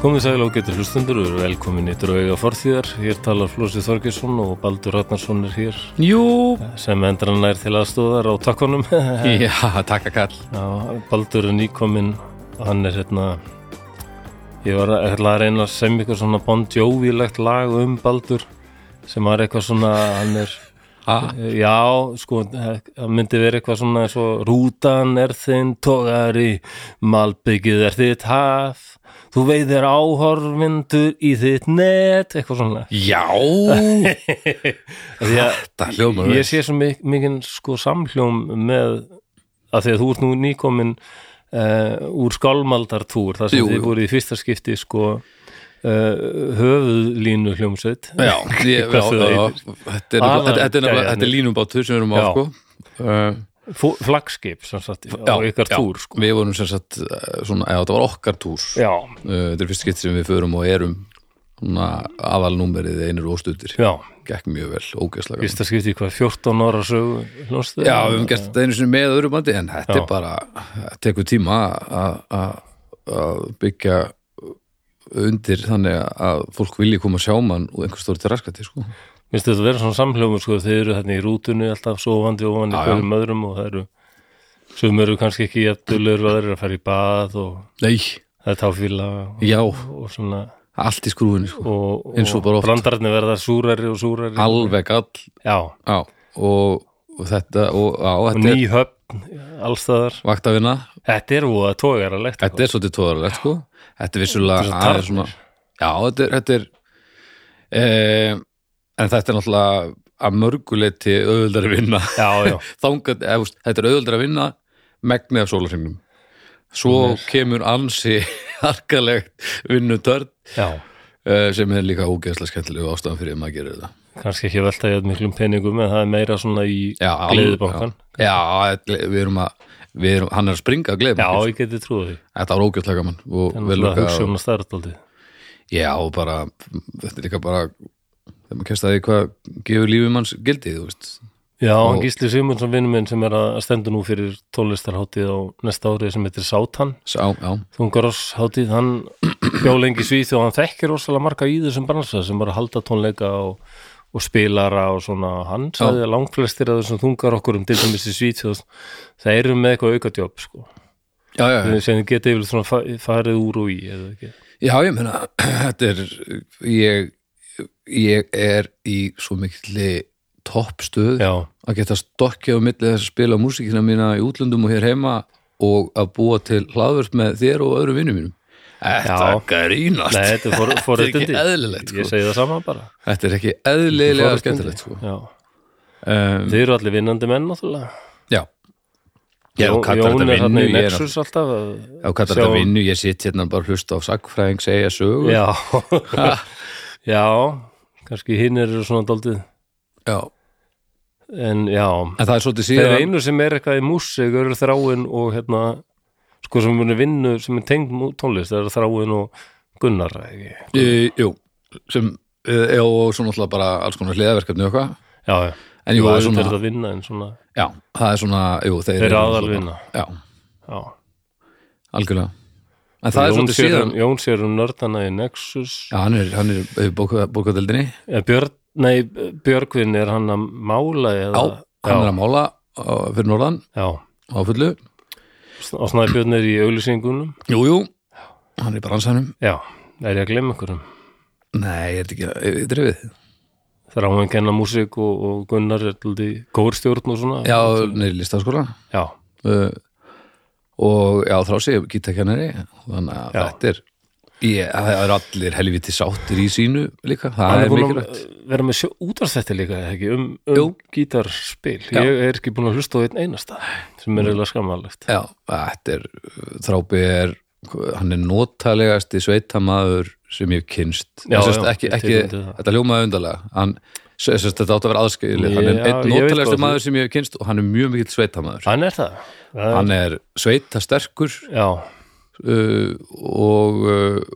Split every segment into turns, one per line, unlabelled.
Komið sæl og getur hlustundur og eru velkomin í drauga fortíðar. Hér talar Flósi Þorgesson og Baldur Ratnarsson er hér
Jú,
sem endran nær til aðstóðar á takkonum. Já,
já, takka kall
Baldur er nýkominn, hann er hérna, ég var að, ætla að reyna að semja eitthvað svona Bon Jovi-legt lag um Baldur sem var eitthvað svona, hann er,
ha,
já, sko, það myndi vera eitthvað svona eins og rútan er þinn togari, malbyggið er þitt haf, þú veiðir áhorfindur í þitt net, eitthvað svona.
Já,
Því að
þetta hljómar
ég sé svo mik mikinn sko samhljóm með að því að þú ert nú nýkomin uh, úr skálmaldartúr þar sem
Jú,
þið
jú.
voru í fyrsta skipti sko uh, höfuðlínu hljómsveit
Já, ég, já,
Hvað sem
já,
það
já,
heitir.
þetta er nefnilega-
Aðal-
þetta- þetta er nefnilega-
gæjan.
þetta er línubátur sem við erum á
Já.
sko Uh,
Fó- flaggskip sem sagt á ykkar túr sko
Við vorum sem sagt uh, svona, já, þetta var okkar túr uh,
já,
Þetta er fyrst skitt sem við förum og erum svona aðalnúmerið einir og stundir
já,
Gekk mjög vel, ógeðslega gaman.
fyrsta skipti í hvað 14 ára sögu hljómsveit
Já, um- við höfum gert þetta einu sinni með öðru bandi en þetta er bara, það tekur tíma að- að að byggja undir þannig að fólk vilji koma að sjá mann og einhver stóri til raskati, sko.
Minnst þetta vera svona samhljómur sko þeir eru þarna í rútunni alltaf sofandi ofan í
Já, já.
hverjum öðrum og það eru sum eru kannski ekki jættulegur og það eru að fara í bað og
Nei,
það er táfíla og,
já,
og svona
allt í skrúinu, sko.
og,
Eins og bara oft.
brandararnir verða súrari og súrari
Alveg all,
já,
já, og, og þetta, og, á,
og
þetta
ný
er
höfn allstæðar,
vaktavinna,
þetta er voða tógaralegt
þetta er svolítið tóðarlegt, sko. Þetta er
Þetta er
vissulega
svo
aðeins svona, já, þetta er, þetta er, eh, en þetta er náttúrulega að mörguleiti auðvöldari vinna.
já, já,
þangat, eða, þú veist, þetta er auðvöldra að vinna megnið af sólarhringnum svo kemur ansi harkalegt vinnutörn
já
uh, sem er líka ógeðslega skemmtilegu ástæðan fyrir að maður gerir þetta
kannski ekki velta ég miklum peningum en það er meira svona í
Já, al-
gleðibankan
já, já, gle- við erum að við erum, hann er að springa að
já,
gleyma
ég geti trúið því
þetta var ógeðslega gaman og vel
þannig að
lukkað
hugsa um að starta
og- já, og bara, þetta er líka bara þegar maður kemst að því hvað gefur lífum hans gildið, þú veist
Já,
Og-
og... Gísli Sigmundsson vinnum minn sem er að að stendur nú fyrir tónlistarháttið á næsta árið sem heitir Sátan,
sá, já,
þungarossháttið, hann bjó lengi í Svíþjóð og hann þekkir rosalega marga í þessum bransa sem bara halda tónleika og, og spilara og svona, hann sagði að langflestir af þessum þungarokkurum til dæmis í Svíþjóð, það eru með eitthvað aukadjóp sko,
Eh. já, já, já.
sem þið geta yfir svona fa- farið úr og í, eða ekki
Já, ég meina, þetta er ég, ég er í svo mikilli toppstöð
Já,
að geta stokkja á milli þess að spila músíkina mína í útlöndum og hér heima og að búa til hlaðvörf með þér og öðrum vinnum mínum. Þetta
Já.
grínast.
nei, þetta er for,
þetta er ekki
forréttindi
eðlilegt,
Ég
sko.
segi það sama bara
Þetta er ekki eðlilega
Forréttindi.
skemmtilegt, sko.
Já,
Um,
þið eru allir vinnandi menn náttúrulega
já. Já,
Jón
og kallar
Jón
þetta
er þarna
vinnu,
í
ég er
Nexus alltaf að-
Já, kallar þetta
Sjá-
vinnu, ég sitt hérna bara að hlusta á sagfræðing, segja sögur.
Já Já, kannski hinn eru svona daldið
Já.
En já,
En það er svolítið
þeir
síðan,
einu sem er eitthvað í músík eru þráin og hérna sko sem muni vinnu sem er tengd mú- tónlist það eru þráin og Gunnar eða ekki?
e, jú, sem, e, já, og svo náttúrulega bara alls konar hliðaverkefni og eitthvað.
Já, já,
En jú,
Jú,
það er
auðvitað
svona,
er þetta að vinna en svona
já, það er svona, jú, þeir,
þeir eru
svona-
aðal vinna
Já,
Já,
algjörlega. En það er
Jón
svolítið
sér um-
síðan,
Jón sér um nördana í Nexus
já, hann er, hann er í bóka- bókadeildinni,
Eh, Björn, nei, Björgvin er hann að mála
já,
eða,
hann er að mála á- fyrir norðan
já,
á fullu,
og Snæbjörn er í auglýsingunum
jú, jú, hann er í bransanum,
Já, er ég að glemma einhverjum
nei, er þetta ekki, er þetta drifið?
þegar hann var að kenna músík og, og Gunnar er alltaf kórstjórn og svona
já, neyri listaskóla
já,
uh, og já, þá sé ég gítakennari þannig að
Já.
þetta er ég, það er allir helviti sáttir í sínu líka,
hann
það
er
er
búin
mikilvægt
að vera með útvarstætti líka eða ekki, um,
Jú.
um gítarspil
Já.
ég er ekki búin að hlusta á einn einasta sem er eiginlega skammalegt
já, þetta er þrábi er, hann er notalegasti sveitamaður sem ég hef kynst
Já,
já, sérst,
já,
ekki,
ég
ekki,
tek undir það.
þetta ljómaði undarlega hann, sérst, þetta átt að vera aðskilið hann er
Já,
einn
ég veit
notalegasti
hvað þú-
maður sem ég hef kynst og hann er mjög mikill sveitamaður
hann er það, það
hann er sveitasterkur
já,
uh, og uh,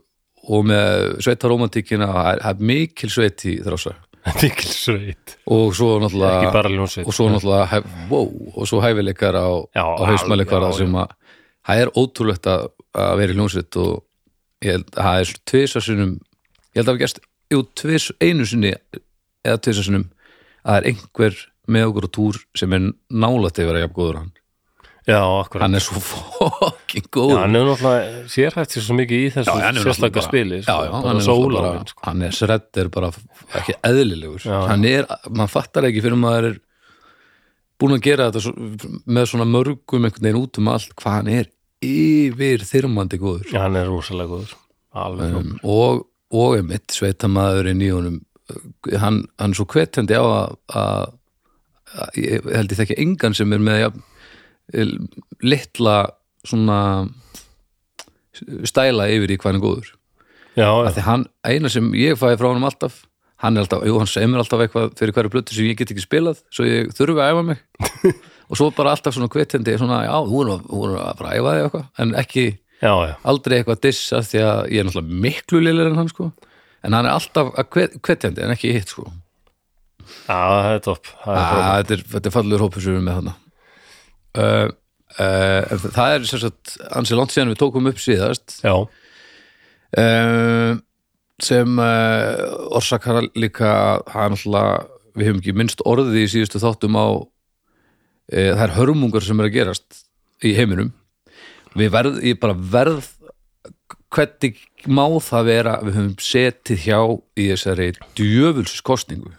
og með sveitaromantíkina það er- það er mikil sveit í þrása
mikil sveit
og svo
ekki
náttúrulega
bara ljónsveit
og svo náttúrulega hæf, wow, og svo hæfileikar á,
Já,
á hausmæli
já, já.
sem að það er ótrúlegt að, að vera í hljómsveit og ég held að það er tvisasunum ég held að við gerst jú, tvis, einu sinni eða tvisasunum að það er einhver með okkur á túr sem er nálætt að vera jafn góður og hann
já, akkurat
hann er svo fucking góður
Já, hann er náttúrulega sérhæft sér svo mikið í þessu
hann er
sérstakka
náttúrulega
spili sko.
bara- já, já, hann
bara sko.
er
sóla
náttúrulega bara- hann er sredder bara ekki eðlilegur
Já, já.
hann er, maður fattar ekki fyrir maður er búin að gera þetta svo, með svona mörgum einhvern veginn út um allt hvað hann er yfir þyrmandi góður
Já, hann er rosalega góður alveg um,
um, og, og einmitt sveitamaðurinn í honum uh, hann, hann er svo hvetjandi á að, að, að ég held ég þekki engan sem er með ja, litla svona stæla yfir í hvað hann er góður
já,
að því hann, eina sem ég fæði frá honum alltaf hann er alltaf, jú, hann segir mér alltaf eitthvað fyrir hverju blötu sem ég get ekki spilað svo ég þurfi að æfa mig og svo bara alltaf svona kvetjandi, svona, já, hún er, hún er að bara æfa þig eitthvað, en ekki
já, já,
aldrei eitthvað dissa því að ég er náttúrulega miklu lilir en hann, sko en hann er alltaf að hvet- hvetjandi, en ekki hitt, sko
já, það er topp það er topp.
Ah, þetta, er, þetta er fallegur hópur sem við erum með þarna uh, uh, það er sem sagt ansi langt síðan við tókum upp síðast
Já,
Eh, sem uh, orsakar líka hann alltaf, við hefum ekki minnst orðið í síðustu þáttum á uh, þær hörmungar sem er að gerast í heiminum við verð, ég bara verð hvernig má það vera að við höfum setið hjá í þessari djöfulskostningu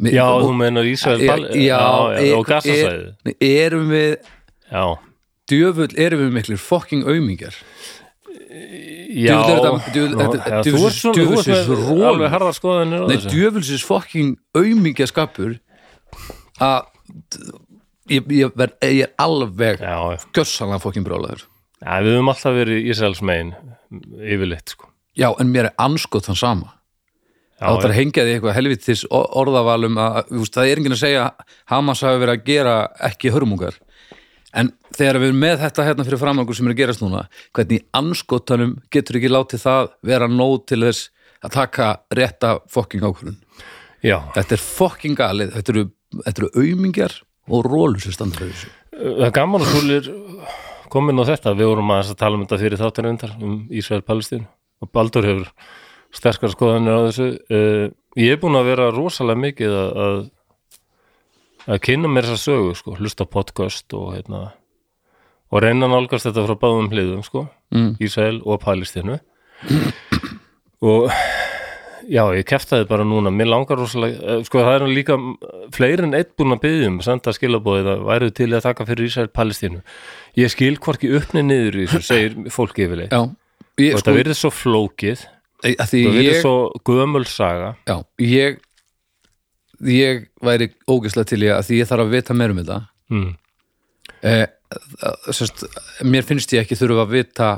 Mi-
já
og-
þú meinar Ísrael
Já,
Bal- já, og gasasæði
er, erum við
Já,
djöfull, erum við miklir fokking aumingjar
já
Djöfull er þetta- djöfull-
Nú,
þetta-
já, Þú
djöfullsins-
ert svona, þú
djöfullsins
ert með
rolur.
alveg harðar skoðanir á
Nei,
þessu.
djöfulsins fokking aumingjaskapur að ég, ég, ver, ég er alveg
Já, já,
gjössanlega fokking brálaður
Já, við höfum alltaf verið Ísraels megin yfirleitt, sko
Já, en mér er anskot þann sama
Já,
Það er hengjaði eitthvað helvitis o- orðavalum að, þú veist, það er enginn að segja Hamas hafi verið að gera ekki hörmungar en þegar við erum með þetta hérna fyrir framangur sem er að gerast núna hvernig í anskotanum getur ekki látið það vera nóg til þess að taka rétta fokking ákvörðun
já,
Þetta er fokking galið, þetta eru, þetta eru aumingjar og rólur sem standa fyrir þessu.
það er gaman að þú er komin á þetta, við vorum aðeins að tala um þetta fyrir þáttur endar, um Ísrael-Palestín og Baldur hefur sterkar skoðanir á þessu uh, ég er búin að vera rosalega mikið að að, að kynna mér þessa sögu, sko, hlusta á podcast og hérna og reyna að nálgast þetta frá báðum hliðum, sko
Mm.
Ísrael og Palestínu og já, ég keftaði bara núna mér langar rosalega, eh, sko það er nú líka mm, fleiri en einn búin að byggja um senda skilabóðið að væru til í að taka fyrir Ísrael Palestínu ég skil hvorki uppni niður í þessu, segir fólk yfirleitt
Já, ég,
og
sko,
þetta verið svo flókið
að því
það verið
ég,
svo gömul saga
já, ég, ég væri ógeðslega til ég að því ég þarf að vita meir um þetta.
mm.
Eh, það- sérst, mér finnst ég ekki þurfa að vita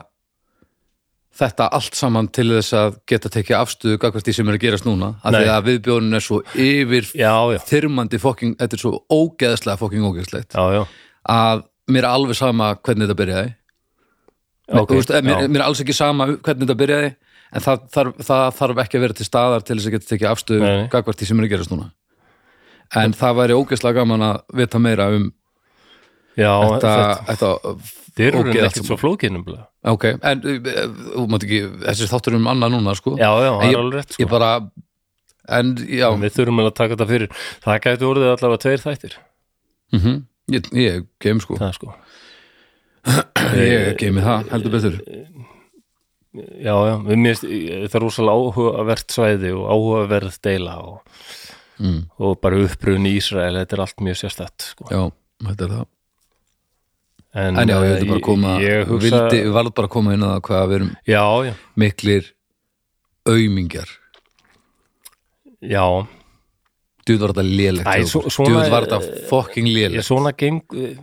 þetta allt saman til þess að geta tekið afstöðu gagvart því sem er að gerast núna. Af
Nei.
því að viðbjónin er svo yfir
já, já,
þyrmandi fokking, þetta er svo ógeðslega fokking ógeðslegt
já, já
að mér er alveg sama hvernig þetta byrjaði.
Ok,
okay, veist, eh, mér,
já.
mér er alls ekki sama hvernig þetta byrjaði en það þarf, það þarf ekki að vera til staðar til þess að geta tekið afstöðu
Nei, nei.
gagvart því sem er að gerast núna en það væri ógeðslega gaman að vita meira um
já,
þetta,
þetta
þetta
þeir eru
ógeð allt
ekkert
saman.
svo flókið nefnilega
ok, en uh, uh, þú mátt ekki þessi þáttur um annað núna sko
já, já, það
ég-
er alveg rétt
ég
sko.
bara, en já mm
við þurfum að taka þetta fyrir það gæti orðið allavega tveir þættir
Mhm. ég, ég kem sko
það sko
ég kem í það, heldur betur
já, já, við mérst það er rosalega áhugavert svæði og áhugaverð deila og,
mm.
og bara uppröðun í Ísrael þetta er allt mjög sérstætt sko.
já, þetta er það
en,
en já, ég
eh,
vildi bara koma
ég
hugsa...
hugsa,
vildi, við varðum bara að koma inn að hvað við erum
já, já,
miklir aumingjar
já
djúð var þetta lélegt
Æ,
hjá
svo-
okkur.
svona-
djúð var þetta fucking
ég
lélegt
svona geng,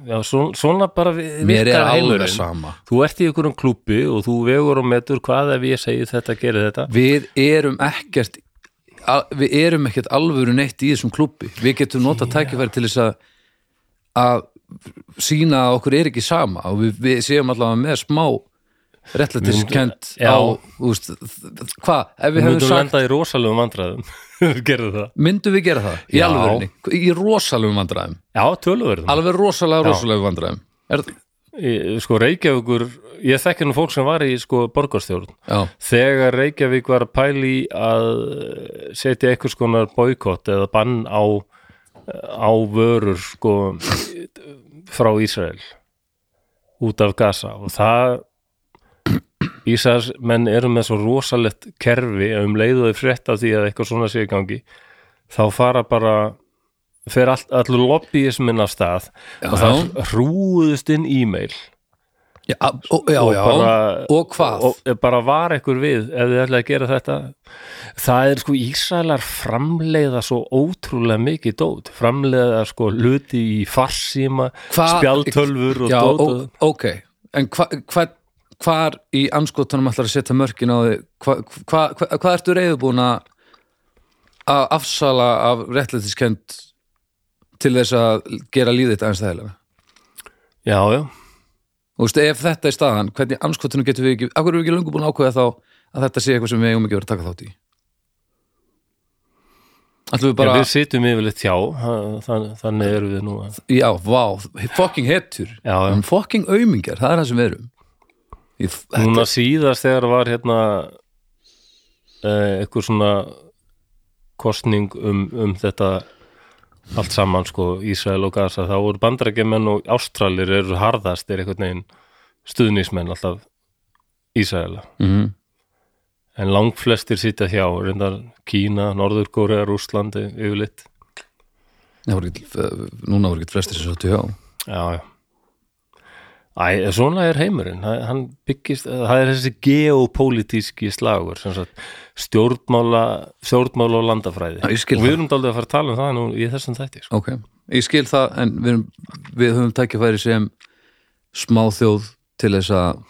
já, svona, svona bara vi-
mér er
virkar
alveg
heilurinn.
sama
þú ert í einhverjum klúbbi og þú vegur og metur hvað ef ég segi þetta, gerir þetta
við erum ekkert al- við erum ekkert alvöru neitt í þessum klubbi við getum nota tækifæri til þess að að sína að okkur er ekki sama og við, við séum allavega með smá réttlætiskend
Við- já.
á, þú veist, þ- þ- hvað, ef við
við
hefum
myndum
sagt
lenda í rosalegum vandræðum gerðu það,
myndum við gera það, í
Já.
alvörunni í rosalegum vandræðum,
já, tölverðum
alveg rosalega rosalegum vandræðum er,
sko Reykjavíkur ég þekki nú fólk sem var í sko borgarstjórn
já,
þegar Reykjavík var að pæli að eh, setja einhvers konar boykott eða bann á eh, á vörur sko frá Ísrael út af Gaza og það Ísraels menn eru með svo rosalegt kerfi um leiðuði frétt af því að eitthvað svona sé í gangi þá fara bara fer all, allur lobbyismin af stað
Já.
og það hrúðust inn e-mail
já, ó, já,
og
já
bara-
og hvað
og bara var ekkur við ef þið ætlaði að gera þetta það er sko Ísraelar framleiða svo ótrúlega mikið dót framleiða sko luti í farsíma
Hva-
spjaltölfur og
já, ó,
dót og,
ok, en hva, hva, hvar í anskotunum ætlar að setja mörkin á þig hvað hva, hva, hva ertu reyðubúin að að afsala af réttlætiskend til þess að gera lífið þetta aðeins þægilega
já, já,
og veistu, ef þetta er staðan, hvernig anskotunum getum við ekki, af hverju erum við ekki löngu búin að ákveða þá að þetta sé eitthvað sem við eigum ekki verið að taka þátt í ætlum við bara,
já
já,
við sitjum yfirleitt hjá þann, þannig eru við nú að-
vá fucking hettur,
já, já.
um, fucking aumingar það er það sem við erum Ég,
núna síðast þegar var hérna eh, eitthvað svona kostning um, um þetta allt saman sko Ísrael og Gaza þá voru bandarækjumenn og ástralir eru harðast er einhvern veginn stuðnismenn alltaf Ísraela
Mhm.
en langflestir sitja hjá reyndar Kína, Norður-Kórea, Rússlandi yfirleitt
Það voru ekki, f- núna voru ekki flestir sem sáttu hjá
Já, já. Æ, svona er heimurinn, Hann- hann byggist, það er þessi geopolítíski slagur, sem sagt, stjórnmála, stjórnmála og landafræði.
Já, ég skil
og við erum daldið að fara að tala um það nú í þessum þætti, sko.
Ok, ég skil það en við, erum, við höfum tækifæri sem smá þjóð til þess að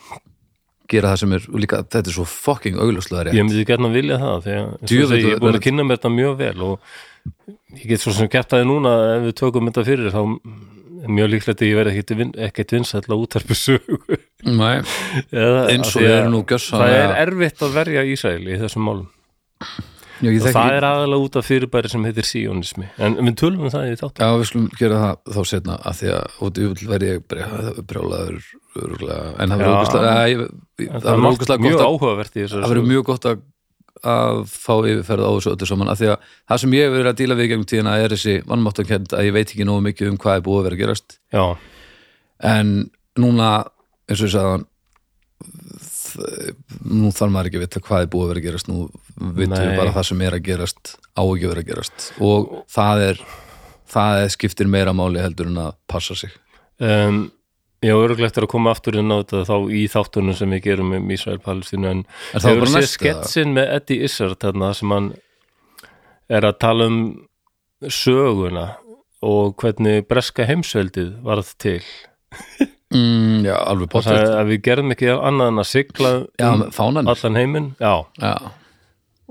gera það sem er og líka, þetta er svo fucking augljóslega rétt
Ég myndi gert að vilja það, því að eins og
Djöfull,
segi, ég er búin
verður-
að kynna mér þetta mjög vel og ég get svo sem gert það núna ef við tökum þetta fyrir þá er mjög líklegt að ég verði ekkit, vin, ekkit vinsætla útarpi sögu.
Nei,
Eða,
eins og
af því
við
að
erum nú
Það er
gjössanlega
erfitt að verja Ísrael í þessum málum.
Já, ég
og
þekki
það er aðalega út af fyrirbæri sem heitir sionismi en við tölum um það í þáttum
Já, við skulum gera það þá setna að því að út yfir verði ég brjá- brjálaður örugglega, en það
Já.
verður ógustlega það
það
verður ógustlega
er mjög
gott að
áhugavert í
það verður
þessu
mjög gott að, að fá yfirferð á þessu öllu saman af því að það sem ég hef verið að díla við í gegnum tíðina er þessi vannmáttakend að ég veit ekki nógu mikið um hvað er búið að vera að gerast
já,
en núna eins og ég sagði hann þ- nú þarf maður ekki að vita hvað er búið að vera að gerast nú vitum
Nei.
við bara það sem er að gerast á ekki að vera að gerast og það er það er skiptir meira máli heldur en að passa sig
um, ég er öruglegt að koma aftur inn á þetta þá í þáttunum sem við gerum um Ísrael-Palestínu en
Er það
hefur
bara
séð
næst, eða?
sketsin með Eddie Izzard þarna sem hann er að tala um söguna og hvernig breska heimsveldið varð til
mm, já, alveg
það
pottet
er að við gerum ekki annað en að sigla
já,
um
fánan
allan heiminn já,
já,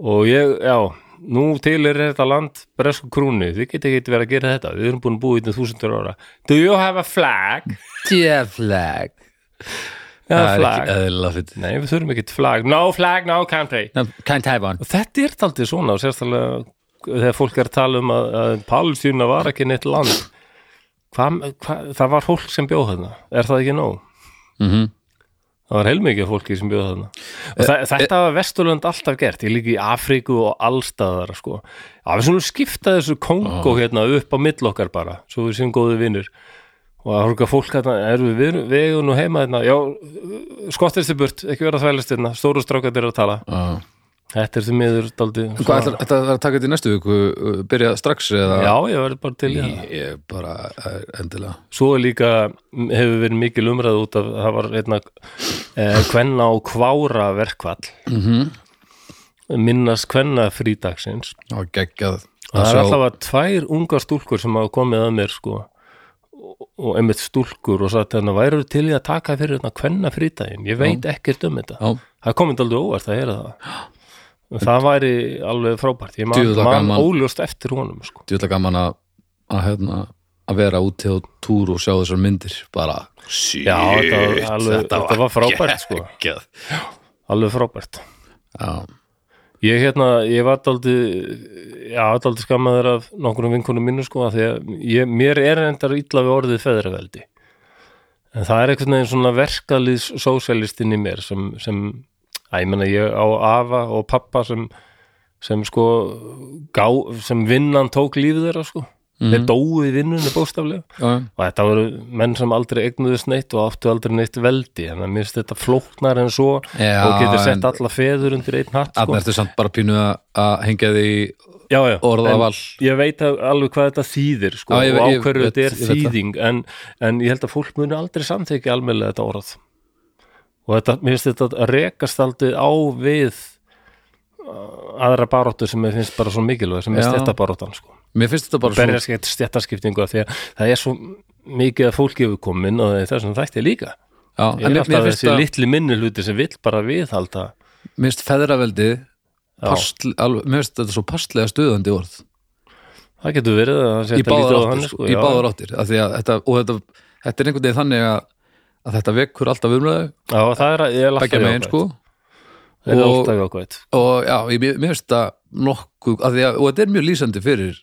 og ég, já, nú til er þetta land bresku krúni, þið geti ekki verið að gera þetta við erum búin að búið í þúsundur ára Do you have a flag?
djefleg
Já,
það er
flag
ekki eðlilega fyrir
Nei, við þurfum ekkert flag, no flag, no country
Kind Taiwan
og þetta er taldið svona og sérstælega þegar fólk er að tala um að, að Palestína var ekki neitt land hva, hva, það var fólk sem bjóð þarna er það ekki nóg?
mm
Það var heilmikið af fólki sem bjóð þarna og þa þetta var Vesturlönd alltaf gert ég líka í Afríku og allstaðar sko. að við svona skipta þessu Kongo hérna upp á mill okkar bara, svo við séum góði vinnur og það er eitthvað fólk að er við, við, við eigum nú heima þarna já, skottist er burt, ekki vera að þvælast þarna stóru strákat er að tala
Já.
þetta er því miður daldi
Hvað ætlar þetta að taka þetta í næstu viku? uh, Byrja strax eða?
já, ég verður bara til í það
Ég er bara eh, endilega.
svo er líka hefur verið mikil umræð út af það var einna eh, kvenna og kvára verkvall
Mm -hmm.
minnast kvenna frídagsins
Já, geggjað. að
það er
sjá-
alltaf að tvær unga stúlkur sem hafa komið að mér sko og- og einmitt stúlkur og sagt þannig að væru til í að taka fyrir þarna kvenna frítaginn ég veit ekkert um þetta
Já,
það komið aldrei óvart að heyra það En það væri alveg frábært ég man,
Djöfull var
man
gaman.
óljóst eftir honum sko.
djúlega gaman að að, hérna, að vera úti á túr og sjá þessar myndir bara shit,
já, þetta, var alveg, þetta, var frábært sko.
geggjað
alveg frábært
Já,
Ég hérna, ég var daldi já, daldi skammaður af nokkurum vinkunum mínu sko, af því að ég, mér er endar illa við orðið feðraveldi en það er einhvern veginn svona verkalýðs sósælistinn í mér sem, sem að ég menna ég á afa og pappa sem, sem sko gá, sem vinnan tók lífið þeirra sko, þeir
Mhm.
dói í vinnunni bóstaflega
já, já.
og þetta voru menn sem aldrei eignuðust neitt og áttu aldrei neitt veldi en það minnst þetta flóknar en svo
Já,
og getur
en-
sett alla feður undir einn hatt
Þarna
sko.
ertu samt bara pínu að- að hengja því
já, já.
orðaval.
En ég veit að- alveg hvað þetta þýðir sko,
Já, ég-
og á
ég
hverju
veit-
þetta er
ég veit það.
þýðing en, en ég held að fólk muni aldrei samþykja almennlega þetta orð og þetta, mér finnst þetta að rekast aldrei á við uh, aðra baróttu sem mér finnst bara svo mikilvæg sem er
Já.
stjættabaróttan sko.
Mér finnst þetta bara svo
berjast gett stjættaskiptingu af því að það er svo mikið að fólki hefur komin og þessum þætti líka
já,
er
en mér,
alltaf
mér finnst
þessi
að,
litli minni hluti sem vill bara viðhalda
mér finnst feðraveldi
Já.
pastl, alveg, mér finnst þetta svo passlega stuðandi orð
það getur verið að það sé
í
hægt að líta
báðar
á
áttir,
þannig,
sko, í
já.
báðar áttir af því að þetta, og þetta, þetta er einhvern veginn þannig að, að þetta vekur alltaf umræðu
Já, það er, er alltaf
begja megin
jákvætt.
sko
Það er
Og-
alltaf jákvæmt.
og já, ég, mér- mér finnst það nokkuð af því að, og þetta er mjög lýsandi fyrir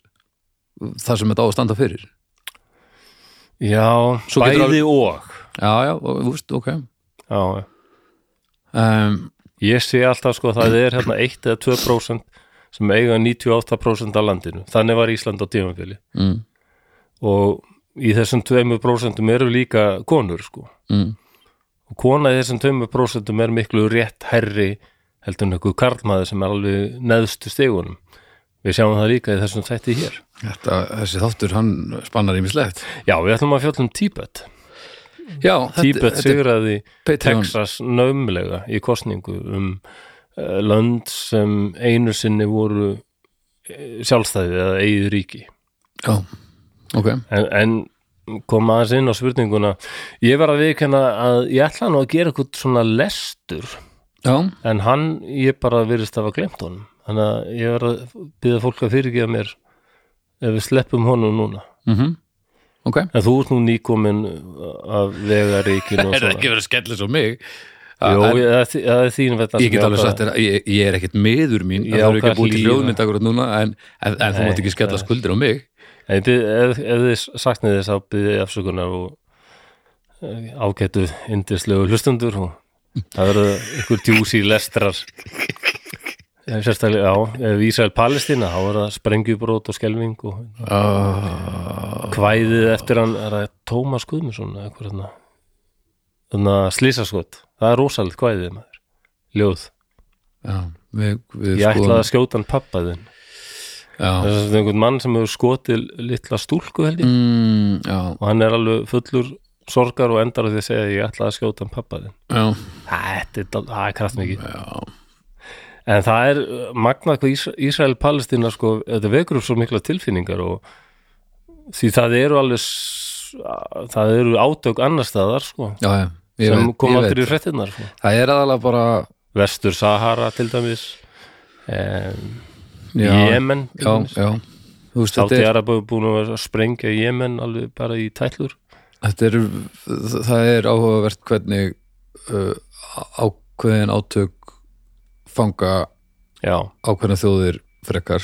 það sem þetta á að standa fyrir
Já,
Svo
bæði
getur
og.
já, já, og, þú veist, ok
Já, já.
um,
ég sé alltaf sko að það er hérna 1 eða 2% sem eiga 98% af landinu. Þannig var Ísland á tímafili.
mm,
Og í þessum 2% eru líka konur sko.
mm,
Og kona í þessum 2% er miklu rétt herri heldur en einhver karlmaður sem er alveg neðstu stegunum. Við sjáum það líka í þessum þætti hér.
þetta, þessi þáttur, hann spannar ímislegt
Já, við ætlum að fjöllum Tíbet.
já,
Tíbet sigraði
Patreon.
Texas naumlega í kostningu um uh, lönd sem einu sinni voru eh, sjálfstæði eða eigið ríki
já, ok,
en, en kom aðeins inn á spurninguna ég var að viðkenna að ég ætla nú að gera eitthvað svona lestur
já,
en hann, ég bara virðist að hafa glemt honum þannig að ég var að byrða fólk að fyrirgefa mér ef við sleppum honum núna
mhm ok
en þú ert nú nýkomin af vegaríkinu og
er það
svona
ekki verið að skella svo mig
Jó,
En-
ég, það er þí- það er þín þetta
Ég get alveg sagt þér að ég, ég er ekkert meður mín
Ég
það þarf ekki
ákvað
að búið til
hlýða.
hljóðmynd akkurat núna en, en, en þú mátt ekki skella skuldir á mig
En ég bið- ef, ef þið saknið þess að byrði afsökunar og eh, ágætu indislegu hlustundur og það verður ykkur djúsi lestrar Eh, sérstaklega, já, ef Ísrael Palestína þá verður það sprengjubrot og skelving og Ah.
oh.
kvæðið eftir hann er það Tómas Guðmundsson eða eitthvað þarna þarna slísaskot, það er rosalegt kvæðið maður, ljóð
Já, við, við
ég ætlaði að skjóta hann pappa þinn
Já,
þess að einhvern mann sem hefur skotið litla stúlku held ég
mm, já,
og hann er alveg fullur sorgar og endar á því að segja ég ætla að skjóta hann pappa þinn
já,
þetta er, dál- það er kraftmikið
já.
en það er uh, magnað hvað Ísra- Ísrael-Palestína sko, þetta vekur upp svo mikla tilfinningar og því það eru alveg s- a- það eru átök annar staðar sko,
já, já ég
sem
veit,
kom
ég
aftur
veit.
í fréttinnar sko.
Það er aðalega bara
Vestur Sahara til dæmis um,
já,
Jemen til
Já,
dæmis.
já Þú veist, þetta er,
Sátti-Araba er búin að sprengja Jemen alveg bara í tætlur
þetta er það er áhugavert hvernig uh, ákveðin átök fanga
já,
ákveðna þjóðir frekar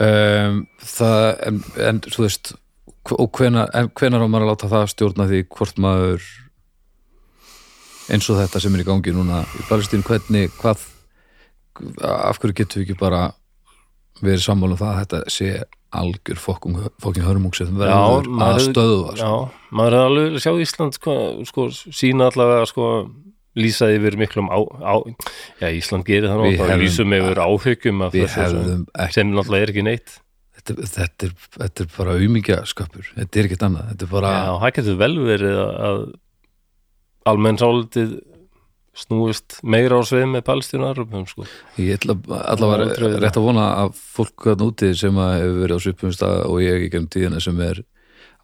um, það en, en þú veist hv- og hvenar, en hvenar á maður að láta það stjórna því hvort maður eins og þetta sem er í gangi núna í Palestínu, hvernig, hvað af hverju getum við ekki bara við erum sammála um það að þetta sé algjör fokkum, fokkin hörmung sem
Já,
verður að
maður-
stöðva sko.
Já, maður hefði alveg viljað sjá Ísland sko, sko, sína allavega sko, lýsa yfir miklum á, á já, Ísland gerir það nú
Við
og
hefðum-
lýsum yfir áhugjum af
við
þessu
hefðum
sem,
ekki
sem náttúrulega er ekki neitt
þetta, þetta, er, þetta er bara umingja þetta er ekkert annað þetta er bara,
Já, það getur vel verið að, að almenn sálitið snúist meira á sveið með palestínu aðrupum sko.
ég ætla allavega
Já, aldrei.
rétt að vona að fólk hann úti sem að hefur verið á svipum stað og ég ekki um tíðina sem er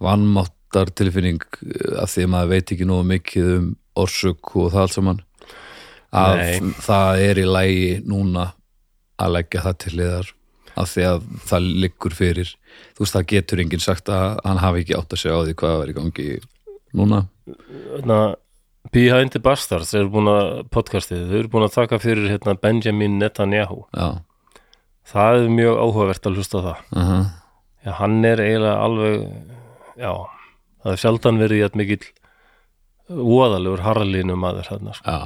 vannmáttar tilfinning eh, af því að maður veit ekki nógu mikið um orsök og það allt saman að
Nei.
það er í lægi núna að leggja það til liðar af því að það liggur fyrir þú veist það getur enginn sagt að hann hafi ekki átt að segja á því hvað var í gangi núna
Þannig að Behind the Bastards er búin að podcastið, þau eru búin að taka fyrir hérna, Benjamin Netanyahu
já,
það er mjög áhugavert að hlusta á það
uh
Já, hann er eiginlega alveg já, það er sjaldan verið jætt mikill voðalegur harlínu maður hérna, sko.
já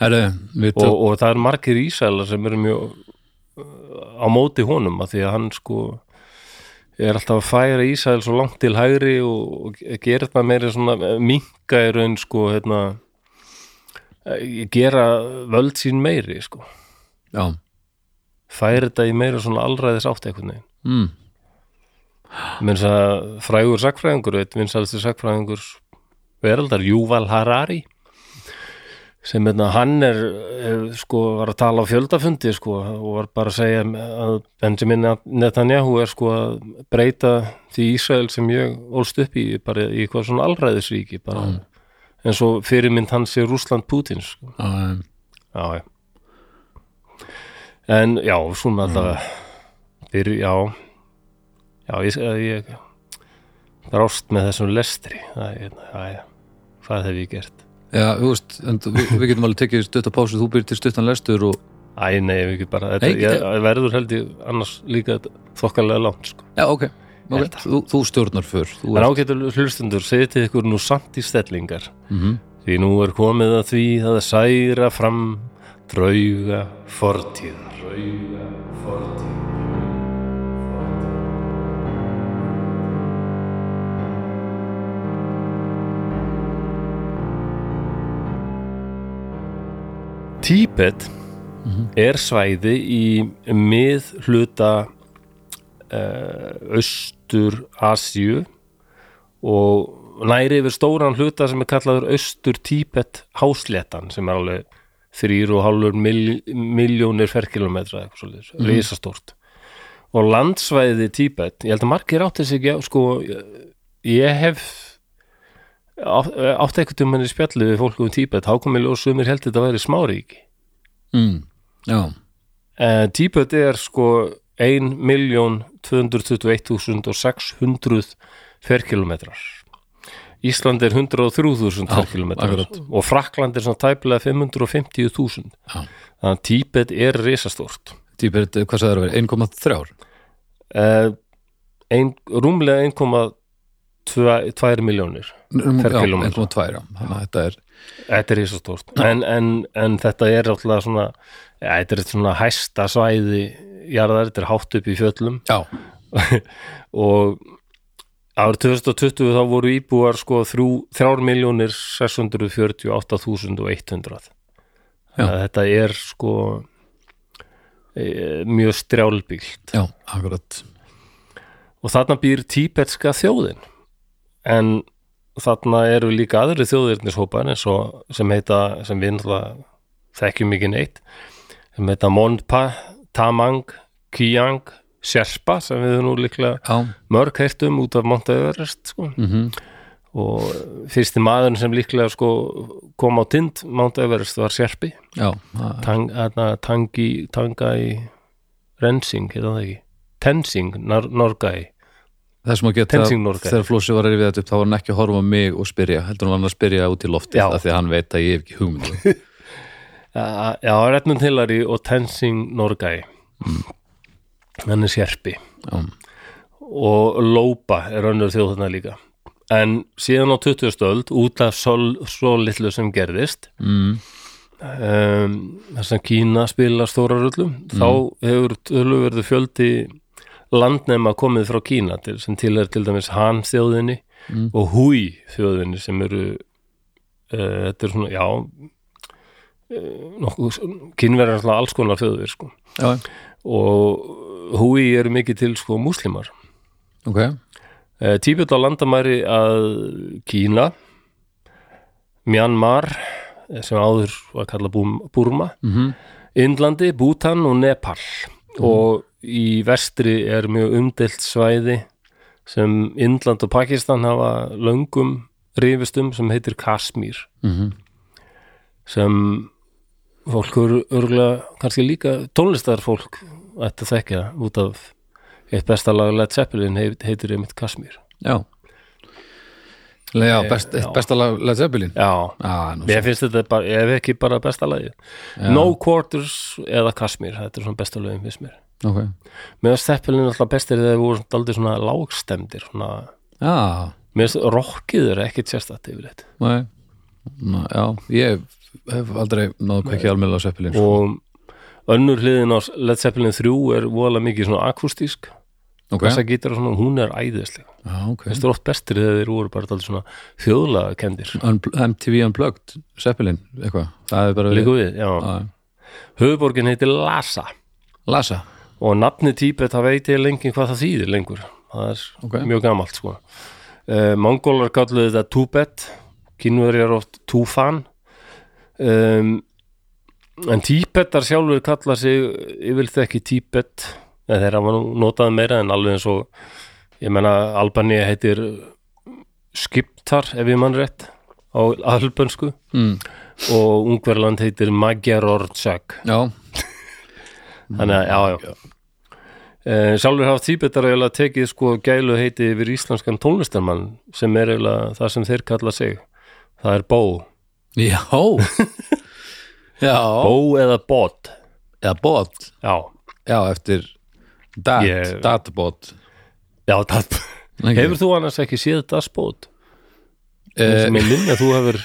herru, við
og, og það er margir ísælar sem eru mjög uh, á móti honum að því að hann sko er alltaf að færa Ísæl svo langt til hægri og, og gera þetta meiri svona minka í raun sko hérna, eh, gera völd sín meiri sko
já
færa þetta í meira svona allræðis átt einhvern veginn
Mm.
minnst að frægur sakfræðingur eitt vinsælsti sakfræðingur veraldar, Júval Harari sem hérna hann er, er sko var að tala á fjöldafundi sko og var bara að segja að Benjamin Netanyahu er sko að breyta því Ísrael sem ég ólst upp í bara í eitthvað svona allræðisríki bara en svo fyrirmynd hans er Rússland Pútins sko.
Já,
já, já. En já, svona allavega fyrir, já já, ég, ég brást með þessum lestri það, ég, það, hvað hef ég gert
já, þú veist, en þú- við, við getum alveg tekið stuttan pásu, þú byrjir til stuttan lestur og,
Æ, nei, ef ekki bara þetta,
Nei, ekki
ég, ég verður held ég annars líka þokkalega langt sko.
já, ok, okay.
Held
Þú, þú stjórnar fyrr þú
en ágætur hlustundur, setið ykkur nú samt í stellingar
mm -hmm.
því nú er komið að því að særa fram drauga fortíðar drauga fortíðar Tíbet er svæði í mið hluta uh, austur Asíu og næri yfir stóran hluta sem er kallaður austur Tíbet hásléttan sem er alveg 3,5 mil, miljónir ferkilometra eitthvað svolítið, mm. risastórt og landsvæði Tíbet ég held að margir átti sig ekki á sko, ég hef á- átti ekkert um henni spjallið við fólk um Tíbet, þá komið ljós sumir held þetta væri smáríki
mm. já,
Uh, Tíbet er sko 1.221.600 ferkilometrar Ísland er 103.000
Já,
ferkilometrar
akkurat.
og Frakland er svona tæpilega 550.000
Já.
þannig að Tíbet er risastort
típert, hvað sagði það að vera 1,3
uh, ein, rúmlega 1,2 miljónir
Nú,
Per
já,
kílómetra.
1,2, já, þannig að þetta er
Þetta er risastórt en, en, en þetta er alltaf svona ja, þetta er svona hæsta svæði jarðar, þetta er hátt upp í fjöllum
já,
og árið 2020 þá voru íbúar sko 3.648.100
Já.
þetta er sko e, mjög strjálbílt
já, akkurat
og þarna býr tíbetska þjóðin en þarna eru líka aðri þjóðirnishópar eins og sem heita sem við náttúrulega þekkjum ekki neitt sem heita Monpa, Tamang, Kiang, Sherpa sem við höfum nú líklega
já,
mörg heyrtum út af Monta Everest sko.
mm
og fyrsti maðurinn sem líklega sko, kom á tind Monta Everest var Sjerpi
já, það-
Tang, hana, tangi, tanga í Rensing, hérna það ekki Tensing, nor Norgai
það sem að geta
Tenzing Norgay.
þegar Flósi var að rifið þetta upp, þá var hann ekki að horfa á mig og spyrja, heldur hann var hann að spyrja út í loftið
Já.
af því að hann veit að ég hef ekki hugmynd
Já, já, Redmond Hillary og Tensing Norgay hann er sérpi
Já.
og Lópa er önnur þjóð þarna líka en síðan á 20. öld út af svo, svo litlu sem gerðist
mm.
um, þar sem Kína spila stóra rullum þá hefur töluverðu fjöldi landnema komið frá Kína til, sem til er til dæmis Han þjóðinni og Hui þjóðinni sem eru uh, þetta er svona, já uh, nokkuð, kínverjar er alltaf alls konar þjóðir sko.
Já,
og Hui eru mikið til sko múslimar
ok
uh, Tíbet á landamæri að Kína Myanmar eh, sem áður var kalla Burma
Mhm.
Indlandi, Bhutan og Nepal og í vestri er mjög umdelt svæði sem Indland og Pakistan hafa löngum rifistum sem heitir Kasmír
Mhm.
sem fólk eru örgulega kannski líka tónlistarfólk ætti að þekka út af eitt besta lag Led Zeppelin heit- heitir einmitt Kasmír
Já Le- Já, best, eitt
Eh, já.
besta lag Led Zeppelin
Já,
Já, nú
Mér finnst þetta bara, ef ekki bara besta lagið No Quarters eða Kasmir þetta er svona besta lögum fyrst mér
Ok
Mér finnst Zeppelin alltaf bestir þegar þeir voru aldrei svona lágstemdir svona,
Já,
mér finnst rockið er ekkit sérstætt yfir þetta
nei Ná, Já, ég hef aldrei náðu hvað ekki almennilega á Zeppelin sko.
og önnur hliðin á Led Zeppelin 3 er voðalega mikið svona akustísk
Ok,
þess að gítar og svona, hún er æðisleg Mér
já, ok
finnst það oft bestir þegar þeir voru bara aldrei svona þjóðlega kendir
Unpl MTV Unplugged, Zeppelin, eitthvað Það er bara
Líku við, já
Já.
Höfuborgin heitir Lhasa
Lasa,
og nafni Tíbet það veit ég lengi hvað það þýðir lengur það er
Ok.
mjög gamalt sko uh, Mongólar kalluðu þetta Tubet kínverjar oft Tufan um, en Tíbetar sjálfur kalla sig yfirleitt ekki Tíbet eða þeir hafa nú notað meira en alveg eins og ég menna Albanía heitir Skiptar ef ég mann rétt á albönsku
Mm.
og Ungverland heitir Magyarorczak
já,
þannig að já, já Eh, sjálfur hafa tíbetar eiginlega tekið sko gælu heiti yfir íslenskan tónlistarmann sem er eiginlega það sem þeir kalla sig það er bó,
já Já,
bó eða bót
eða bot
já,
Já, eftir dat,
Ég-
datbot
já, það
Ekki.
hefur þú annars ekki séð dasbót
Eh,
sem ég minni að þú hefur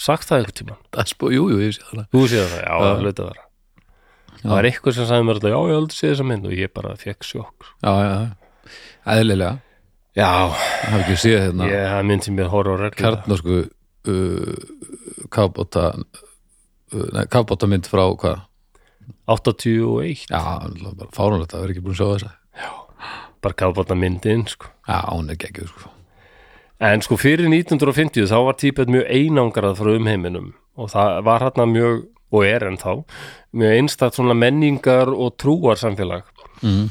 sagt það einhvern tímann,
Datbot, jú, jú, ég sé það
þú séð það, já, það hluti að vera það var eitthvað sem sagði mér alltaf, já, ég hef aldrei séð þessa mynd og ég bara fekk sjokk sko.
Já, já, já, eðlilega
já,
Það hef ekki séð hérna
ég hafði mynd sem ég horf á reglu
kjarnorsku sko, uh, kafbóta uh, nei, kafbóta frá hvað
81,
já, náttúrulega bara fáránlegt að vera ekki búin að sjá þessa
bara kafbóta myndin sko
já, hún er geggjur sko
En sko fyrir 1950 þá var Tíbet mjög einangrað frá umheiminum og það var hérna mjög, og er ennþá, mjög einstætt svona menningar og trúar samfélag.
Mhm.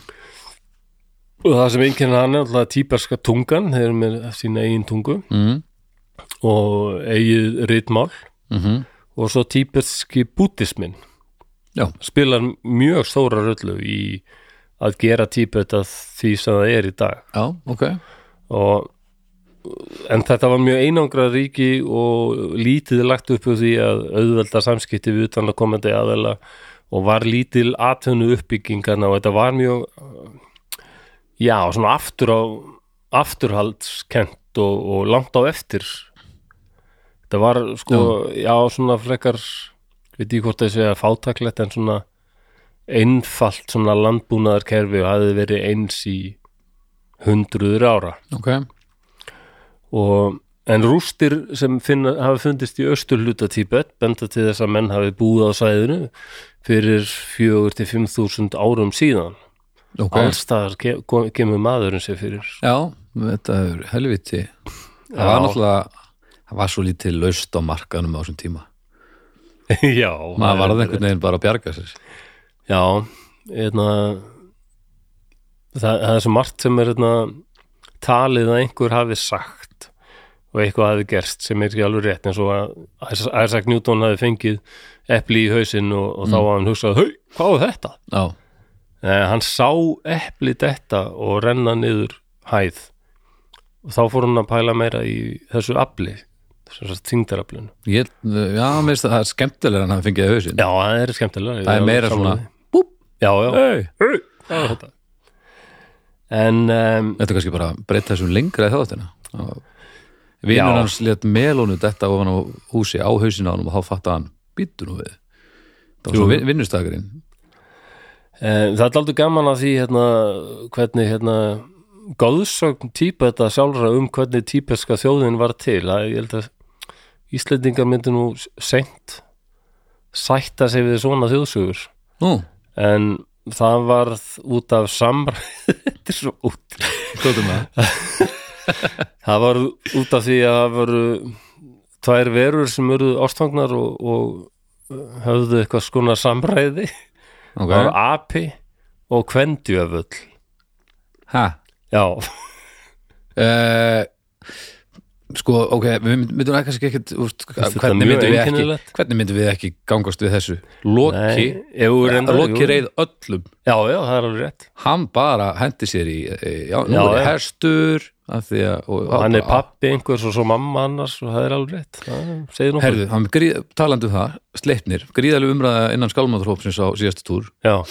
Og það sem einkennir hann er alltaf tíberska tungan, þeir eru með sína eigin tungu
mm
og eigið ritmál
-hmm.
og svo tíberski bútismin
já,
spilar mjög stóra röllu í að gera Tíbet að því sem það er í dag.
já, ok
og en þetta var mjög einangrað ríki og lítið lagt upp úr því að auðvelda samskipti við utan að komandi aðeila og var lítil aðtönu uppbyggingarna og þetta var mjög já, svona aftur á afturhaldskent og, og langt á eftir þetta var sko, já, svona frekar veit ég hvort það sé að fátaklegt en svona einfalt svona landbúnaðarkerfi og hafði verið eins í hundruður ára
ok,
og en rústir sem finna, hafa fundist í austur hluta Tíbet benda til þess að menn hafi búið á sæðinu fyrir 4-5 þúsund árum síðan
ok
allstaðar ke kom- kemur maðurinn sér fyrir
já, þetta er helviti það var
Já.
náttúrulega það var svo lítið laust á markanum á þessum tíma
já,
maður varð einhvern veginn bara að bjarga sér
já, einna, það, það er svo margt sem er einna, talið að einhver hafi sagt og eitthvað hafi gerst sem er ekki alveg rétt eins og að Isaac Newton hafi fengið epli í hausinn og, og
Mm.
þá var hann hugsað, hei, hvað var þetta?
já,
Nei, Eh, hann sá epli detta og renna niður hæð og þá fór hann að pæla meira í þessu afli, þessu þingdaraflinu.
ég, já, mér finnst það er skemmtilega en hann fengið hausinn,
Já, það er skemmtilega.
það er meira svona búp,
Já, já.
hei
Hey, það var þetta. En um,
Þetta er kannski bara að breyta þessum lengra í þáttina Vinur
Já.
hans let melónu detta ofan á húsi á hausinu á hann og þá fatta hann býttu nú við það var
Jú.
svo vinnustagurinn
Eh, Það er aldrei gaman að því hérna, hvernig hérna, góðsögn típa þetta sjálfra um hvernig típeska þjóðin var til að ég held að Íslendingar myndi nú seint sætta sig við svona þjóðsögur
nú,
en það varð út af samræð þetta er svo út
skoðum það
það varð út af því að það voru tvær verur sem eru ástfangnar og, og höfðu eitthvað skona samræði það var
ok,
api og kvendjöfull
hæ
já
Uh, sko, ok, við mynd- myndum ekki kannski ekkert, úst,
þetta
hvernig
mjög
myndum við ekki
einkennilegt?
hvernig myndum við ekki gangast við þessu Loki,
Nei, ef við reyndar- jú.
Loki reið öllum
Já, já, það er alveg rétt
hann bara hendi sér í e, já, nú
Já,
er ég
já.
herstur af því að, og,
Hann er pappi einhvers og svo mamma annars og það er alveg rétt Það segir nokkuð
herðu, hann gríð, talandi um það, Sleipnir gríðalega umræða innan skalmáðurhópsins á síðasta túr,
Já,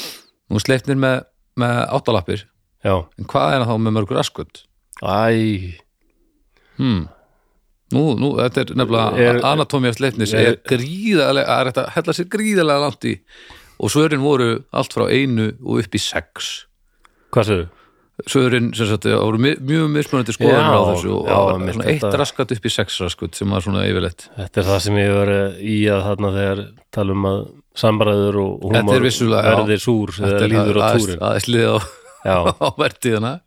nú er Sleipnir með, með áttalappir,
já
en hvað er hann þá með mörgur asköld?
Æ,
Hmm. Nú, nú, þetta er nefnilega
Er-
anatómía sleipnis
er-
er gríðalega, það er þetta hella sér gríðalega langt í og svörin voru allt frá einu og upp í sex
hvað séu?
svörin, sem sagt, það voru mi- mjög mismunandi skoðanir
Já,
á þessu og
já,
já,
einmitt,
svona eitt
þetta-
raskat upp í sex raskat sem var svona yfirleitt
Þetta er það sem ég verið í að þarna þegar talum að samræður og
Þetta er
húmor
vissulega, já.
verðir súr þegar líður á túrin
aðeins liðið á,
Já,
á vertíðana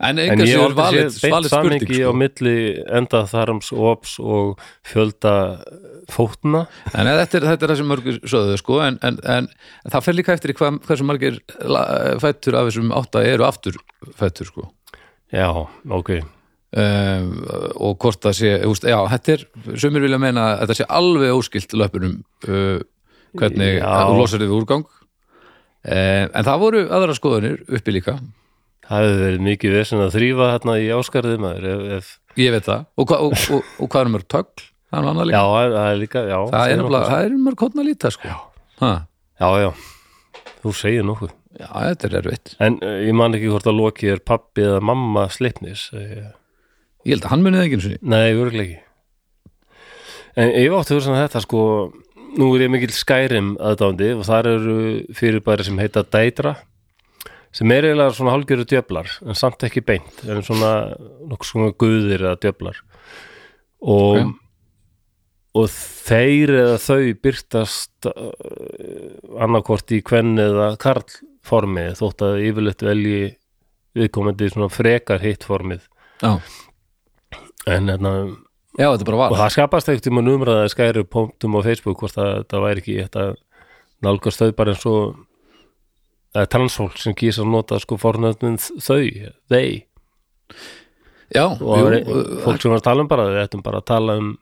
en
en
einhvers
ég
vegar
hef aldrei
valið,
séð beint
valið spurning
samingi á
sko.
milli enda þarms ops og fjölda eh, fótna
en eh, þetta er, þetta er það sem mörgur sögðu sko, en, en, en það fer líka eftir í hvað, hversu margir la- fætur af þessum átta eru aftur fætur sko
Já, ok
um, og hvort það sé úst, já, þetta er, sumir vilja meina að þetta sé alveg óskilt löpunum uh, hvernig
Já.
þú losar þið úrgang um, en það voru aðra skoðanir uppi líka,
Það hefði verið mikið vesinn að þrýfa hérna í áskarði maður ef, ef,
ég veit það og, hva, og, og, og hvað er mörg tögl það er, annað
Já,
líka.
það er líka já,
það
segir
er,
nokkuð.
nefnilega- það er mörg hotna líta sko. ha,
Já, já, þú segir nokkuð
já, þetta er erfitt
En uh, ég man ekki hvort að Loki er pappi eða mamma Sleipnis Eh,
ég held að hann munið það ekki einu sinni
Nei, örgleiki En ef áttu verið sem þetta sko Nú er ég mikill skærim aðdándi og þar eru fyrirbæri sem heita Deidra sem er eiginlega svona hálgjöru djöflar en samt ekki beint en svona nokkuð svona guðir eða djöflar og
Ok.
og þeir eða þau byrtast uh, annarkvort í kvenn eða karl formi þótt að yfirleitt velji viðkomandi svona frekar hitt formið
já,
en hérna
já þetta er bara var
og það skapast ekkert um að numraða skæri punktum á Facebook hvort að þetta væri ekki þetta nálgast þau bara eins og eða transfólk sem kýs að nota sko fornöfnin þau, þeir
já,
og það
jú,
var
uh,
fólk sem var að tala um bara við ættum bara að tala um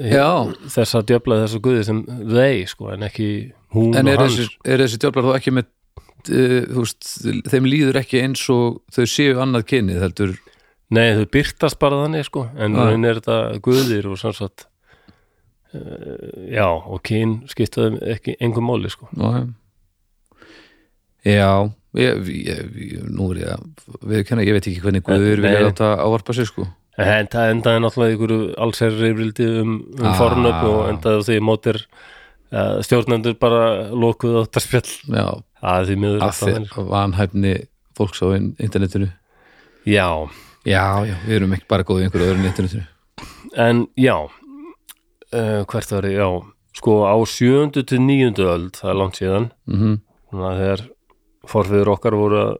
já
þessa djöfla, þessa guði sem þeir sko, en ekki hún
En
og
er
hans
þessi, er þessi djöflar þá ekki með uh, þú veist, þeim líður ekki eins og þau séu annað kynið heldur
Nei, þau byrtast bara þannig sko en
Já.
hún er þetta guðir og sannsagt uh, já, og kyn skiptaði ekki engum máli sko
Ná, Já, ég, ég, ég, nú er ég að viðurkenna, ég veit ekki hvernig Guður
Nei.
vilja láta ávarpa sér sko
en það endaði náttúrulega ykkur allsherri rildi um, um
Ah.
fornöfn og endaði á því mótir uh, stjórnendur bara lokuð áttarspjall
Já,
að því miður
af því
það er- sko.
að vanhæfni fólks á in- internetinu
Já,
Já, já, við erum ekki bara góðið einhverju öðru en internetinu
en já uh, hvert var ég, já sko á sjöundu til níundu öld það er langt síðan
mm -hmm.
þannig að þegar forfiður okkar voru að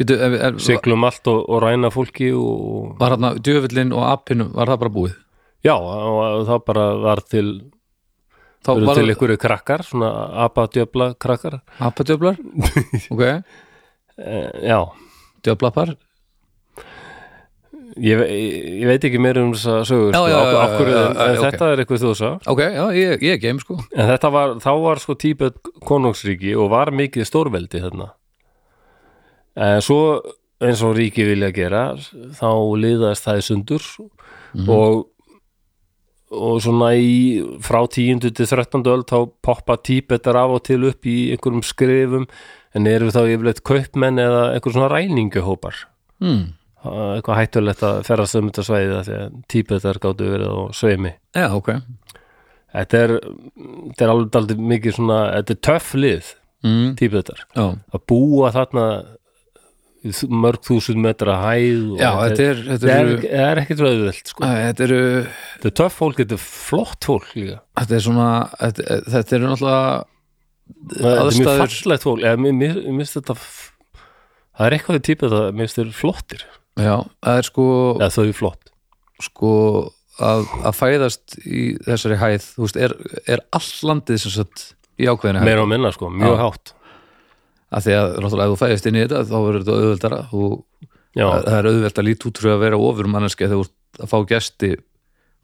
Býtu, er, er,
siglum allt og, og ræna fólki og
var hann að djöfullin og appinu, var það bara búið?
já, og þá bara var til
Þá
eru
var
til ykkur krakkar, svona apadjöfla krakkar,
appadjöflar Ok,
e, já
djöflapar
ég, ve- ég veit ekki meir um þess að sögur
Já,
sko,
já, já,
af- af hverju,
já, já,
en, en
já, ok.
þetta er eitthvað þjóðsa
Ok, já, ég, ég er game sko
en þetta var, þá var sko tíbet konungsríki og var mikið stórveldi þarna en svo eins og ríki vilja gera þá liðast það í sundur
Mhm.
og og svona í frá 10. til 13. öld þá poppa tíbetar af og til upp í einhverjum skrifum en eru þá yfirleitt kaupmenn eða einhver svona ræninguhópar
hmm.
Uh, eitthvað hættulegt að ferðast um þetta svæði af því að tíbetar gáttu verið á sveimi
Já, ok
þetta er, þetta er alveg daldið mikið svona, þetta er töff lið
mm.
típu þetta
já,
að búa þarna í þ- mörg þúsund metra hæð og
já þetta er þetta
þetta er,
eru
þetta er ekkert rauðvöld sko.
Æ, þetta eru,
þetta er töff fólk, þetta er flott fólk líka
þetta er svona þetta, þetta eru náttúrulega
þetta er mjög
aðstæður
fallegt fólk eða, mér, mér, mér finnst þetta f- það er eitthvað í típu þetta, mér finnst þetta flottir
já, það er sko
eða þau er flott
sko að, að fæðast í þessari hæð þú veist, er, er all landið sem sagt í ákveðinu hæð
meira og minna sko, mjög
Já.
hátt
af því að náttúrulega ef þú fæðist inn í þetta þá verður þetta auðveldara þú,
já,
það það er auðveld að líta út fyrir að vera ofur manneski þegar þú ert að fá gesti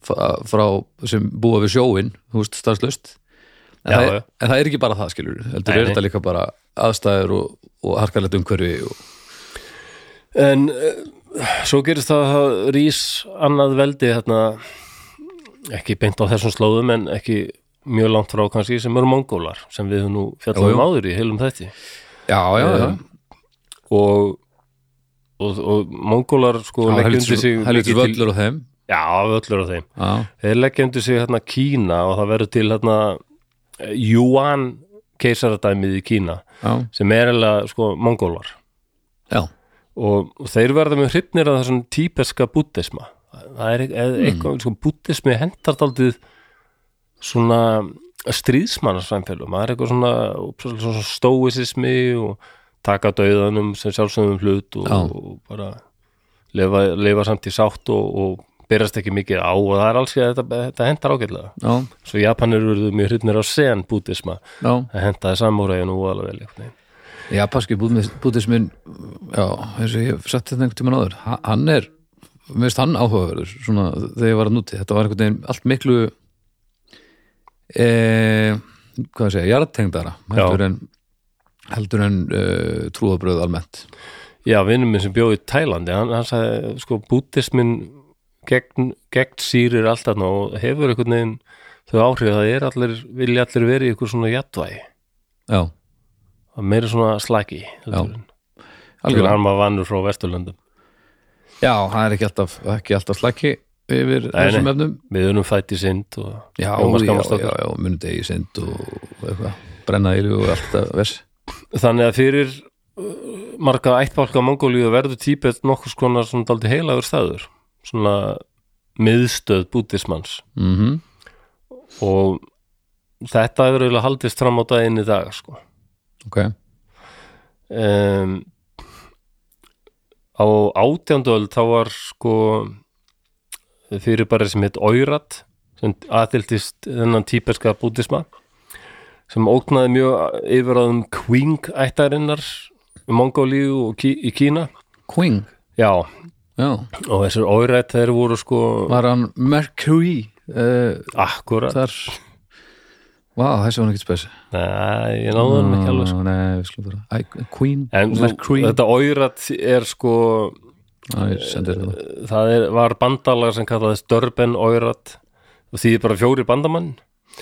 fa- frá sem búa við sjóin þú veist, starfslaust en,
Já,
það,
já.
er- en það er ekki bara það skilur heldur
Nei,
er
nei.
þetta líka bara aðstæður og, og harkalegt umhverfi og,
En uh, svo gerist það að það rís annað veldi hérna, ekki beint á þessum slóðum en ekki mjög langt frá kannski sem eru mongólar sem við höfum nú
Jú,
fjallum
jú.
áður í heilum þætti
já, já, já,
Eh, og, og, og mongólar sko
já
leggja undir sig
heldur
mikið til-
völlur á þeim
Já, völlur á þeim
já,
Þeir leggja undir sig hérna Kína og það verður til hérna eh, Yuan keisaradæmið í Kína
já,
sem er eiginlega sko mongólar
já,
og, og þeir verða mjög hrypnir af þessum típeska búddisma það er e- eða eitthvað, sko, búddismi hendar daldið svona stríðsmannarsvæmfélum það er eitthvað svona, svona, svona stóisismi og taka dauðanum sem sjálfsögum hlut og,
Já.
og bara lifa, lifa samt í sátt og, og byrjast ekki mikið á og það er alls ekki að þetta, þetta hendar ágætlega
já,
svo Japanir verður mjög hrypnir á sen búddisma
já.
það hendaði samúræðinu og alveg vel einhvern veginn.
Japanski búddism- búddismin já, eins og ég hef sett þetta einhvern tímann áður ha- hann er, mér finnst hann áhugaverður svona þegar ég var að núti, þetta var einhvern veginn allt miklu e, hvað að segja, jarðtengdara heldur en heldur en uh, trúabröð almennt
Já, vinnum minn sem bjóði í Tælandi hann, hann sagði, sko, búddismin gegn, gegn sýrir alltaf og hefur einhvern veginn þau áhrif að það er allir, vilja allir verið í einhver svona jatvægi,
já,
að meira svona slagi
Já,
alveg
algjörlega
hann var vannur frá Vesturlöndum
já, hann er ekki alltaf, ekki alltaf slæki yfir
Nei,
þessum
nei.
efnum
við erum fætt í sind og
já,
Jómas
já,
Gamlastokkur.
já, já, munudegi sind og eitthvað, brennaðilu og allt að vers
þannig að fyrir uh, marga ættbálka mongolíu verður típet nokkurs konar svona daldi heilagur staður svona miðstöð búddismans
mhm
og þetta hefur eiginlega haldist fram á daginn í dag sko
ok,
um, á átjánduöld þá var sko fyrirbæri sem heit Oirat sem aðhildist þennan típerska búddisma sem ógnaði mjög yfirraðum Queen ættarinnar í Mongólíu og Kí í Kína
Queen
já,
já
og þessir Oirat þeir voru sko
var hann Mercury uh,
akkurat,
þar Vá, þessi var hann ekki spes
nei, ég náðu hann ekki alveg sko.
Nei, við skulum bara Æ, Queen,
en þú-
Mercury
þetta Oirat er sko
Æ, ég sendir þetta
það er, var bandalag sem kallaðist Dörben Oirat og því er bara fjóri bandamann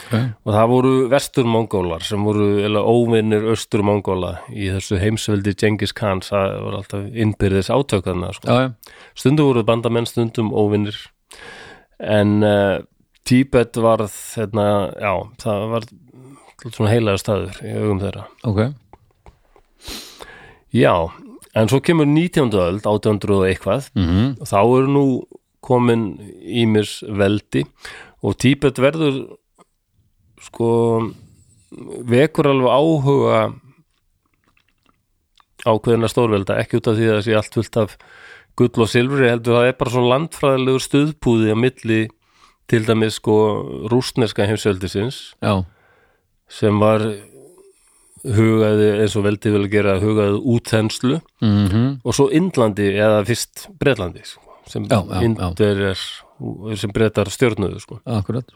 okay.
og það voru vestur-mongólar sem voru eiginlega óvinnir austur-mongóla í þessu heimsveldi Genghis Khan það voru alltaf innbyrðis átökana sko.
Já, já,
stundum voru bandamenn, stundum óvinnir en uh, Tíbet var hérna, já, það var svona heilaður staður í augum þeirra
ok
já, en svo kemur 19. öld 1800 og eitthvað
mm -hmm.
og þá eru nú komin ímis veldi og Tíbet verður sko vekur alveg áhuga ákveðina stórvelda ekki út af því að það sé allt fullt af gull og silfri heldur það er bara svona landfræðilegur stuðpúði á milli til dæmis sko rústneska heimsveldisins
Já,
sem var hugaði eins og veldi vel að gera hugaði útþenslu
mm
og svo Indlandi eða fyrst Bretlandi sko, sem,
Já, já, já.
Indverjar, sem brettar stjórnuðu sko.
akkurat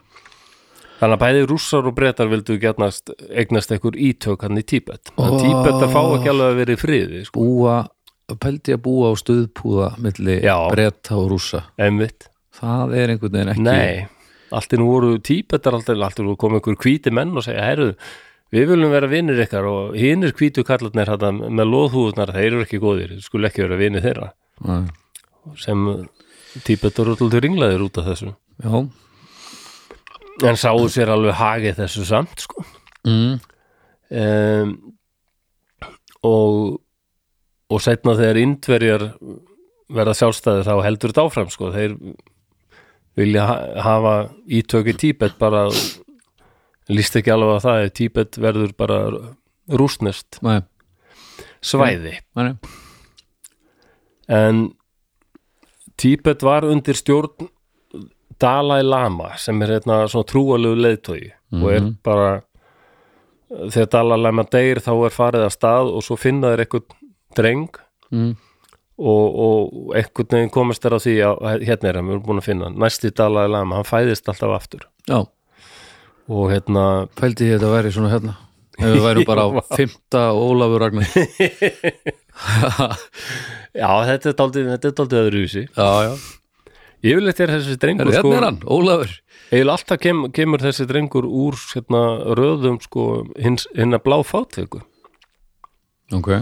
þannig að bæði rússar og brettar vildu getnast, eignast einhver ítök hann í Tíbet oh.
Oh.
Tíbet að fá ekki alveg að vera í friði sko.
Búa, pældi að búa á stuðpúða milli
Já.
bretta og rússa
einmitt,
Það er einhvern veginn ekki
nei allt í nú voru Tíbetar alltaf, alltaf voru komið einhver hvíti menn og segja, herru við viljum vera vinnir ykkar og hinnir hvítu kallarnir þetta með loðhúðunar þeir eru ekki góðir, þeir skulle ekki vera vinnir þeirra
Nei.
sem Tíbetar eru alltaf ringlaðir út af þessu
Já,
en sáu sér alveg hagið þessu samt sko
mm.
um, og og setna þegar indverjar verða sjálfstæði þá heldur þetta áfram sko, þeir vilja ha hafa ítök í Tíbet bara líst ekki alveg að það ef Tíbet verður bara rústnest
Nei,
svæði
nei,
en Tíbet var undir stjórn Dalai Lama sem er hérna svona trúalegu leiðtogi og er bara þegar Dalai Lama deyr þá er farið að stað og svo finna þeir eitthvað dreng
Mm.
og, og einhvern veginn komast þér á því að hérna er hann, við erum búin að finna hann næsti Dalai Lama, hann fæðist alltaf aftur
já
og hérna
Pældi ég að þetta væri svona hérna Ef við værum bara á fymta Ólafur Ragnar Já,
Já, þetta er daldið, þetta er daldið öðruvísi.
já,
Yfirleitt er þessi drengur
Heru,
sko,
hérna er hann, Ólafur
eiginlega alltaf kem, kemur þessi drengur úr hérna, röðum sko hins, hinna blá fátöku
Ok,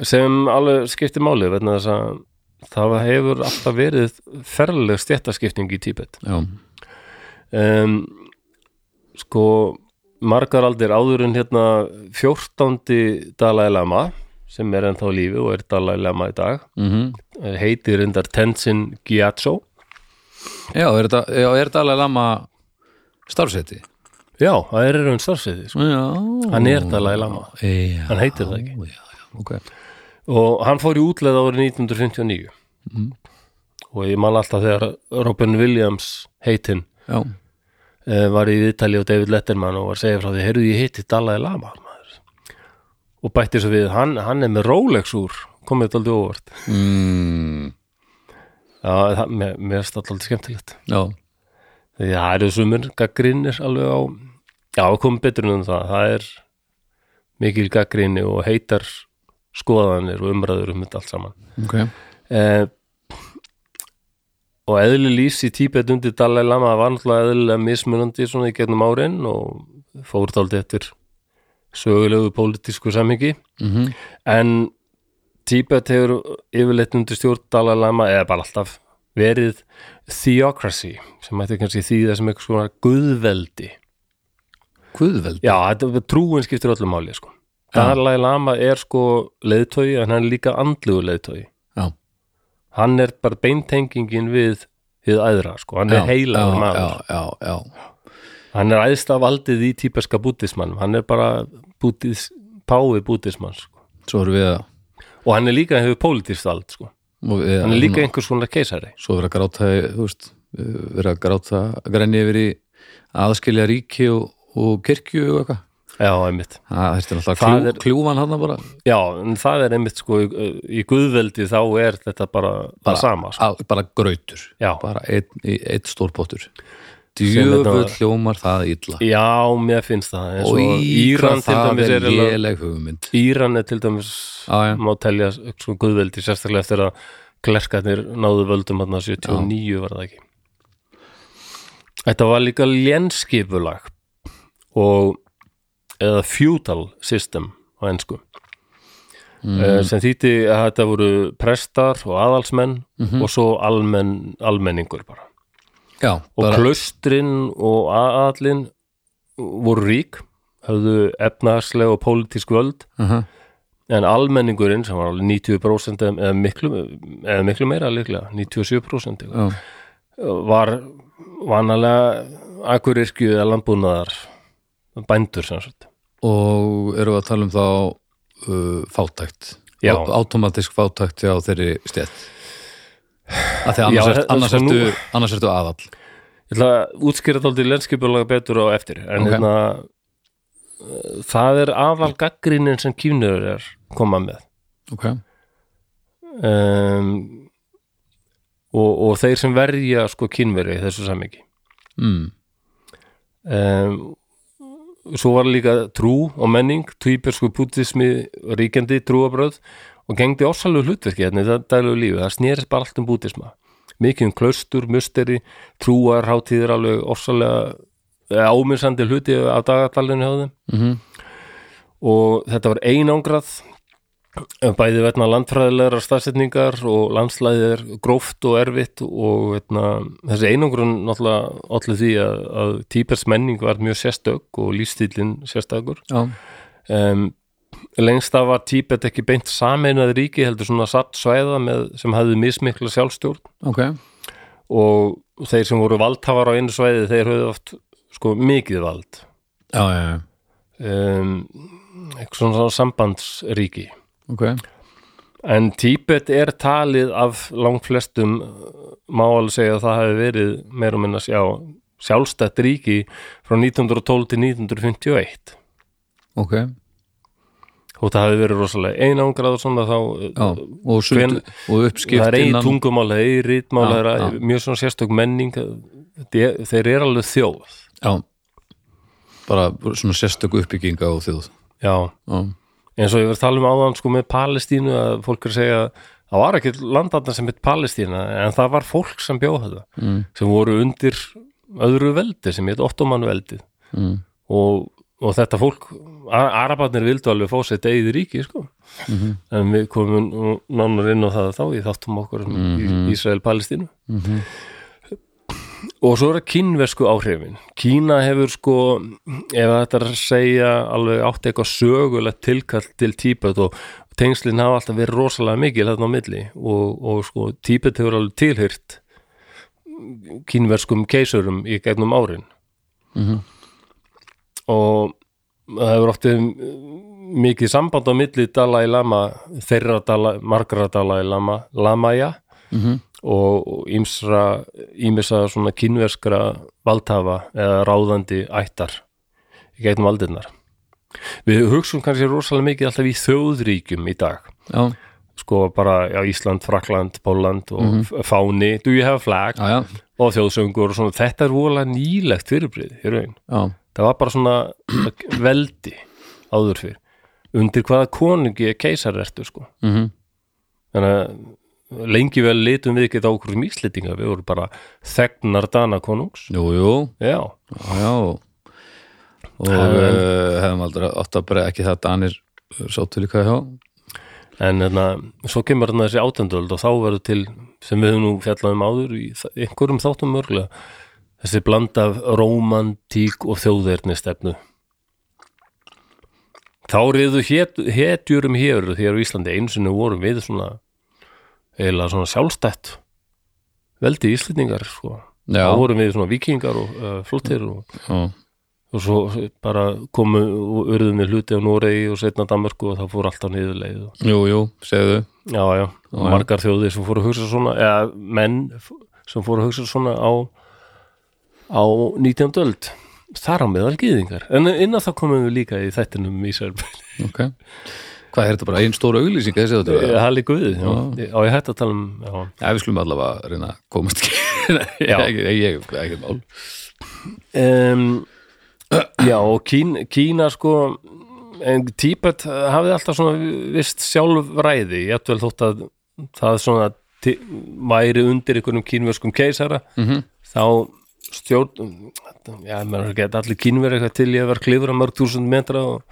sem alveg skiptir máli vegna þess að það hefur alltaf verið ferleg stjættaskipting í Tíbet.
já,
Um, sko, margar aldir áður en hérna 14. Dalai Lama sem er ennþá á lífi og er Dalai Lama í dag
mm
heitir reyndar Tenzin Gyatso
já er þetta, já, er þetta alveg lama starfseti?
Já, það er raun starfsæði sko.
Já
Hann er Dalai Lama
já,
Hann heitir það ekki.
Já, já, ok
og hann fór í útleið árið 1959 og ég man alltaf þegar Robin Williams heitinn
Já,
eh, var í viðtali á David Letterman og var að segja frá því, heyrðu ég heiti Dalai Lama maður. og bætti svo við hann, hann er með Rolex úr komið þetta aldrei óvart
mm,
Já, það, mér, mér er þetta aldrei skemmtilegt
já,
því að það eru sumir gaggrinir alveg á já, komum betur en það það er mikil gaggrini og heitar skoðanir og umræður um þetta allt saman
ok
eh, og eðli lífs í Tíbet undir Dalai Lama var náttúrulega eðlilega mismunandi svona í gegnum árin og fór þáldi eftir sögulegu pólitísku samhengi
mm
en Tíbet hefur yfirleitt undir stjórn Dalai Lama eða bara alltaf verið theocracy sem hætti kannski þýða sem eitthvað svona guðveldi
Guðveld
já, þetta, trúin skiptir öllu máli sko. Dalai Lama er sko leiðtói en hann er líka andlugu leiðtói
Já,
hann er bara beintengingin við við æðra, sko, hann
já,
er heila
já,
maður,
já, já, já,
hann er æðsta valdið í típeska bútismannum, hann er bara bútis, pái bútismann sko.
svo erum við að
og hann er líka, hann hefur pólitískt vald sko.
og við-
hann er líka einhvers svona keisari
svo verið að gráta í- þú veist, verið að gráta græni yfir í aðskilja ríki og, og kirkju og eitthvað
já, einmitt,
það þetta er alltaf
Það
klú,
er-
kljúfan hann bara,
já, en það er einmitt sko, í, í guðveldi þá er þetta bara það sama, sko.
að, bara grautur
já,
bara einn ein stór pottur
þetta
djöfull
var.
hljómar það illa
já, mér finnst það eins
og
og Íran til
það
dæmis
er
er eiginlega-
léleg hugmynd
Íran er til dæmis
Já, já.
má telja sko, guðveldi sérstaklega eftir að klerkarnir náðu völdum hann 79 var það ekki Þetta var líka lénskipulag og eða feudal system á ennsku
Mhm.
mm. sem þýtti að þetta voru prestar og aðalsmenn
Mhm.
og svo almenn, almenningur bara
já,
og
bara,
klaustrin og aðallin voru rík höfðu efnagslega og pólitísk völd
uh
en almenningurinn sem var alveg 90% eða- eða miklu, eða miklu meira líklega, 97% eitthvað,
já,
var vanalega akurirkju eða landbúnaðar bændur sem sagt
og erum við að tala um þá uh, fátækt
Já.
Á- automatisk fátækt á þeirri stjætt að því að
Já,
annars,
þetta-
ert, annars,
sko,
ertu,
nú-
annars ertu aðall
Ég ætla að útskýra þátti lenskipulega betur á eftir en
Ok.
hérna eh, það er aðal gaggrinin sem kýfnur er koma með
ok,
um, og, og þeir sem verja sko kynveri í þessu samingi
mm.
um, svo var líka trú og menning, týpersku bútismi ríkjandi trúabröð og gengdi ósalug hlutverki hérna í dag- daglegu lífi það snerist bara allt um bútisma mikið um klaustur, musteri, trúar hátíðir alveg ósalega ámyrsandi hluti af dagatallinu hjá þeim
Mm
og þetta var einangrað Eh, bæði vegna landfræðilegra staðsetningar og landslæðið er gróft og erfitt og veitna, þessi einangrun náttúrulega allir því að, að típers menning var mjög sérstök og lífstílinn sérstakur
já,
um, lengst af var Tíbet ekki beint sameinað ríki heldur svona satt svæða með, sem hafði mismikla sjálfstjórn
ok
og þeir sem voru valdhafar á einu svæði þeir höfðu oft sko mikið vald
já, já, já,
um, eitthvað svona sambandsríki
ok
En Tíbet er talið af langflestum má alveg segja að það hefði verið meir og minna sjá, sjálfstætt ríki frá 1912 til 1951
ok,
og það hefði verið rosalega einangrað og svona þá
já og, sund,
Hven-
og
það
uppskipt
er eigi
innan
tungumál, það er eigi rítmál,
Já,
það er að-
já.
mjög svona sérstök menning þetta er- þeir eru alveg þjóð
já, bara svona sérstöku uppbygginga og þjóð
Já,
já,
eins og ég var að tala um áðan sko með Palestínu að fólk er að segja það var ekki landarna sem heit Palestína en það var fólk sem bjóð þetta
mm,
sem voru undir öðru veldi sem heit ottoman veldið
mm,
og, og þetta fólk a- arabarnir vildu alveg fá sér degið ríki sko.
Mhm.
en við komum nú nánar inn á það þá í þáttum okkar um mm
Mhm.
Ísrael-Palestínu
mhm,
og svo er það kínversku áhrifin Kína hefur sko ef þetta er að segja alveg átt eitthvað sögulegt tilkall til Tíbet og tengslinn hafa alltaf verið rosalega mikil þarna á milli og, og sko Tíbet hefur alveg tilhýrt kínverskum keisurum í gegnum árin
mhm,
og það hefur oft verið mikið samband á milli Dalai Lama þeirra Dalai, margra Dalai Lama Lamaja
mhm
og ímsra ímissa svona kínverskra valdhafa eða ráðandi ættar í gegnum aldirnar við hugsun kannski rosalega mikið alltaf í þjóðríkjum í dag
já,
sko bara já, Ísland, Frakland, Póland og mm fáni, do you have a flag
já, já,
og þjóðsöngur og svona, þetta er vola nýlegt fyrirbrið í raun
já
það var bara svona veldi áður fyrr undir hvaða konungi er keisar ertu sko
mhm,
þannig að lengi vel litum við ekki á okkur sem íslendinga, við vorum bara þegnar dana konungs
jú, jú
já,
Já, já og uh, hefum aldrei átt að bara ekki það að Danir uh, sátu líka hjá
en þarna, svo kemur þarna þessi átendöld og þá verður til, sem við höfum nú fjallað um áður í þa- einhverjum þáttum mörglega þessi bland af rómantík og þjóðverðni stefnu þá reyðu het, hetjur um hér þér á Íslandi einu sinni vorum við svona eiginlega svona sjálfstætt veldi Íslendingar sko.
Já,
þá vorum við svona vikingar og uh, flottir og
já,
og svo bara komu og urðum við hluti á Noregi og setna Danmarku og það fór alltaf niðurleið og,
jú, jú, segðu
já, já, og
já.
margar þjóðir sem fóru að hugsa svona eða menn f- sem fóru að hugsa svona á á 19. öld þar á meðal gýðingar en innan það komum við líka í þættinum í Særbæl
Ok Hvað er þetta bara, einn stóra auglýsing þessi þetta var?
það líka við, já, á ég hætt að tala um já,
Já, við skulum allavega að reyna að komast ekki
Já.
Ég, ég, ég, ekki mál
um, já og Kín, Kína sko en Tíbet hafði alltaf svona vist sjálfræði jafnvel þótt að það svona ti- væri undir einhverjum kínverskum keisara -hmm. þá stjórn já, maður geta allir kínverið eitthvað til ég að vera klifra mörg þúsund metra og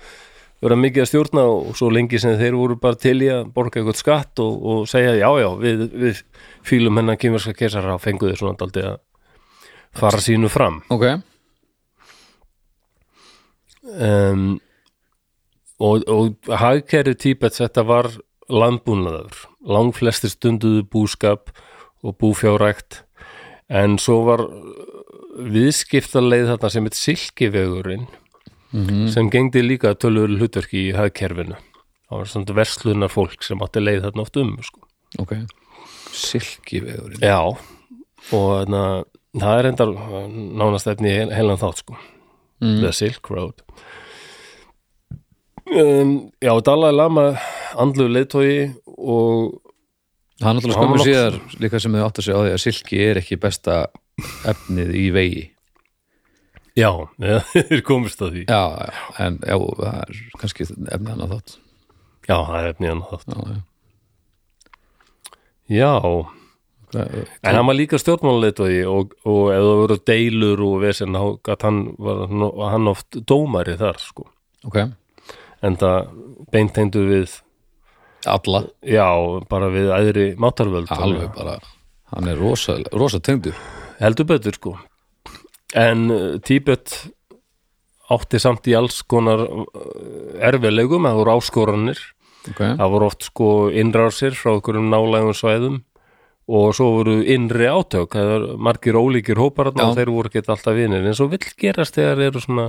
vera mikið að stjórna og svo lengi sem þeir voru bara til ég að borga eitthvað skatt og, og segja já, já, við, við fýlum hennan kínverska keisara og fengu þeir svona daldi að fara sínu fram
Ok,
um, og, og hagkerri Tíbet þetta var landbúnaður langflestir stunduðu búskap og búfjárækt en svo var uh, viðskiptaleið þarna sem heit silkivegurinn sem gengdi líka tölvölu hlutverki í hagkerfinu það var svona verslunar fólk sem átti leið þarna oft um sko.
ok Silkivegurinn
já og þarna, það er endar nánast efni í heil- heilan þátt sko
mm.
The Silk Road um, Já, Dalai Lama andlu leiðtói og
Hann náttúrulega
Hann var
skömmu
loks-
síðar líka sem þau átt að segja á því að silki er ekki besta efnið í vegi
já, þeir komist að því Já,
Já, já, en já, það er kannski efnið hann að þátt
það er efni hann þátt
Já, já
Já,
Hvað-
en hann var líka stjórnmáluleiðtói og, og ef það voru deilur og vesinn að hann var var hann oft dómari þar sko
Ok,
en það beintendur við
alla,
já, bara við æðri mátarvöld
alveg bara hann er rosa, rosa tengdur
heldur betur sko en uh, Tíbet átti samt í alls konar erfiðlegum, það voru áskoranir
okay.
það voru oft sko innrásir frá einhverjum nálægum svæðum og svo voru innri átök það eru margir ólíkir hópar þarna
Já.
og þeir voru ekki alltaf vinir eins og vill gerast þegar eru svona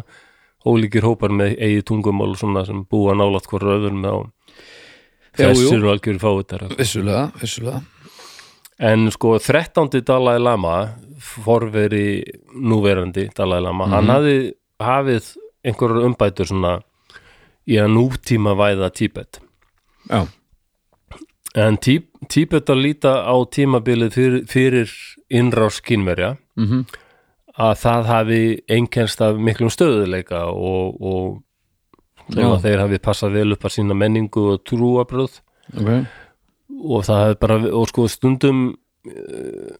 ólíkir hópar með eigi tungumál og svona sem búa nálat hvort öðrum þá
Jú, jú.
þessir og algjör fávitar
vissulega, vissulega
en sko 13. Dalai Lama forveri núverandi Dalai Lama, hann hafði hafið einhverjar umbætur svona í að nútíma væða Tíbet
já,
En tí, Tíbetar líta á tímabilið fyrir, fyrir innrás kínverja
Mhm.
að það hafi einkennst af miklum stöðuleika og, og svona, þeir hafi passað vel upp að sína menningu og trúabröð
ok
og það hafi bara, og sko stundum uh,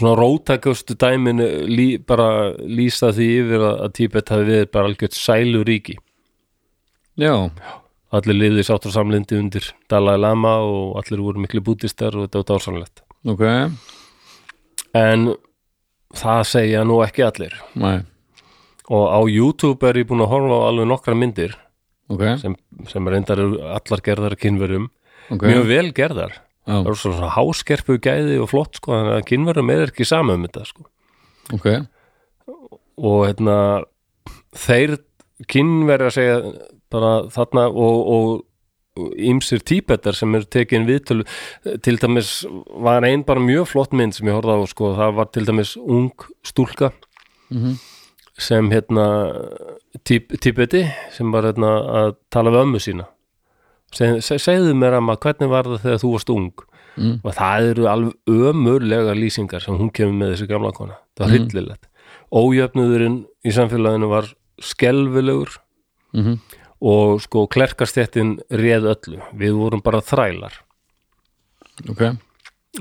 svona rótakastu dæmin eh, lí, bara lýsa því yfir að, að Tíbet hafi verið bara algjört sæluríki
já,
allir liðið í sáttur samlindi undir Dalai Lama og allir voru miklu bútistar og þetta var dársamlegt
ok
en það segja nú ekki allir
Nei.
og á YouTube er ég búin að horfa á alveg nokkra myndir
ok,
sem, sem reyndar eru allar gerðar kynverum,
ok
mjög vel gerðar
já,
það eru svona háskerpu gæði og flott sko, þannig að kynverum er ekki sama um þetta sko.
ok,
og hérna þeir kynverja segja bara þarna og, og ímsir tíbetar sem eru tekin viðtölu til dæmis var ein bara mjög flott mynd sem ég horfði á sko, það var til dæmis ung stúlka
Mhm.
sem hérna tíb, tíbeti sem var hérna að tala við ömmu sína Se, se, segðu mér amma hvernig var það þegar þú varst ung
Mm.
og það eru alveg ömurlega lýsingar sem hún kemur með þessi gamla kona það var
Mm.
hryllilegt ójöfnuðurinn í samfélaginu var skelfilegur
mhm
og sko klerkastéttin réð öllu, við vorum bara þrælar
ok,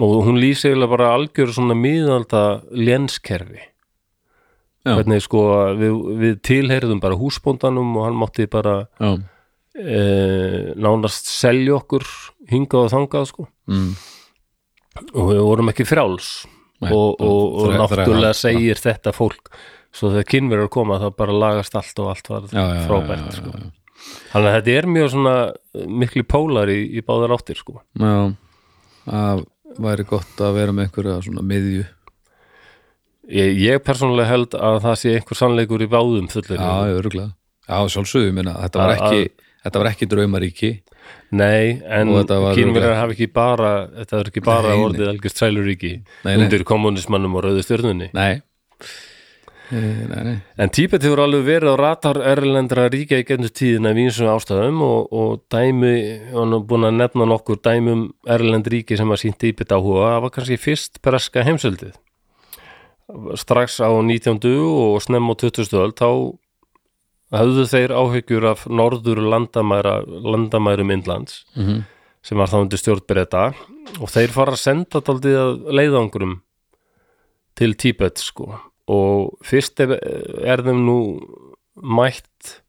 og hún lýsi eiginlega bara algjör svona miðalda lenskerfi
Já.
hvernig sko við, við tilheyrðum bara húsbóndanum og hann mátti bara
já
e, nánast selja okkur hingað og þangað sko
mm.
og við vorum ekki frjáls
Nei,
og,
bara
og, og
þræ-
náttúrulega
þrælar.
segir þetta fólk svo þegar kynverjar koma þá bara lagast allt og allt var
já, já, já, já,
frábært
já,
sko. þannig að þetta er mjög svona eh, miklu pólar í, í báðar áttir sko.
já það væri gott að vera með einhverja svona miðju
ég, ég persónulega held að það sé einhver sannleikur í báðum fullir
Já, örgulega. Já, sjálfsögðu, ég meina, þetta var
Að-
ekki, þetta var ekki draumaríki.
nei, en
Og þetta var
kynverjar
örugglega-
hafa ekki bara þetta er ekki bara
Nei, nei.
orðið algjörst sæluríki
Nei, nei.
undir kommunismannum og rauðu stjörnunni
Nei. Eh, Nei, nei.
En Tíbet hefur alveg verið á ratar erlendra ríkja í gennum tíðina af einsum ástæðum og, og dæmi, hann er búin að nefna nokkur dæmum erlend ríki sem að sínt Tíbet áhuga, það var kannski fyrst breska heimsöldið. Strax á 19. og snemm á 20. öld þá höfðu þeir áhyggjur af norður landamæra, landamærum Indlands
Mm -hmm.
sem var þá undir stjórnbreyta og þeir fara að senda daldið að leiðangrum til Tíbet sko og fyrst er, er þeim nú mætt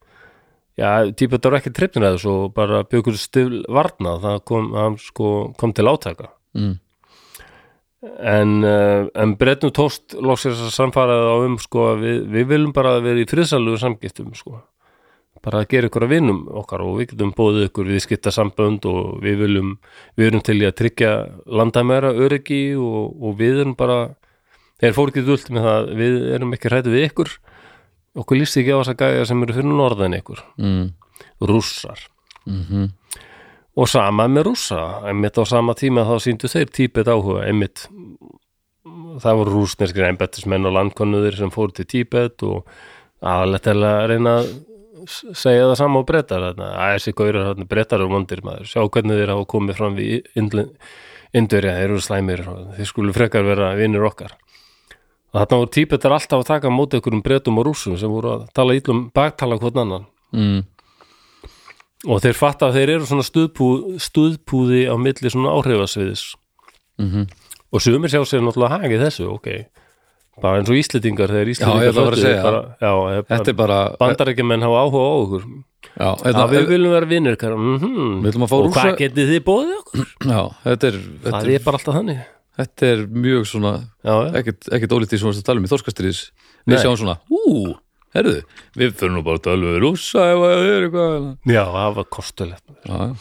já, Tíbet eru ekki trippnir að þessu og bara byggur stil varna það kom, það, sko, kom til átaka
Mm.
en, eh, en breytnum tóst loksir þess að samfaraði á um sko að við, við viljum bara vera í friðsalugu samgiftum sko bara að gera ykkur að vinum okkar og við getum bóðið ykkur við skipta sambönd og við viljum við erum til í að tryggja landamæra öryggi og, og við erum bara þeir fór ekki dult með það við erum ekki hrættu við ykkur okkur líst ekki á þess að gæja sem eru fyrir norðan ykkur
Mm.
rússar
mhm.
og sama með rússa einmitt á sama tíma þá síndu þeir tíbet áhuga einmitt það voru rúsneskir einbættismenn og landkonuðir sem fóru til tíbet og aðalegt er að reyna að s- segja það sama á brettar þarna, að þessi gaurar þarna brettar og vondir maður, sjá hvernig þeir hafa komið fram við indurja, þeir eru slæmir og þeir skulu frekar vera vinnir okkar og þarna voru tíbetar alltaf að taka á móti einhverjum brettum og rússum sem voru að tala ítlum baktala hvort annan
Mm.
og þeir fatta að þeir eru svona stuðpú, stuðpúði á milli svona áhrifasviðis
Mhm.
og sumir sjá sér náttúrulega hagið þessu ok, bara eins og Íslendingar
Já,
þegar
ég
Íslendingar
ætla bara að
föttuðu,
segja
bara, já, bara,
Þetta er bara
bandarækjumenn hafa áhuga á okkur
já, hérna,
Já,
þetta,
við viljum vera vinnir ykkar mm -hmm.
Við viljum að fá
og
Rússa-
hvað getið þið bóðið okkur?
já, þetta, er, þetta,
Það
er,
er bara alltaf þannig
þetta er mjög svona
já, já.
ekkert, ekkert ólítið sem við varst að tala um í Þorskastrís
Nei.
Við sjáum svona, ú, herðu Við fyrir nú bara að tala við rúsa ef það er eitthvað
já, það var kostulegt
Já,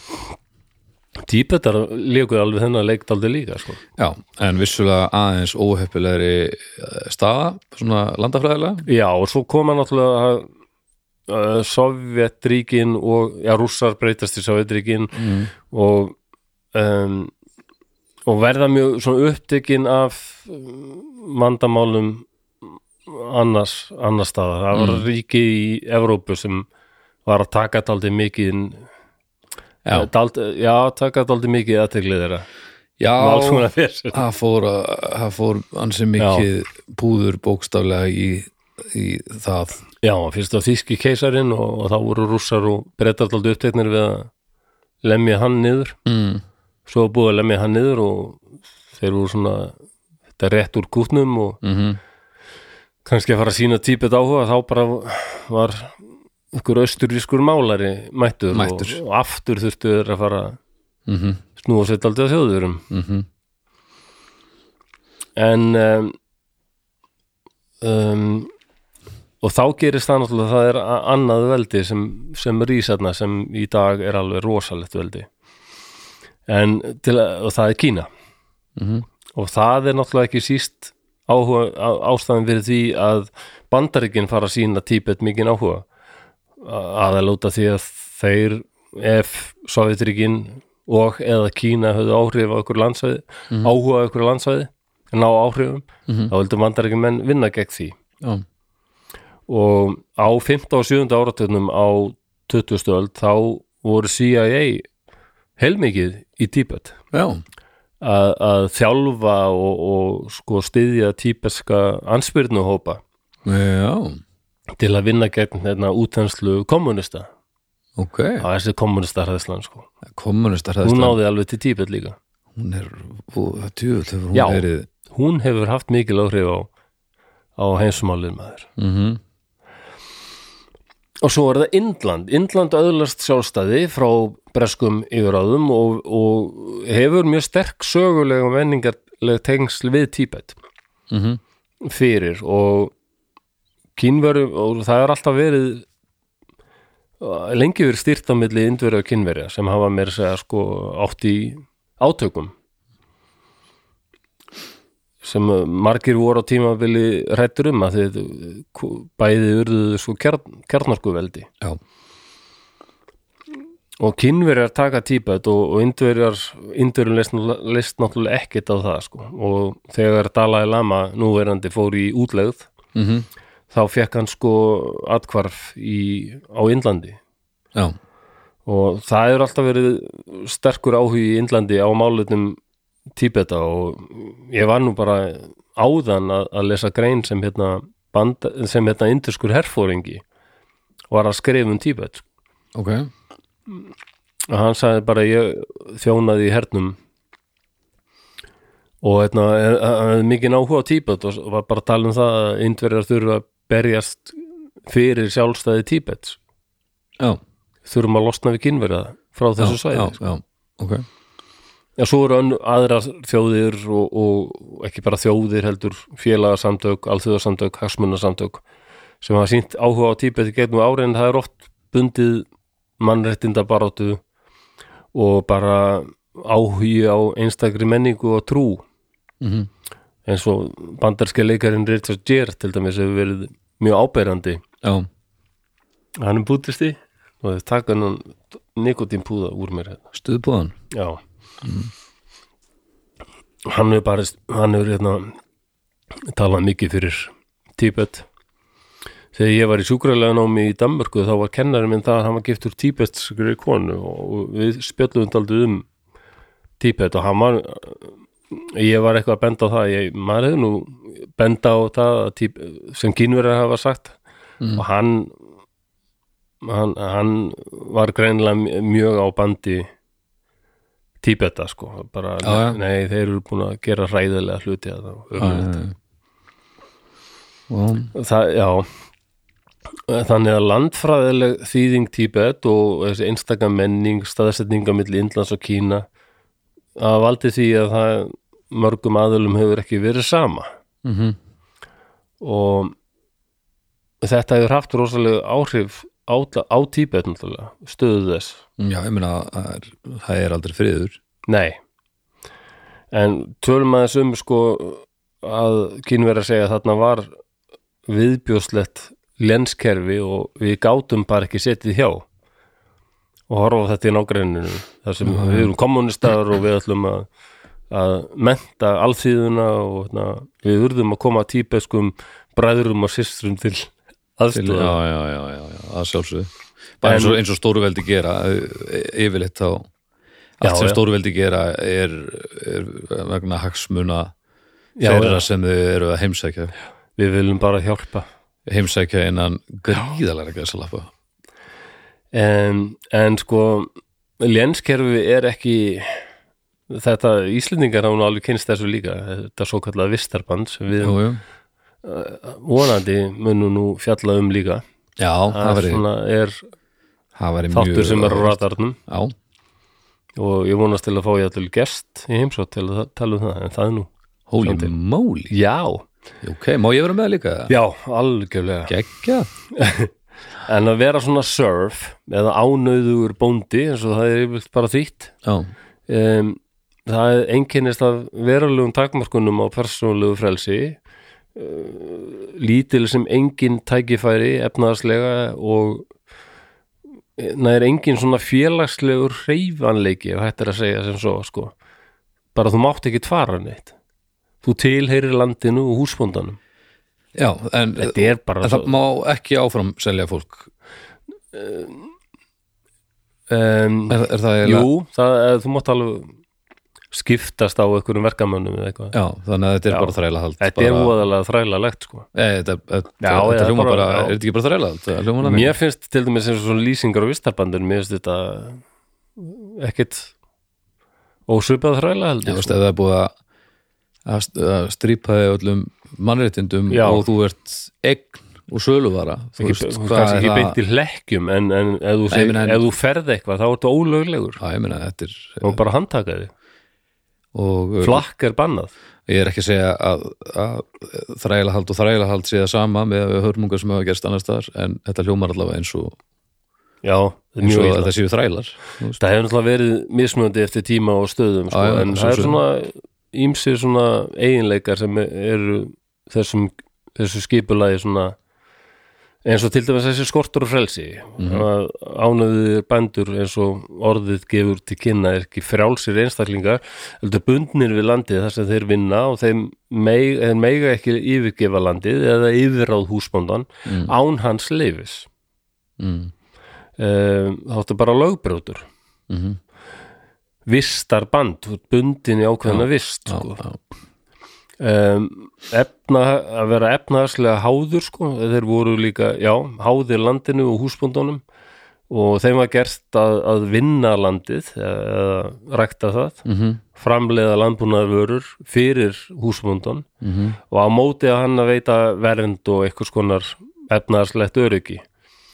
Tíbetar líkuð alveg þennan leikdaldi líka sko.
já, en vissulega aðeins óheppilegri eh, staða, svona landafræðilega
Já, og svo koma náttúrulega uh, Sovjetríkin og, já, rússar breytast í Sovjetríkin og um, og verða mjög svona upptekin af um, vandamálum annars, annars staðar. Það var ríki í Evrópu sem var að taka daldi mikið
Já.
dald, já taka daldi mikið aðteglið þeirra.
Já,
Alls konar fyrir.
það fór, að- það fór ansi mikið púður bókstaflega í, í það
Já, fyrst á þýski keisarin og, og þá voru rússar og brettaldi uppteknir við að lemja hann niður
mm.
svo var búið að lemja hann niður og þeir voru svona þetta rétt úr kútnum og
Mm
kannski að fara að sína típet áhuga þá bara var ykkur austurískur málari mættur,
Mættur.
Og, og aftur þurftu þeir að fara að snúa sér aldrei að þjóðurum en um, um, og þá gerist það náttúrulega það er a- annað veldi sem, sem rísarna sem í dag er alveg rosalegt veldi en til að, og það er Kína
Mhm.
og það er náttúrulega ekki síst áhuga, á, ástæðan fyrir því að bandaríkin fara að sína tíbet mikið áhuga aðalóta því að þeir ef Sovjetríkin og eða Kína höfðu áhrif á ykkur landsvæði, áhuga á ykkur landsvæði ná áhrifum, þá vildu bandaríkjumenn vinna gegn því
Já,
og á 15 og 17 áratögnum á 20. öld þá voru CIA heilmikið í Tíbet
já,
að, að þjálfa og, og sko styðja tíbeska anspyrnuhópa
já,
til að vinna gegn hérna útenslu kommunista
ok
á þessi kommunista hræðslan sko
Kommunistar
hún
hefðist
náði alveg til Tíbet líka
Hún er, og það djöfull hefur hún
Já.
verið
hún hefur haft mikil áhrif á, á heimsumálið maður
mm
Og svo er það Indland. Indland öðlast sjálfstæði frá breskum yfirráðum og, og hefur mjög sterk sögulega og menningarleg tengsl við Tíbet
Mhm.
fyrir og kínveru og það er alltaf verið uh, lengi verið stýrt á milli indverja og kínverja sem hafa meira að segja sko átt í átökum sem uh, margir voru á tímabili rættur um að þið bæði urðuðu svo kjarn, kjarnarkuveldi
Já,
og kynverjar taka tíbet og, og indverjar, indverjum leist, náttúrulega- leist náttúrulega ekkit á það sko. og þegar Dalai Lama núverandi fór í útlegð
mm
þá fekk hann sko atkvarf í, á Indlandi
já,
og það hefur alltaf verið sterkur áhugi í Indlandi á málutnum Tíbeta og ég var nú bara áðan að, að lesa grein sem hérna, band, sem hérna induskur herfóringi var að skrifa um Tíbet sko
ok
og hann sagði bara ég þjónaði í hernum og hérna eh, hann hefði mikið áhuga á Tíbet og var bara að tala um það að indverjar þurfa að berjast fyrir sjálfstæði Tíbet
Já,
þurfum að losna við kynverða frá
já,
þessu
já,
svæði
já, ok
en svo eru önn, aðra þjóðir og, og ekki bara þjóðir heldur félagasamtök, alþjóðasamtök, hagsmunasamtök sem hafa sínt áhuga á Tíbet í gegnum ári en það er oft bundið mannréttinda barátu og bara áhugi á einstakri menningu og trú
mm -hmm.
eins og bandarski leikarinn Richard Gere til dæmis hefur verið mjög áberandi
Já,
hann er bútisti og þau taka hann nikotínpúða úr mér hérna
stuðbúðan
Já Hann hefur bara hann hefur hérna talað mikið fyrir Tíbet Þegar ég var í sjúkralega námi í Danmörku þá var kennarinn minn það að hann var gift úr tíbetskri konu og við spjöllum daldið um Tíbet og hann var ég var eitthvað að benda á það ég, maður hefði nú benda á það að tíb, sem kínverðar hafa sagt
Mm.
og hann, hann hann var greinlega mjög á bandi Tíbeta sko bara,
Já, já.
nei þeir eru búin að gera hræðilega hluti að það
Já, já, já. og
Það, já Þannig að landfræðileg þýðing Tíbet og þessi einstaka menning staðsetninga milli Indlands og Kína að valdi því að það mörgum aðlum hefur ekki verið sama
mm -hmm.
og þetta hefur haft rosalega áhrif á, á Tíbet náttúrulega, stöðu þess
já, ég meina það er, það er aldrei friður
Nei En tölum aðeins um sko að kynverið að segja að þarna var viðbjóðslegt lenskerfi og við gátum bara ekki setið hjá og horfa á þetta í nágreininu þar sem við erum kommunistar og við ætlum að, að menta alþýðuna og na, við urðum að koma tíbeskum bræðurum og systrum til
Til,
aðstöða
já, já, já, já, já, að sjálfsögðu bara eins og, eins og stóruveldi gera e- yfirleitt þá allt
Já,
sem
já.
stóruveldi gera er, er vegna hagsmuna
Já,
þeirra
já.
sem þau eru að heimsækja
við viljum bara hjálpa
heimsækja innan gríðalega gæsalappa
en, en sko lenskerfi er ekki þetta Íslendingar án alveg kynst þessu líka þetta svo kallað vistarband sem við
Jú, jú.
vonandi munum nú fjalla um líka
já, það
það
væri,
svona er
það væri mjög
þáttur sem er á radarnum
já,
og ég vonast til að fá ég allir gest í heimsótt til að tala um það en það er nú
holy
Sandi.
moly
já,
ok, má ég vera með líka?
já, algjörlega
geggja
en að vera svona surf eða ánöðugur bóndi eins og það er yfirleitt bara þýtt
já,
um, það einkennist af verulegum takmarkunum á persónulegu frelsi uh, lítil sem engin tækifæri efnaðarslega og eh, nær engin svona félagslegur hreyfanleiki ef hægt er að segja sem svo sko. bara þú mátt ekki tvara neitt þú tilheyrir landinu og húsbóndanum
já en, en
þetta er bara
það má ekki áfram selja fólk
um,
er, er það eiginlega-
jú, það, eh, þú mátt alveg skiptast á einhverjum verkamönnum eða eitthvað
já, þannig að þetta er
Já.
bara þræla hald
þetta er voðalega þrælalegt sko
Nei, þetta, þetta,
Já,
þetta
já,
hljóma
bara-
bara,
já.
er þetta ekki bara þræla? Þetta hljóma hana
Mér finnst til dæmis eins og svona lýsingar á vistarbandinu, mér finnst þetta ekkit ósvipað þræla
Þú
heldur
veist, ef það er búið að- að st- að strýpa þig öllum mannréttindum
Já.
og þú ert eign og söluvara Þú
ekki,
veist,
þú
hvað
sko, kannski
er
ekki
það?
beint í hlekkjum en, en ef
Nei,
þú,
ég
seg,
meina, en-
ef þú ferð eitthvað þá ertu ólöglegur
Já, ég meina, þetta er
og bara handtaka því,
og uh,
flakk er bannað
ég er ekki að segja að, að þræla hald og þræla hald sé það sama með hörmungar sem hafa gerst annars staðar en þetta hljómar allavega eins og,
já, það er
eins
mjög
og
illa
þetta séu þrælar Þú veist.
það hefur náttúrulega verið mismöndi eftir tíma og stöðum sko,
Já, já,
en
svo
það er
sem.
svona ímsir svona eiginleikar sem eru þessum, þessu skipulagi svona eins og til dæmis þessi skortur og frelsi
Mhm.
að ánæðið er bændur eins og orðið gefur til kynna er ekki frjálsir einstaklingar heldur bundnir við landið þar sem þeir vinna og þeim meg, þeir mega ekki yfirgefa landið eða yfirráð húsbóndan án hans leifis
mm.
um, þáttu bara lögbrjótur
Mm
vistarband, þú ert bundin í ákveðna vist
já,
sko.
já.
um, efna, að vera efnaðarslega háður sko. þeir voru líka, já, háðir landinu og húsbundunum og þeim var gert að, að vinna landið e, eða rækta það
Mm -hmm.
framleiða landbúnaðarvörur fyrir húsbundun
Mm -hmm.
og á móti að hann að veita vernd og einhvers konar efnaðarslegt öryggi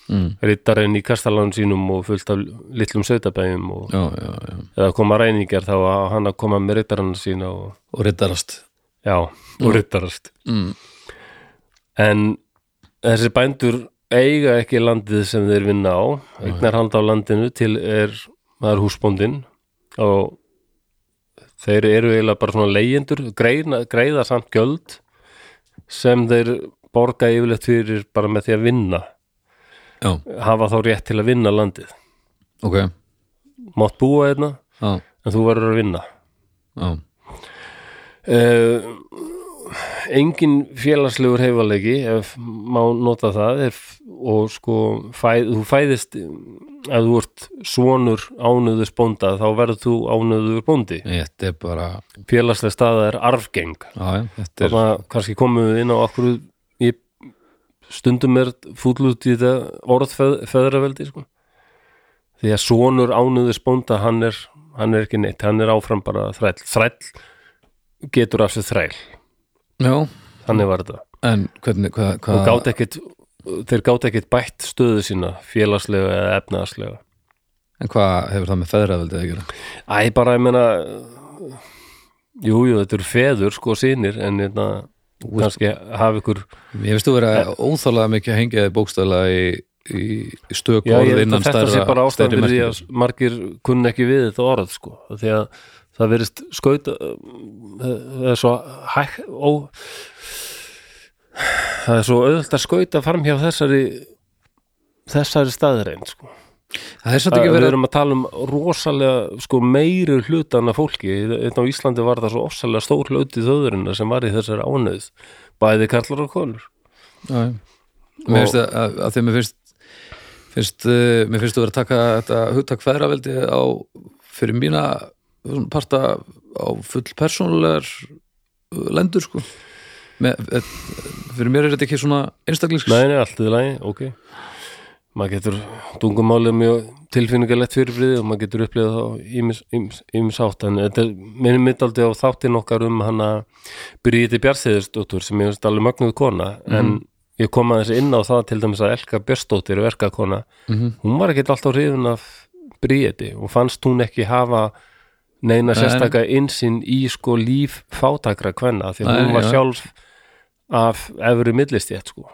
Mm.
rittarinn í kastalanum sínum og fullt af litlum sveitabæjum og
já, já, já
eða koma reyningar þá að hann að koma með rittarana sína og,
og riddarast
já, og rittarast
mm.
en þessi bændur eiga ekki landið sem þeir vinna á eignar hand á landinu til er það er húsbóndin og þeir eru eiginlega bara svona leyendur greiða, greiða samt gjöld sem þeir borga yfirleitt fyrir bara með því að vinna
já,
hafa þá rétt til að vinna landið
ok
mátt búa einna
já,
en þú verður að vinna
já
Uh, engin félagslegur heifalegi ef má nota það er, og sko fæð, þú fæðist ef þú ert svonur ánöðus bónda þá verður þú ánöður bóndi
Þetta er bara,
félagslega staða er arfgeng
já, já, þetta er
þannig að kannski komum við inn á okkur ég stundum er fúll út í þetta orðfeðraveldi sko. því að svonur ánöðus bónda hann er, hann er ekki neitt hann er áfram bara þræll þræll getur af sér þræll
Já,
þannig var þetta
en hvernig, hvað,
og
hvað
gátt ekkit þeir gátt ekkit bætt stöðu sína félagslega eða efnaðarslega
en hvað hefur það með feðraveldið að gera
Æ, bara ég meina uh, Jú, jú, þetta eru feður sko sínir en hérna kannski hafa ykkur
Ég veist þú vera óþálega mikið að hengja þið bókstæla í, í í stök
Já, ég
orð
held
innan
að þetta
stærra
sé bara ástæðan
stærri
fyrir því að
merkingar.
margir kunna ekki við þetta orð sko af því að það verist skauta það er svo hæk, ó, það er svo auðvöld að skauta fram hjá þessari þessari staðreind sko
Það er svolítið
Að-
ekki
Við
verið
erum að tala um rosalega sko, meiri hlutana fólki einn á Íslandi var það svo ofsalega stór hluti þjóðurina sem var í þessari ánöð bæði karlar og konur
Já, já. Mér finnst að, að, að því að mér finnst finnst, uh, mér finnst þú vera að taka þetta hugtak feðraveldi á fyrir mína svona parta á full persónulegar uh, lendur sko með, eh, fyrir mér er þetta ekki svona einstaklingsks
Nei, nei, allt í lagi, ok maður getur tungumálið er mjög tilfinningalegt fyrirbrið og maður getur upplifað þá ýmis- ýms- ýmis átt en þetta er- minnir mitt aldrei á þáttinn okkar um hana Bríti Bjartsæðursdóttur sem ég veist alveg mögnuð kona
Mhm.
en ég kom aðeins inn á það til dæmis að Elka Björnsdóttir verkakona
Mhm.
hún var ekkert alltaf hrifin af Bríti og fannst hún ekki hafa neina sérstaka einsinn í sko líf fátakra kvenna því að
Nei,
hún var
já.
sjálf af efri millistjætt sko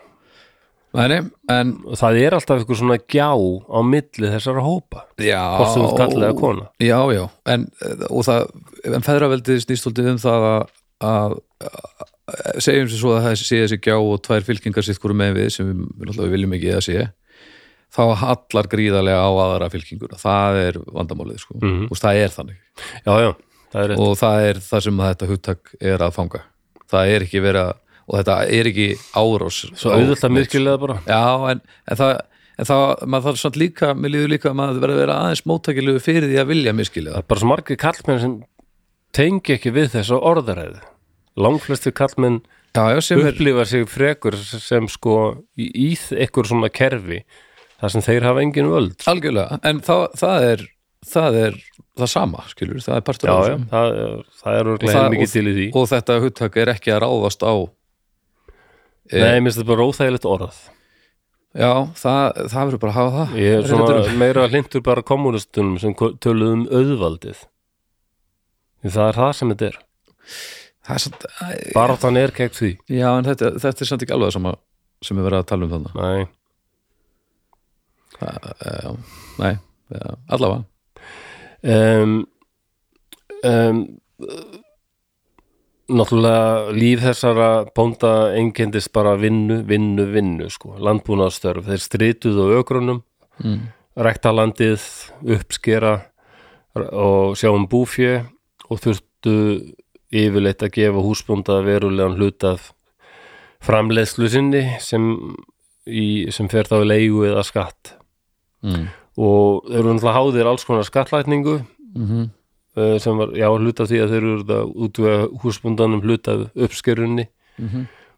Nei, nei, en
og það er alltaf einhver svona gjá á milli þessara hópa
já
hvort sem þú ert karl eða kona
Já, já, en, eh, og það, en feðraveldið snýst svolítið um það að, að, að segjum sem svo að það sé þessi gjá og tvær fylkingar sitt hverju með við sem við náttúrulega viljum ekki að sé þá hallar gríðarlega á aðra fylkinguna það er vandamálið sko
Mhm.
og það er þannig
já, já, það er rétt
og það er það sem þetta hugtak er að fanga það er ekki vera og þetta er ekki árás
svo
á-
auðvitað myrkilega bara
Já, en, en það en það, maður þarf samt líka, mér líður líka að maður verður að vera aðeins móttakilegu fyrir því að vilja miskilja
það er bara svo margir kallmenn sem tengi ekki við þessa orðaræði langflestu kallmenn
Já, já, sem er
upplifa sig frekur sem sko í, í ekkur svona kerfi þar sem þeir hafa engin völd
algjörlega, en það, það er það er það sama, skilur það er partur
já,
af
já,
þessu.
það, er- það er
Og
örglega
það-
mikið til í því
og, og þetta hugtak er ekki að ráðast á
nei, minnst þetta bara óþægilegt orð
Já, það, það verður bara að hafa það
ég er
Reyndar-
svona meira hlindur bara kommunistunum sem ko- töluðu um auðvaldið Því það er það sem þetta er
það er samt, æ,
baráttan er gegn því
Já, en þetta, þetta er samt ekki alveg það sama sem við verðum að tala um þannig
Nei.
Já, nei, já, allavega
um, um, náttúrulega líf þessara bónda einkendist bara vinnu, vinnu, vinnu sko. landbúnaðstörf, þeir strituðu á ögrunum
mm.
rækta landið, uppskera og sjá um búfjö og þurftu yfirleitt að gefa húsbónda verulegan hlut af framleiðslu sinni sem, í, sem fer þá í leigu eða skatt
Mm.
og þeir eru náttúrulega háðir alls konar skattlækningu
Mm -hmm.
eh, sem var, já, hluta því að þeir eru að útvega húsbóndanum hluta af uppskerunni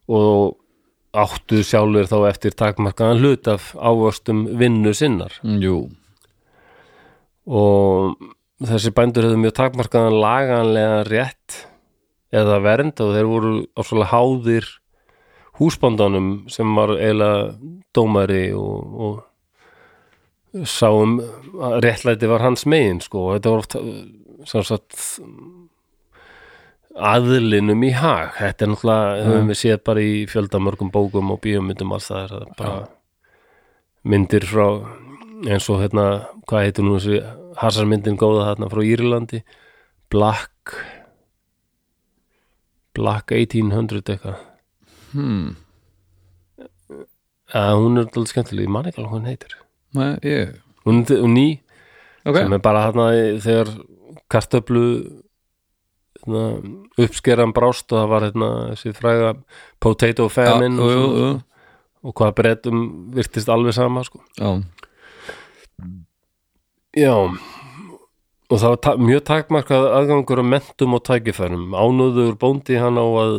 og áttu sjálfur þá eftir takmarkaðan hlut af ávöxtum vinnu sinnar
Mm, Jú,
og þessi bændur hefðu mjög takmarkaðan laganlega rétt eða vernd og þeir voru ásvöldlega háðir húsbóndanum sem var eiginlega dómari og, og sáum að réttlæti var hans megin sko og þetta var oft sem sagt aðlinum í hag þetta er náttúrulega, höfum við séð bara í fjöldamörgum bókum og bíómyndum alls það er bara myndir frá eins og hérna, hvað heitir nú þessi hasarmyndin góða þarna frá Írlandi Black Black 1800 eitthvað
hmm.
að hún er alltaf skemmtileg, ég man ekki alveg hvað hún heitir
nei, ég
hún er hún er ný,
Ok,
sem er bara þarna í- þegar kartöflu hérna, uppskeran brást og það var hérna þessi fræga potato famine
jú,
og,
jú,
svo,
jú.
og hvað brettum virtist alveg sama sko
Já,
Já, og það var ta mjög takmarkað aðgangur að mentum og tækifærum. Ánúður bóndi hann á að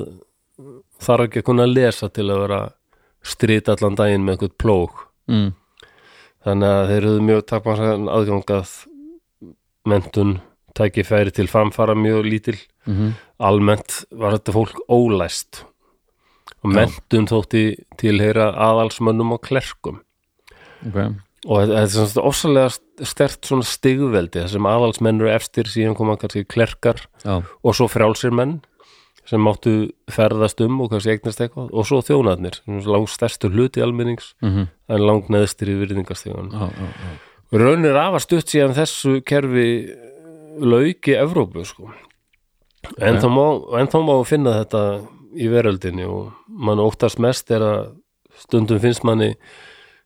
þarf ekki að kunna lesa til að vera strýt allan daginn með einhvern plók.
mm.
Þannig að þeir höfðu mjög takmarkaðan aðgangað mentun tækifæri
mhm.
til framfara mjög lítil.
Mm -hmm.
Almennt var þetta fólk ólæst og mentun þótti tilheyra aðalsmönnum og klerkum
ok,
og þetta þetta er svona ofsalega stert svona stigveldi þar sem aðalsmenn eru efstir síðan koma kannski klerkar
já,
og svo frjálsir menn sem máttu ferðast um og kannski eignast eitthvað og svo þjónaðnir, sem er langt stærstu hluti almennings
Mhm.
en langt neðstir í virðingastíðan
já, já, já.
raunir afar stutt síðan þessu kerfi lauki Evrópu sko. en, þá má, en þá má finna þetta í veröldinni og mann óttast mest er að stundum finnst manni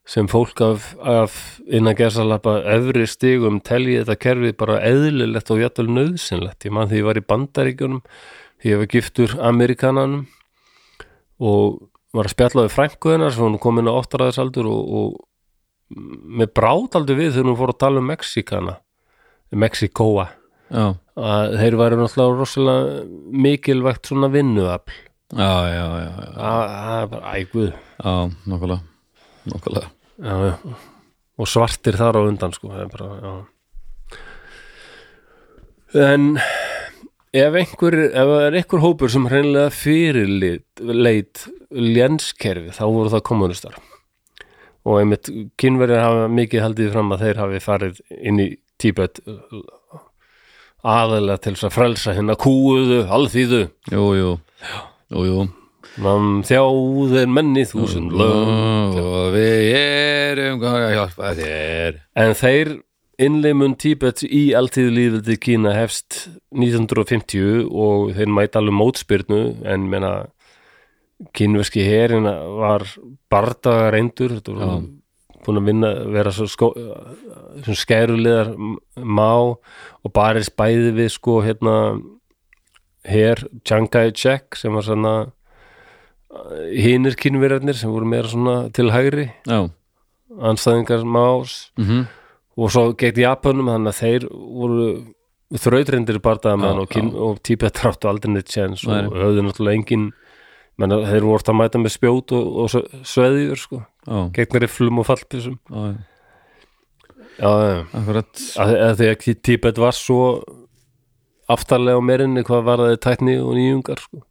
sem fólk af, af innan gersalappa efri stigum telji þetta kerfi bara eðlilegt og jættul nöðsynlegt ég mann því ég var í bandaríkjunum því ég var giftur Amerikananum og var að spjalla við frænku hennar sem hún kom inn á áttaræðisaldur og, og mér bráð aldrei við þegar hún fór að tala um Mexikana Mexikóa
já,
að þeir væri náttúrulega rosalega mikilvægt svona vinnuafl
já, já, já, já,
Að- það er bara æguð
já nokkulega nokkulega
og svartir þar á undan sko það er bara, já en ef einhver, ef það er einhver hópur sem hreinlega fyrirlit leit ljenskerfi þá voru það kommunistar og einmitt kynverjar hafa mikið haldið fram að þeir hafi farið inn í Tíbet uh, aðalega til þess að frelsa hérna kúuðu, alþýðu
jú, jú, jú, jú
mann þjáðir menni þúsund lögum
og við erum hvað að hjálpa þér
En þeir innleimun Tíbet í alltíð lífildi Kína hefst 1950 og þeir mæta alveg mótspyrnu en meina kínverski herin var bardaga reyndur þetta var búin að vinna vera svo skó, sem skærulegar má og barist bæði við sko hérna her Chiang Kai-shek sem var svona eh, hinir kínverjarnir sem voru meira svona til hægri
já,
anstæðingar más
mhm
og svo gegn Japanum þannig að þeir voru þrautrendir
Já,
bardaðamenn og, kín- og Tíbet ráttu aldrei neitt séns
Nei.
og höfðu náttúrulega engin menn að þeir voru orðið að mæta með spjót og, og sve- sveðjur sko,
já,
gegn riflum og fallbísum
já, já,
já, já,
akkurat
að, að því að Tíbet var svo aftarlega á merinni hvað var það tækni og nýjungar sko.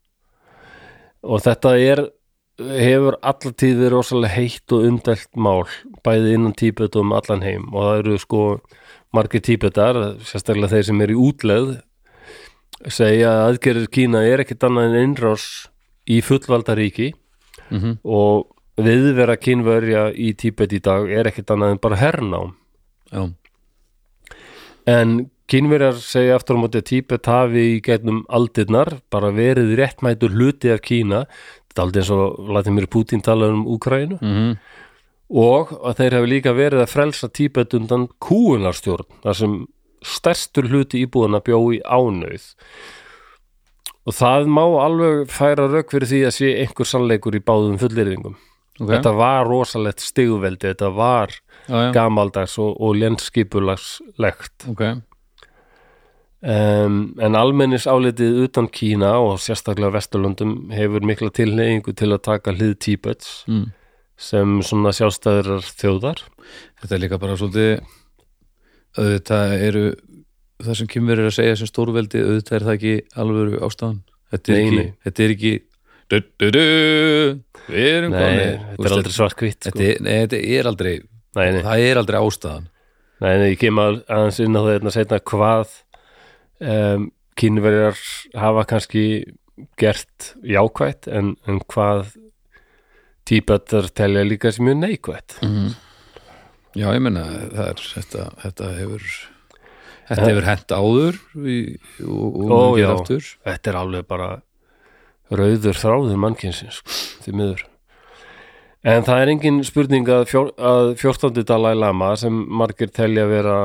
og þetta er hefur allatíð verið rosalega heitt og umdelt mál bæði innan Tíbet og um allan heim og það eru sko margir Tíbetar sérstaklega þeir sem eru í útlegð segja að aðgerður Kína er ekkit annað en innrás í fullvaldaríki
Mhm.
og viðvera kínverja í Tíbet í dag er ekkit annað en bara hernám
já,
En kynverjar segja aftur á móti að Tíbet hafi í gegnum aldirnar bara verið réttmætur hluti af Kína þetta er aldrei eins og látið mér Putin tala um Úkraínu
mhm,
og að þeir hafi líka verið að frelsa Tíbet undan kúunarstjórn þar sem stærstur hluti íbúðana bjó í ánauð og það má alveg færa rauk fyrir því að sé einhver sannleikur í báðum fullyrðingum
ok
þetta var rosalegt stigveldi þetta var
já, já,
gamaldags og, og lenskipulagslegt
ok,
Um, en almennis álitið utan Kína og sérstaklega Vesturlöndum hefur mikla tilneyingu til að taka hlið Tíbets
Mm.
sem svona sjálfstæðurar þjóðar
þetta er líka bara svolítið auðvitað eru það sem kemur er að segja sem stórveldi auðvitað er það ekki alveg ástæðan þetta er
Nei,
ekki,
nei.
þetta er ekki du, du, du, við erum
Nei,
komnir. Þú
þetta
veist,
er aldrei svart kvitt sko.
þetta er- nei, þetta er aldrei
nei, nei,
það er aldrei ástæðan
nei, nei, ég kem að- aðeins inn á það hérna setna hvað um, kínverjar hafa kannski gert jákvætt en, en hvað Tíbetar telja líka sem mjög neikvætt
já, ég menna, það er þetta, þetta hefur þetta hefur hent áður í, og, og
Ó,
mun gera
já.
aftur
þetta er alveg bara rauður þráður mannkynsins sko, því miður en það er engin spurning að, fjór, að 14. Dalai Lama sem margir telja vera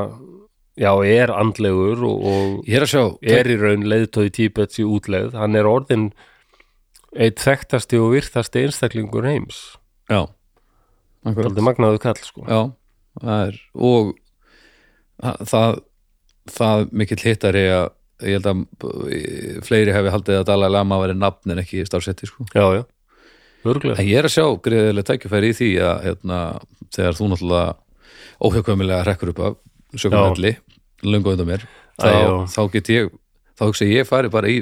já, er andlegur og, og
ég er að sjá,
er í raun leiðtói tíbets í útleið, hann er orðin eitt þekktasti og virtasti einstaklingur heims
já, akkurat
aldrei magnaðu kall sko
Já, það er og það- það, það mikill hittari að ég held að eh, fleiri hefði haldið að Dalai Lama væri nafn en ekki starfsetti sko.
já, já, örglega
En ég er að sjá greiðilega tækifæri í því að hérna, þegar þú náttúrulega óhjökvæmilega rekkur upp af sögum
Já.
helli, löngu undan mér
Æ, já.
þá, þá get ég, þá hugsa ég ég fari bara í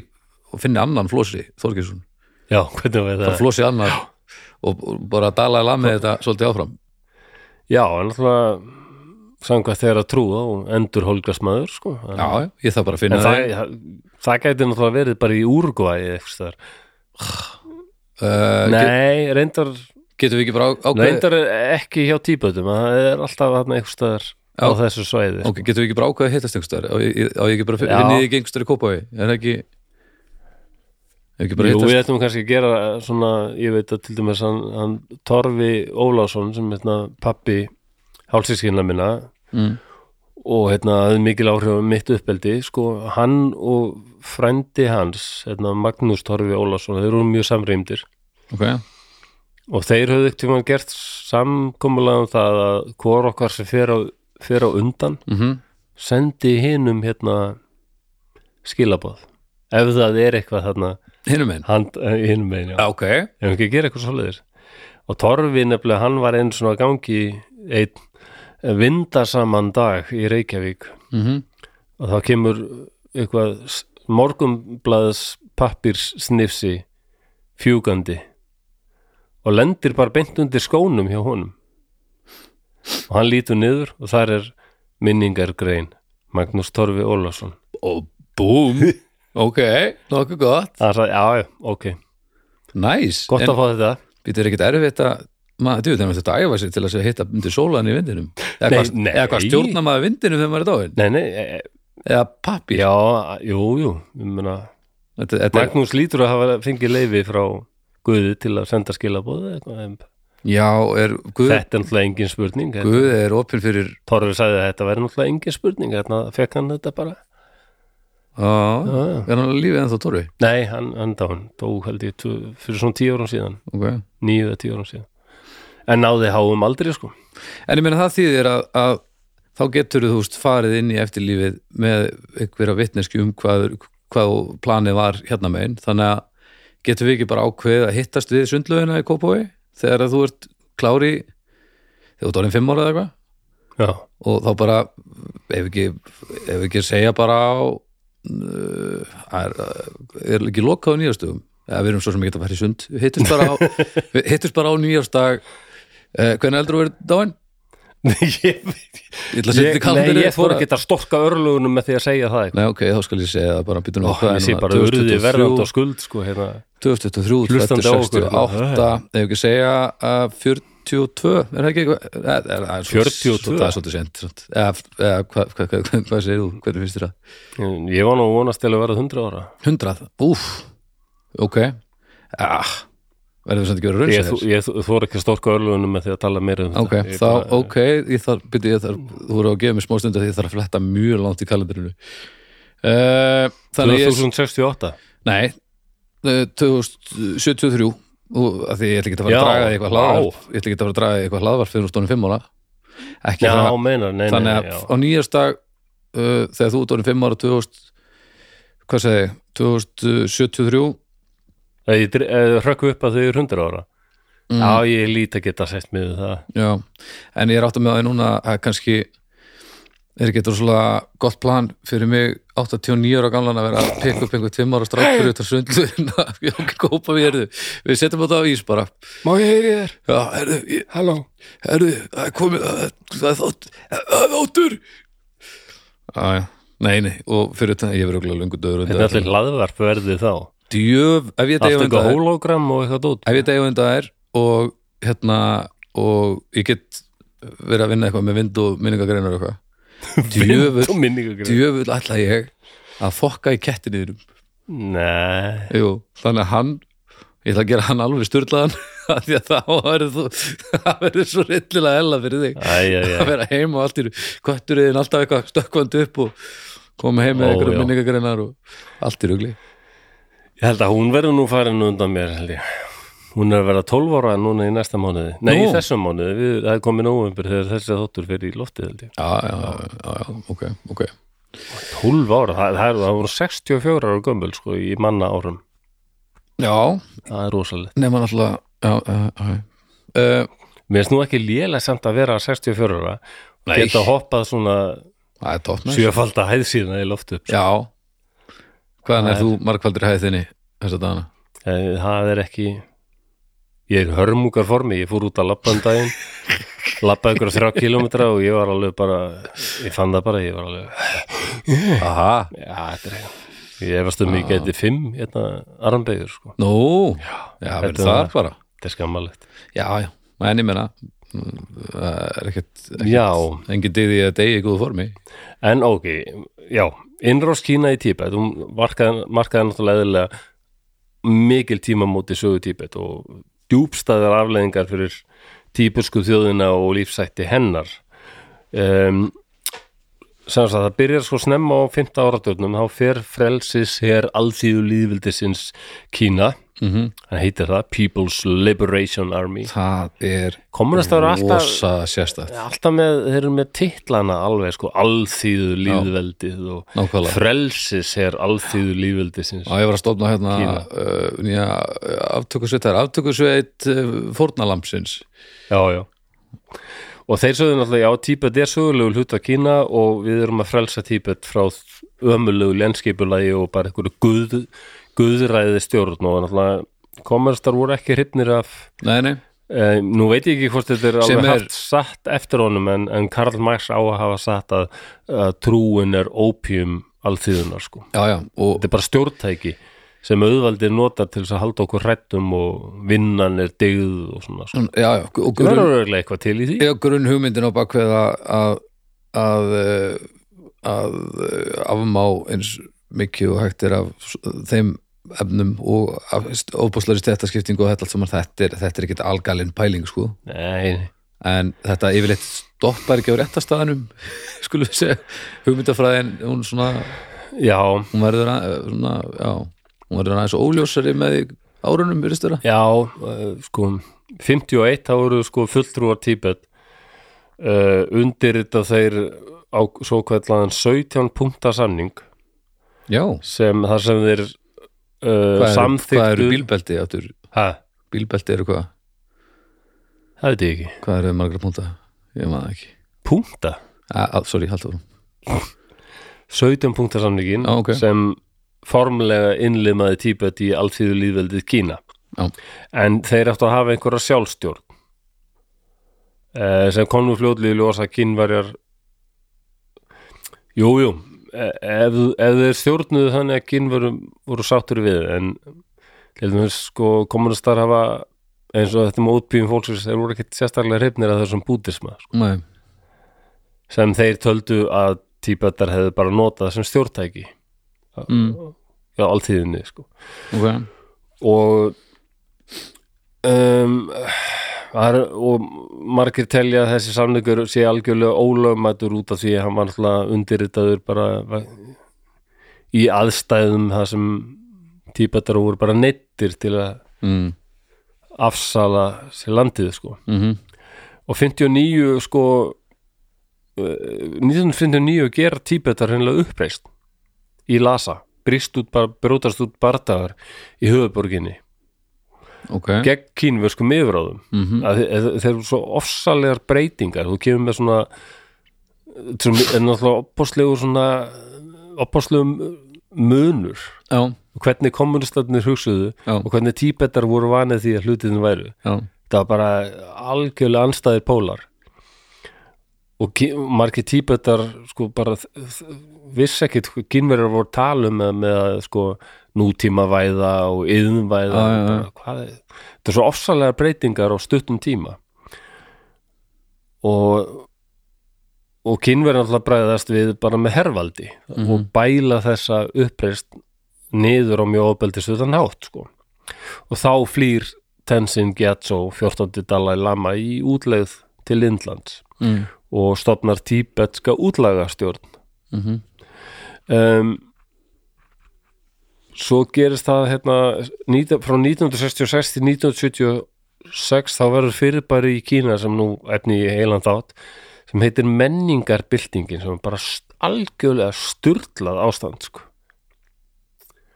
og finni annan flósi Þorgesson
já, hvernig við
bara
það
flosið annað og og bara dalaði lamið þetta svolítið áfram
já, en náttúrulega samkvæmt þegar að trúa og endur holgasmæður sko. en,
já, já, ég þarf bara að finna
en það, það, það gæti náttúrulega verið bara í úrgvæði eitthvað þar
uh, get,
nei, reyndar,
getum við ekki bara ákveð
reyndar ekki hjá tíbötum það er alltaf þarna eitthvað þar á
Já.
þessu svæði sko.
ok, getum við ekki bara ákveð að hittast einhverstaðar á ég á ég ekki bara
Já.
vinnið ekki einhverstaðar í Kópaví er það ekki er ekki bara
Jú, við
hittast
ættum kannski að gera svona, ég veit að til dæmis hann, hann Torfi Ólásson sem hérna pappi hálsískinna minna
Mm.
og hérna hafði mikil áhrif á mitt uppeldi, sko, hann og frændi hans, hérna Magnús Torfi Ólásson, þeir eru mjög samrýmdir
ok,
og þeir höfðu ekkert tímann gert samkomulega um það að hvor okkar sem fer á, fer á undan
mhm
sendi hinum hérna skilabóð ef það er eitthvað þarna
hinnum einn
hand, hinum megin, já
ok,
ef ekki að gera eitthvað svoleiðis og Torfi nefnilega, hann var einu svona gangi einn vindasaman dag í Reykjavík
mhm
og þá kemur eitthvað morgumblaðs pappirs snifsi fjúgandi og lendir bara beint undir skónum hjá honum og hann lítur niður og þar er minningargrein Magnús Torfi Ólafsson
og búm ok, nokkuð gott
það sagði, já, já, ok,
næs,
gott
en
að fá þetta
býtur ekkert erfitt að maður, djú, þannig að þetta æfa sig til að segja hitta undir sólan í vindinum eða
Nei,
hvað,
nei.
eða hvað stjórna maður vindinum þegar maður er dáin,
nei, nei, e,
eða pappi
já, jú, jú ég meina,
þetta, þetta er,
Magnús lítur að hafa fengið leifi frá Guði til að senda skilabóð eitthvað, en
já, er Guð,
þetta er náttúrulega engin spurning en
Guð er opinn fyrir
Torfi sagði að þetta væri náttúrulega engin spurning þannig að fekk hann þetta bara
á,
Já, já.
er hann á lífið ennþá torfi
nei, hann, hann dán, dó held ég tvö, fyrir svona tíu árum síðan,
ok,
níu eða tíu árum síðan en náði háum aldrei sko
en ég meina það þýðir að, að þá getur þú veist farið inn í eftirlífið með einhverja vitneski um hvað, hvað planið var hérna megin, þannig að getur við ekki bara ákveðið að hittast við sundlaugina í Kópói þegar að þú ert klári þegar þú ert orðin fimm ára eða eitthvað
já,
og þá bara ef ekki, ef ekki segja bara á uh, er, er ekki lokað á nýjastugum eða við erum svo sem ekki að fara í sund Við hittust bara á, við hittust bara á nýjastag uh, hvernig heldur þú verið dáin?
ég,
Ég ætla að setja
ég,
þetta í kalendarið
nei, ég fór
bara-
ekki að storka örlugunum með því að segja það eitthvað.
Nei, ok, þá skal ég segja það bara býtum
Ó, ég sé bara urði verðand og skuld sko, hérna.
2023,
Hlustandi á okkur,
2068 ef ekki segja eh, að 42 er það ekki eitthvað er- er- það er svo-
42?
það er svolítið sent samt. eða eða hvað hva, hva, hva, hva segir þú, hvernig finnst þér það
Mm, ég var nú að vonast til að vera 100 ára
100, úf ok, ah verðum við samt ekki að vera
Ég,
raunsa
þú, ég þú- þú ekki að storka örlugunum með því að tala meira um
ok,
þetta Ég
þá,
bara-
ok, ég þarf byrja, ég þarf, þú voru að gefa mér smá stund af því ég þarf að fletta mjög langt í kalendarinu uh, þannig ég
2068
Nei, eh, 2073 og að því ég ætla ekki að fara
Já,
að draga því eitthvað
vá.
hlaðvarp ég ætla ekki að fara að draga því eitthvað hlaðvarp fyrir stónum fimm ára ekki
Já,
það,
meinar, nei, nei,
þannig
nei
að
já.
á nýjast dag uh, þegar þú tónum fimm ára 2000, hvað segi, ég, 2073
Ef Ég dr- ef þau hrökku upp að þau eru 100 ára Já, ég lít að geta sett mig við það
já, en ég er átt að með það núna að kannski er ekki þetta svona gott plan fyrir mig 89 ára gamlan að vera að pikka upp einhver tveim ára strák fyrir þetta sundluðina ég á ekki að kópa við erðu við setjum þetta á ís bara
Má ég heyri þér?
já, herðu, ég,
Halló
Herðu, það er komið það er- það er þátt það er þáttur Æja, nei, nei, og fyrir þetta ég verið okkur lungu döður
Þetta er allir hlaðvarp verði þá
djöf, ef ég
Allt
degi
eitthvað
ef
hologram og eitthvað út
ég degi undan þær og hérna, og ég get verið að vinna eitthvað með vind og minningagreinar og eitthvað djöfull,
Djöfull
djöfull ætla ég að fokka í kettinniðinum
Nei
Jú, þannig að hann ég ætla að gera hann alveg styrlaðan af því að þá verður þú það verður svo rillilega ella fyrir þig
Æ, æ, æ
að vera heima og allt í kvætturiðin alltaf eitthvað stökkvandi upp og koma heim með
Ó,
einhverjum
já.
minningagreinar og allt í rugli
Ég held að hún verður nú farin undan mér held ég Hún er að vera 12 ára núna í næsta mánuði Nei, í
Nú.
þessum mánuði, við, það er komið nóvembur þegar þessi þóttur fyrir í loftið held ég
já, já, já, já, já, ok, ok
12 ára, það, það, er, það voru 64 ára gömul sko í manna árum
já,
Það er rosalegt.
nema náttúrulega já, já, já Uh,
Mér finnst nú ekki lélega samt að vera 64 ára
Nei.
geta hoppað svona
það er tótt næst
sjöfalda hæðsýna í loft upp.
já hvaðan
Það
er þú margfaldir hæð þinni þessa dagana?
Eh, það er ekki ég er í hörmungar formi, ég fór út að labba um daginn labba ykkur þrjá kilometra og ég var alveg bara ég fann það bara, ég var alveg
Aha,
já, þetta er ekki ég efast um ég geti fimm hérna, armbegur, sko,
nú, já,
þetta
verður það
var-
bara
þetta er skammalegt
Já, já, en ég menna það er ekkert,
já,
ekkert engin dyði að degi í góðu formi
en ok já, innrás Kína í Tíbet hún markaði, markaði náttúrulega eðlilega mikil tímamóti sögu Tíbet og djúbstæðar afleðingar fyrir tíbusku þjóðina og lífsætti hennar um, sem sagt, það byrjar sko snemma á 15 áratörnum, þá fer frelsis her alþýðu líðvildisins Kína,
mm
hann heitir það People's Liberation Army
Það er
komunast ára alltaf
rosa sérstætt
alltaf með, þeir eru með titlana alveg sko, alþýðu líðveldið og
Nákvæmlega.
frelsis er alþýðu líðveldisins
Já, ég var að stofna hérna
Kína.
uh, nýja uh, aftökusveit það er aftökusveit uh, fórnalampsins
já, já og þeir sögðu náttúrulega, já, Tíbet er sögulegu hluta Kína og við erum að frelsa Tíbet frá ömulegu lenskipulagi og bara einhverju guð, guðræði stjórn og náttúrulega komunistar voru ekki hrypnir af
Nei, nei,
Eh, nú veit ég ekki hvort þetta er
Sem
alveg
er-
haft satt eftir honum en, en Karl Marx á að hafa satt að, að trúin er ópjum alþýðunar sko.
já, já og
Þetta er bara stjórntæki sem auðvaldir notar til þess að halda okkur hrættum og vinnan er dygð og svona sko.
Já, já, og
Það
grunn,
verður auðvitað eitthvað til í því
já, grunn hugmyndin á bakveð að að, að, eh, að eh, afmá eins mikið og hægt er af s- þeim efnum og óbúslari stættaskiptingu og þetta allt saman þetta er, þetta er ekkit algalinn pæling sko
Nei,
en þetta yfirleitt stoppar ekki á réttastaðanum skulum við segja hugmyndafræðin, hún svona
já,
hún verður að, svona, já, hún verður aðeins óljósari með því árunum virðist vera
já uh, sko, 51 þá eru sko fulltrúar Tíbet uh, undir þetta þeir á svo kveðlaðan 17 punkta samning
já,
sem þar sem þeir uh,
hvað eru,
samþyktu
hvað eru bílbelti áttur,
ha,
bílbelti eru hvað
það veit ég ekki
hvað eru margra púnta, ég maður ekki
punkta,
a, a, sorry, haldur hún
17 punkta samningin
Já, Ah, ok.
sem formlega innlimaði Tíbet í allþýðu líðveldið Kína
Já.
en þeir áttu að hafa einhverja sjálfstjórn uh, sem konum fljótlið ljósa kínverjar jújú jú. eh, ef, ef þeir stjórnuðu þannig að kínverjum voru sáttur við en til dæmis sko kommunistar hafa eins og þetta með útbýjum fólksins þeir voru ekkert sérstaklega hrifnir af þessum bútisma
Nei,
sem þeir töldu að tíbetar hefðu bara notað sem stjórntæki
mm,
á alltíðinni sko.
ok
og um, var, og margir telja að þessi samningur sé algjörlega ólögmætur út af því að hann var alltaf undirritaður bara va- í aðstæðum það sem tíbetar voru bara neittir til að
mm,
afsala sér landið sko.
mm
og 59 sko eh, 1959 gera tíbetar hennilega uppreist í Lasa brist út, bara- brjótast út bardagar í höfuborginni
ok
gegn kínverskum yfiráðum
mm -hmm.
að, að, þeir eru svo ofsalegar breytingar þú kemur með svona sem er náttúrulega opposlegur svona opposlegum munur
já,
og hvernig kommunistarnir hugsuðu
Já.
og hvernig tíbetar voru vanið því að hlutinu væru
já,
það var bara algjörlega anstæðir pólar og ki- margir tíbetar sko bara þ- þ- vissi ekkit hvað kynverjar voru að tala um með, með að sko nútímavæða og yðnvæða
Já, já, já.
Bara, hvað er- þetta er svo ofsalega breytingar á stuttum tíma og og kynverjar alltaf bræðast við bara með hervaldi
Mhm.
og bæla þessa uppreist niður á mjög ofbeldis utan hátt sko og þá flýr Tenzin Gyatso 14. Dalai Lama í útlegð til Indlands
mm,
og stopnar tíbetska útlagastjórn
mm
um, svo gerist það hérna, nít, frá 1966 til 1976 þá verður fyrirbæri í Kína sem nú efni í heilan þátt sem heitir menningarbyltingin sem er bara st- algjörlega sturlað ástand sko.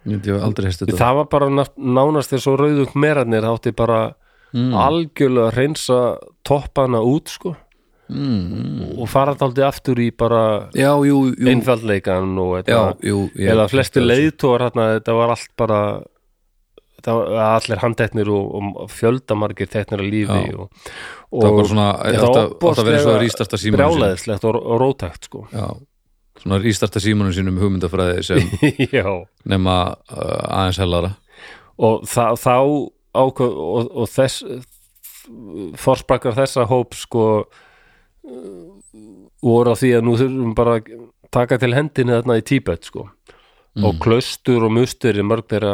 ég hef aldrei heist þetta
það var bara ná- nánast eins og rauðung merarnir þátti bara
mm,
algjörlega reynsa toppana út sko
mm, mm.
og fara þáldi aftur í bara
já, jú, jú
einfaldleikan og
já,
þetta,
jú ég-
eða flesti leiðtóar þarna, þetta var allt bara það var allir handteknir og, og fjöldamargir teknir að lífi
Já.
og, og
það var bara svona
þetta
alltaf, alltaf verið svo að
ofboðslega
rístarta símanum sínum.
brjálæðislegt og, og rótækt sko
já, svona rístarta símanum sínum hugmyndafræði sem
já,
nema uh, aðeins hellara
og þá, þá ákveð og, og þess forsprakkar þessa hóp sko uh, voru á því að nú þurfum bara að taka til hendinni þarna í Tíbet sko og klaustur og mustur er mörg þeirra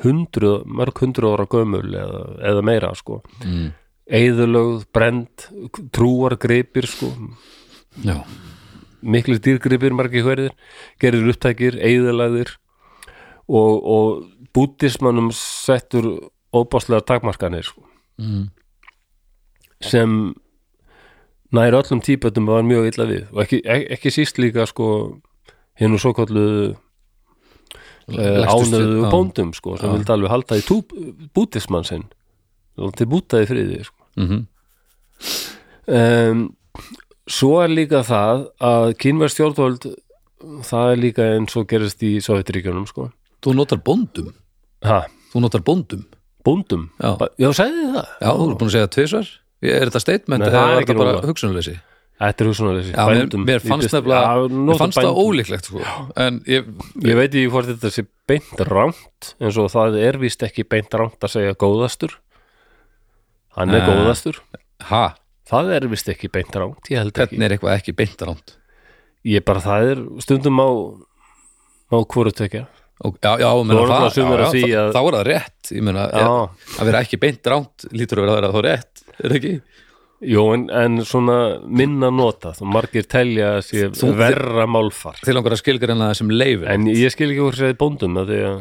hundruð, mörg hundruð ára gömul eða, eða meira sko
mm.
eðulögð, brend, trúar gripir sko,
já,
miklir dýrgripir margir hverðir, gerir upptækir eðulagðir og, og búttismannum settur óbáslega takmarkanir sko.
mm.
sem nær öllum típetum var mjög illa við og ekki, ek- ekki síst líka sko hinn og svo kallu
Lægstu stu-
ánöðu
já.
eh, bóndum sko sem
Já.
vildi alveg halda í tú, búttismann sinn og til bútaði friði sko
mhm,
um, svo er líka það að kynverð stjórnvöld það er líka eins og gerist í Sovjetiríkjunum sko
þú notar bóndum
ha,
þú notar bóndum
bóndum,
Já.
Ba- já sagði þið það
já, þú er búin að segja tvisvar er þetta statement
Nei,
eða
það er
var
ekki
þetta bara
nóg.
hugsunarleysi
þetta er hugsunarleysi
já, mér, mér fannst nefnilega mér fannst það ólíklegt sko. en ég,
ég veit ekki hvort þetta sé beint rámt eins og það er víst ekki beint rámt að segja góðastur hann er
Nei.
góðastur
ha,
það er víst ekki beint rámt, ég held ekki
hvernig er eitthvað ekki beint rámt
ég bara það er stundum á á hvoru tekja
Og, já, já, ég meina
voru
það,
náttúrulega
já,
sumir
já,
að því
það,
að-
þá er það rétt ég meina,
já,
er, að vera ekki beint ránt lítur að vera að vera þá rétt, er það ekki?
Jó, en, en svona minna notað og margir telja að sé
Þú-
verra málfar
Þið langar að skilgreina það sem leifir
en ég skil ekki hvort segið bóndum að því að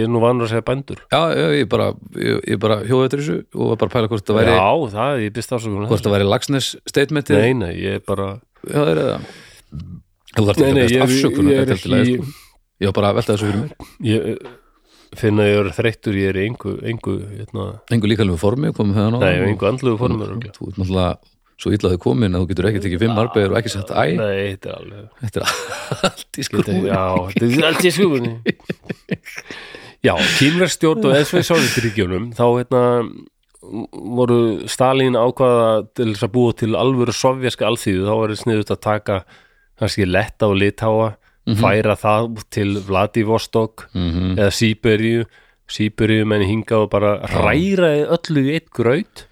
ég er nú vanur að segja bændur
Já, já, ég bara, ég, ég bara hjóðu eftir þessu og var bara að pæla hvort það væri
Já, það, ég byrst afsökunum
hvort það væri lagsnes statementið
Nei, nei, ég er bara
Já, það er það Þú þarf ekki að beðast afsökunar
ég
þetta er
er
allt í lagi,
ekki
sko. Ég var bara að velta þessu fyrir mér
ég finn að ég er þreyttur, ég er í engu, engu hérna,
Engu líkalegu formi komum hérna á
nei, ég er engu andluðu formur
Þú
örugglega.
ert náttúrulega svo illaði komin að þú getur ekki tekið fimm arbeigir og ekki sett æ
Nei, þetta er alveg
Þetta er allt í
Þetta er-
skrúin
Já, þetta er allt í skugunni Já, kínverstjórn og SV Sovjetríkjunum þá hérna voru Stalín ákvaða til þess að búa til alvöru sovjaska alþýðu þá var það sniðut að taka kannski letta og litáa færa það til Vladivostok
Mhm.
eða Sýberíu Sýberíu menn hingað og bara ræra í öllu í eitt graut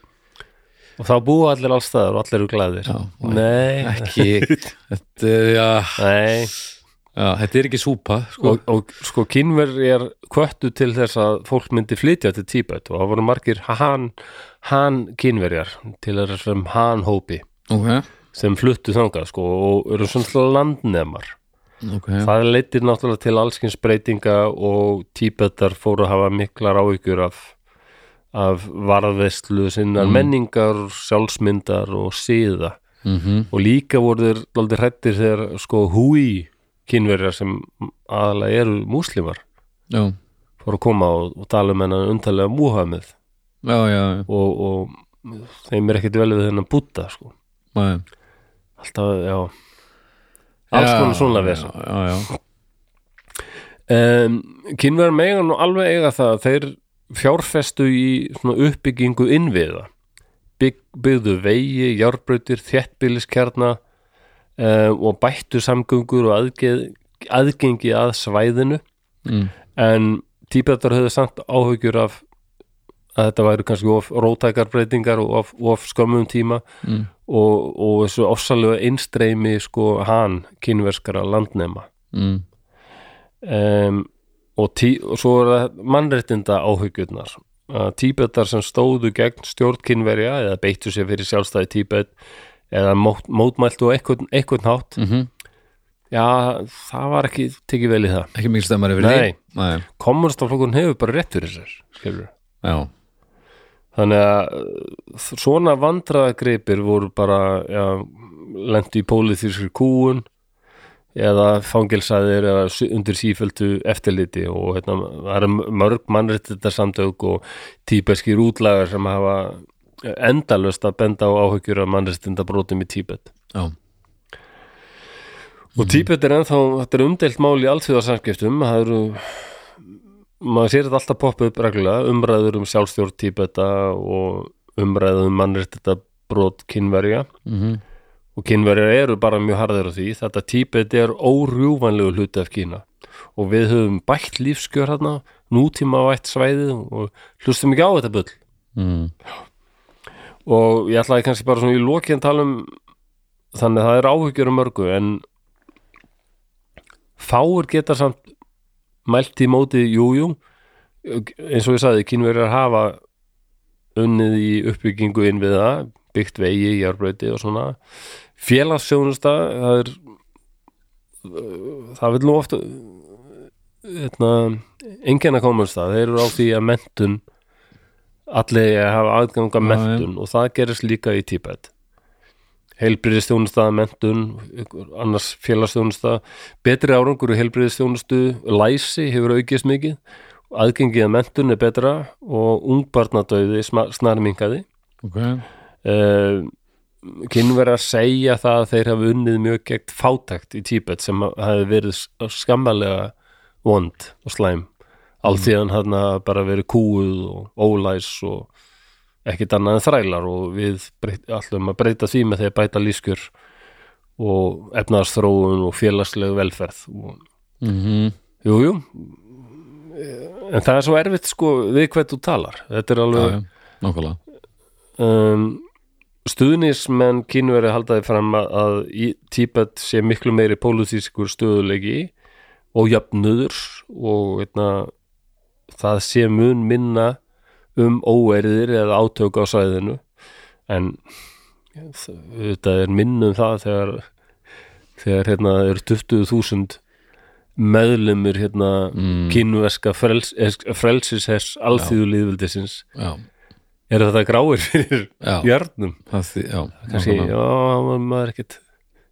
og þá búa allir alls staðar og allir eru glæðir
Já, og
Nei,
Ekki Þetta er, já,
nei
já, þetta er ekki súpa sko.
og, og sko kynverjar kvöttu til þess að fólk myndi flytja til Tíbet og það voru margir hann, hann kynverjar til þessum hann hópi
Ok,
sem fluttu þangað sko og eru svona landnemar
ok
það leittir náttúrulega til allskins breytinga og Tíbetar fóru að hafa miklar áhyggjur af, af varðveislu sinnar menningar, sjálfsmyndar og síða
Mhm.
og líka voru þeir aldrei hrættir þegar sko húi kynverjar sem aðalega eru múslimar
Já,
fór að koma og, og tala um hennan undarlega Múhamið
já, já, já
og, og þeim er ekkert vel við hennan Búta sko.
Nei.
alltaf, já alls
Já,
konar svona verð
já, já, já.
um, kynverðar megan og alveg eiga það að þeir fjárfestu í svona uppbyggingu innviða Bygg, byggðu vegi, járbrautir þéttbýliskjarna um, og bættu samgöngur og aðgeð, aðgengi að svæðinu
Mm.
en tíbetar höfðu samt áhugjur af að þetta væru kannski of rótækar breytingar og of, of skömmum tíma
Mm.
og, og þessu ofsalega innstreymi sko hann kynverskara landnema
Mm.
um, og, tí, og svo er það mannréttinda áhugjurnar að tíbetar sem stóðu gegn stjórnkinverja eða beittu sér fyrir sjálfstæði tíbet eða mót, mótmæltu á einhvern, einhvern hátt
Mhm.
já, það var ekki tekið vel í það
Ekki mikil stemmar yfir
Nei.
því Nei,
kommunstaflokkun hefur bara rétt fyrir sér skilur
já,
þannig að uh, svona vandraðagripir voru bara já, lendi í pólitískri kúun eða fangelsaðir eða s- undir síföldu eftirliti og hérna, það eru mörg mannréttindarsamtök og tíbeskir útlagar sem hafa endalöst að benda á áhyggjur af mannréttindabrótum í Tíbet
já
og Tíbet er ennþá, þetta er umdelt mál í alþjóðarsamskiptum það eru maður sér þetta alltaf poppa upp reglulega umræður um sjálfstjórn tíbeta og umræður um mannrétt þetta brot kynverja
Mhm.
og kynverjar eru bara mjög harðir á því þetta tíbet er órjúvanlegu hluti af Kína og við höfum bætt lífskjör hérna nútíma vætt svæðið og hlustum ekki á þetta bull
Mm.
og ég ætlaði kannski bara svona í lokiðan tala um þannig að það er áhyggjur um mörgu en fáur geta samt mælt í móti jújú eins og ég sagði, kínverjar hafa unnið í uppbyggingu inn við það, byggt vegi járbröti og svona félagsjónusta, það er það vil nú ofta hérna enginn að komast það, þeir eru á því að mentun allir eigi að hafa aðgang að
Já, já.
mentun og það gerist líka í Tíbet heilbriðistjónusta, mentun ykkur- annars félagsstjónusta betri árangur í heilbriðistjónustu læsi hefur aukist mikið aðgengið að mentun er betra og ungbarnadauði snarmingaði
Ok,
uh, kynverjar segja það að þeir hafa unnið mjög gegn fátækt í Tíbet sem hafi verið skammalega vond og slæm alltíðan mm. hann bara verið kúuð og ólæs og ekkit annað en þrælar og við breyt, allum að breyta því með þegar bæta lískjur og efnaðarstróun og félagsleg velferð og
Mhm.
Jú, jú En það er svo erfitt sko við hvað þú talar Þetta er
já,
alveg
já, nákvæmlega
um, Stuðnismenn kínveri haldaði fram að, að í Tíbet sé miklu meiri pólitískur stöðulegi og jafnöður og veitna, það sé mun minna um óerðir eða átök á sæðinu en þetta er minnum það þegar þegar hérna eru 20.000 meðlumur hérna
Mm.
kínverska frels, eh, frelsishers alþýðulíðvildisins
Já,
er þetta gráir fyrir
já,
hjörnum
það því, já
kannski,
nákvæmlega.
já, hann maður ekkit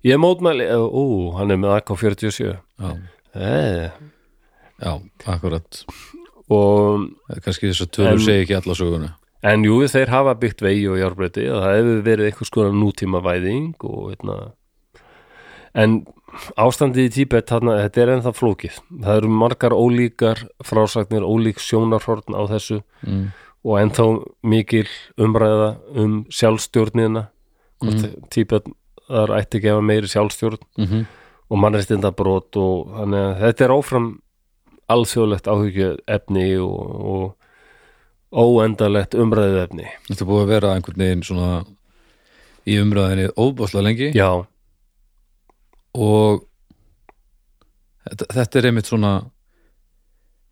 ég mótmæli, ó, ó, hann er með AK-47
já,
eh.
já, akkurat
og
Kannski þess að tölur
En-
segi ekki alla söguna
en jú, þeir hafa byggt vegi og járbreytti og það hefur verið einhvers konar nútíma væðing og veitna en ástandið í Tíbet þarna, þetta er ennþá flókið það eru margar ólíkar frásagnir ólík sjónarhorn á þessu
mm.
og ennþá mikil umræða um sjálfstjórnina hvort mm. Tíbet þar ætti ekki að hafa meiri sjálfstjórn
Mm -hmm.
og mannréttindabrót og þannig að þetta er áfram alþjóðlegt áhyggju efni og, og óendalegt umræðu efni
Þetta er búið að vera einhvern veginn svona í umræðinni óbáslega lengi
já,
og þetta, þetta er einmitt svona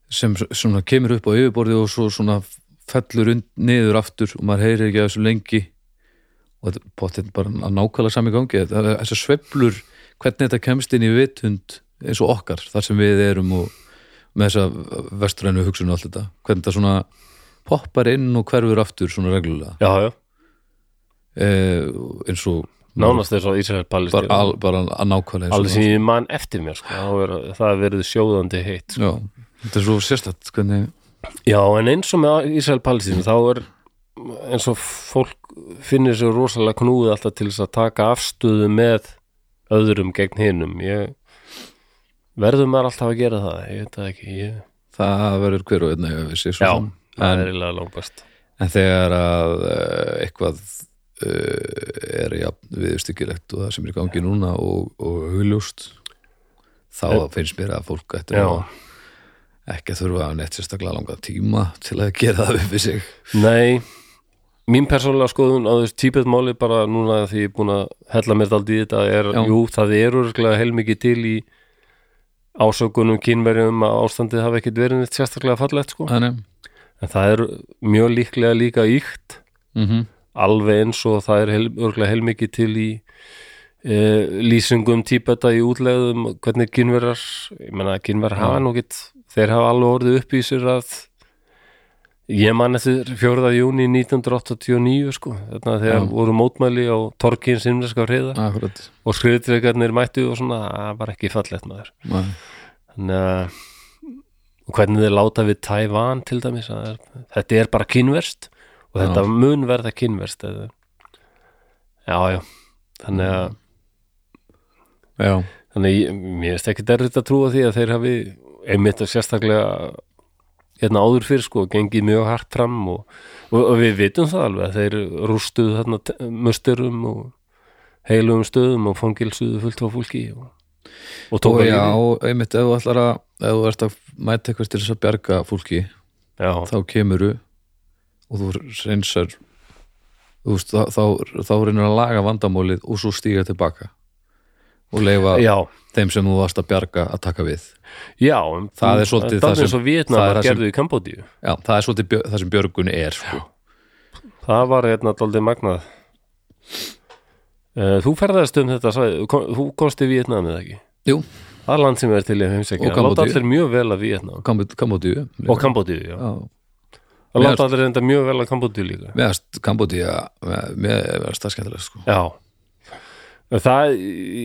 sem svona kemur upp á yfirborði und, svo svona fellur und, niður aftur og maður heyrir ekki að þessu lengi og þetta bóttið bara að nákvæmlega sami gangi það er þessar sveiflur hvernig þetta kemst inn í vitund eins og okkar þar sem við erum og með þessa vestrænu hugsun og allt þetta hvernig þetta svona poppar inn og hverfur aftur svona reglulega
já, já,
eh, eins og
nánast þess að Ísrael
bara,
Palestín
al, bara að nákvæmlega eins og-
alveg sem ég man eftir mér sko, þá er, það er verið sjóðandi heitt sko.
Já, þetta er svo sérstætt hvernig
já, en eins og með Ísrael Palestín þá er eins og fólk finnir sér rosalega knúið alltaf til þess að taka afstöðu með öðrum gegn hinum ég verður maður alltaf að gera það ég veit það ekki, ég,
það verður hver og einn eiga við sér svo
já,
sem.
það
en,
er eiginlega langbæst
en þegar að uh, eitthvað uh, er jafn viðstyggilegt og það sem er í gangi núna og, og hugljúst þá finnst mér að fólk ætti
Já.
nú að ekki að þurfa að hafa neitt sérstaklega langa tíma til að gera það upp við sig
Nei, mín persónulega skoðun á þessu tíbetmáli bara núna því ég er búin að hella mér daldi í þetta er,
Já.
jú, það er örgulega heilmikið til í ásökunum kynverjum að ástandið hafi ekkit verið neitt sérstaklega fallegt sko
Þannig,
en það er mjög líklega líka íkt
mm -hmm.
alveg eins og það er heil, örgulega heilmikið til í e, lýsingum tíbeta í útlegðum hvernig kynverjar, ég menna kynverjar hafa nú get, þeir hafa alveg orðið upp í sér að ég man eftir 4. júni 1989 sko, þarna þegar voru mótmæli á torkins innverska hreiða
akkurat
og skriðtrekarnir mættu og svona, það var ekki fallegt maður
Nei.
þannig að og hvernig þeir láta við Taiwan til dæmis það er, þetta er bara kynverst og þetta mun verða kynverst eða. já, já þannig
Mm.
að
Já,
þannig að ég, mér er ekki derrið að trúa því að þeir hafi einmitt og sérstaklega hérna áður fyrir sko, gengið mjög hart fram og, og, og við vitum það alveg að þeir rústuðu þarna t- musterum og heilum stöðum og fangilsuðu fullt á fólki og, og
og
tók
já, einmitt ef þú ætlar að ef þú ert að mæta eitthvað til þess að bjarga fólki
já,
þá kemuru og þú reynsar þú veist, þá, þá, þá reynir að laga vandamálið og svo stíga tilbaka og leifa
já,
þeim sem þú varst að bjarga að taka við
já
Það er svolítið það
það
sem-
sem
það er
Vietnamar
það sem-
gerðu í Kambodíu
já, það er svolítið björ, það sem björgun er sko.
Það var hérna daldið magnað Eh, Þú ferðast um þetta svæði, kom, þú komst í Vietnam eða ekki?
jú,
Það er land sem er til í heimsækja
Og
Það láta
Kambódíu.
allir mjög vel að Vietnam
Kambodíu
og Kambodíu, já
já,
Það
Mér
láta allir reynda mjög vel að Kambodíu líka
meðast Kambodíu meðast það skemmtilega sko.
Já Það,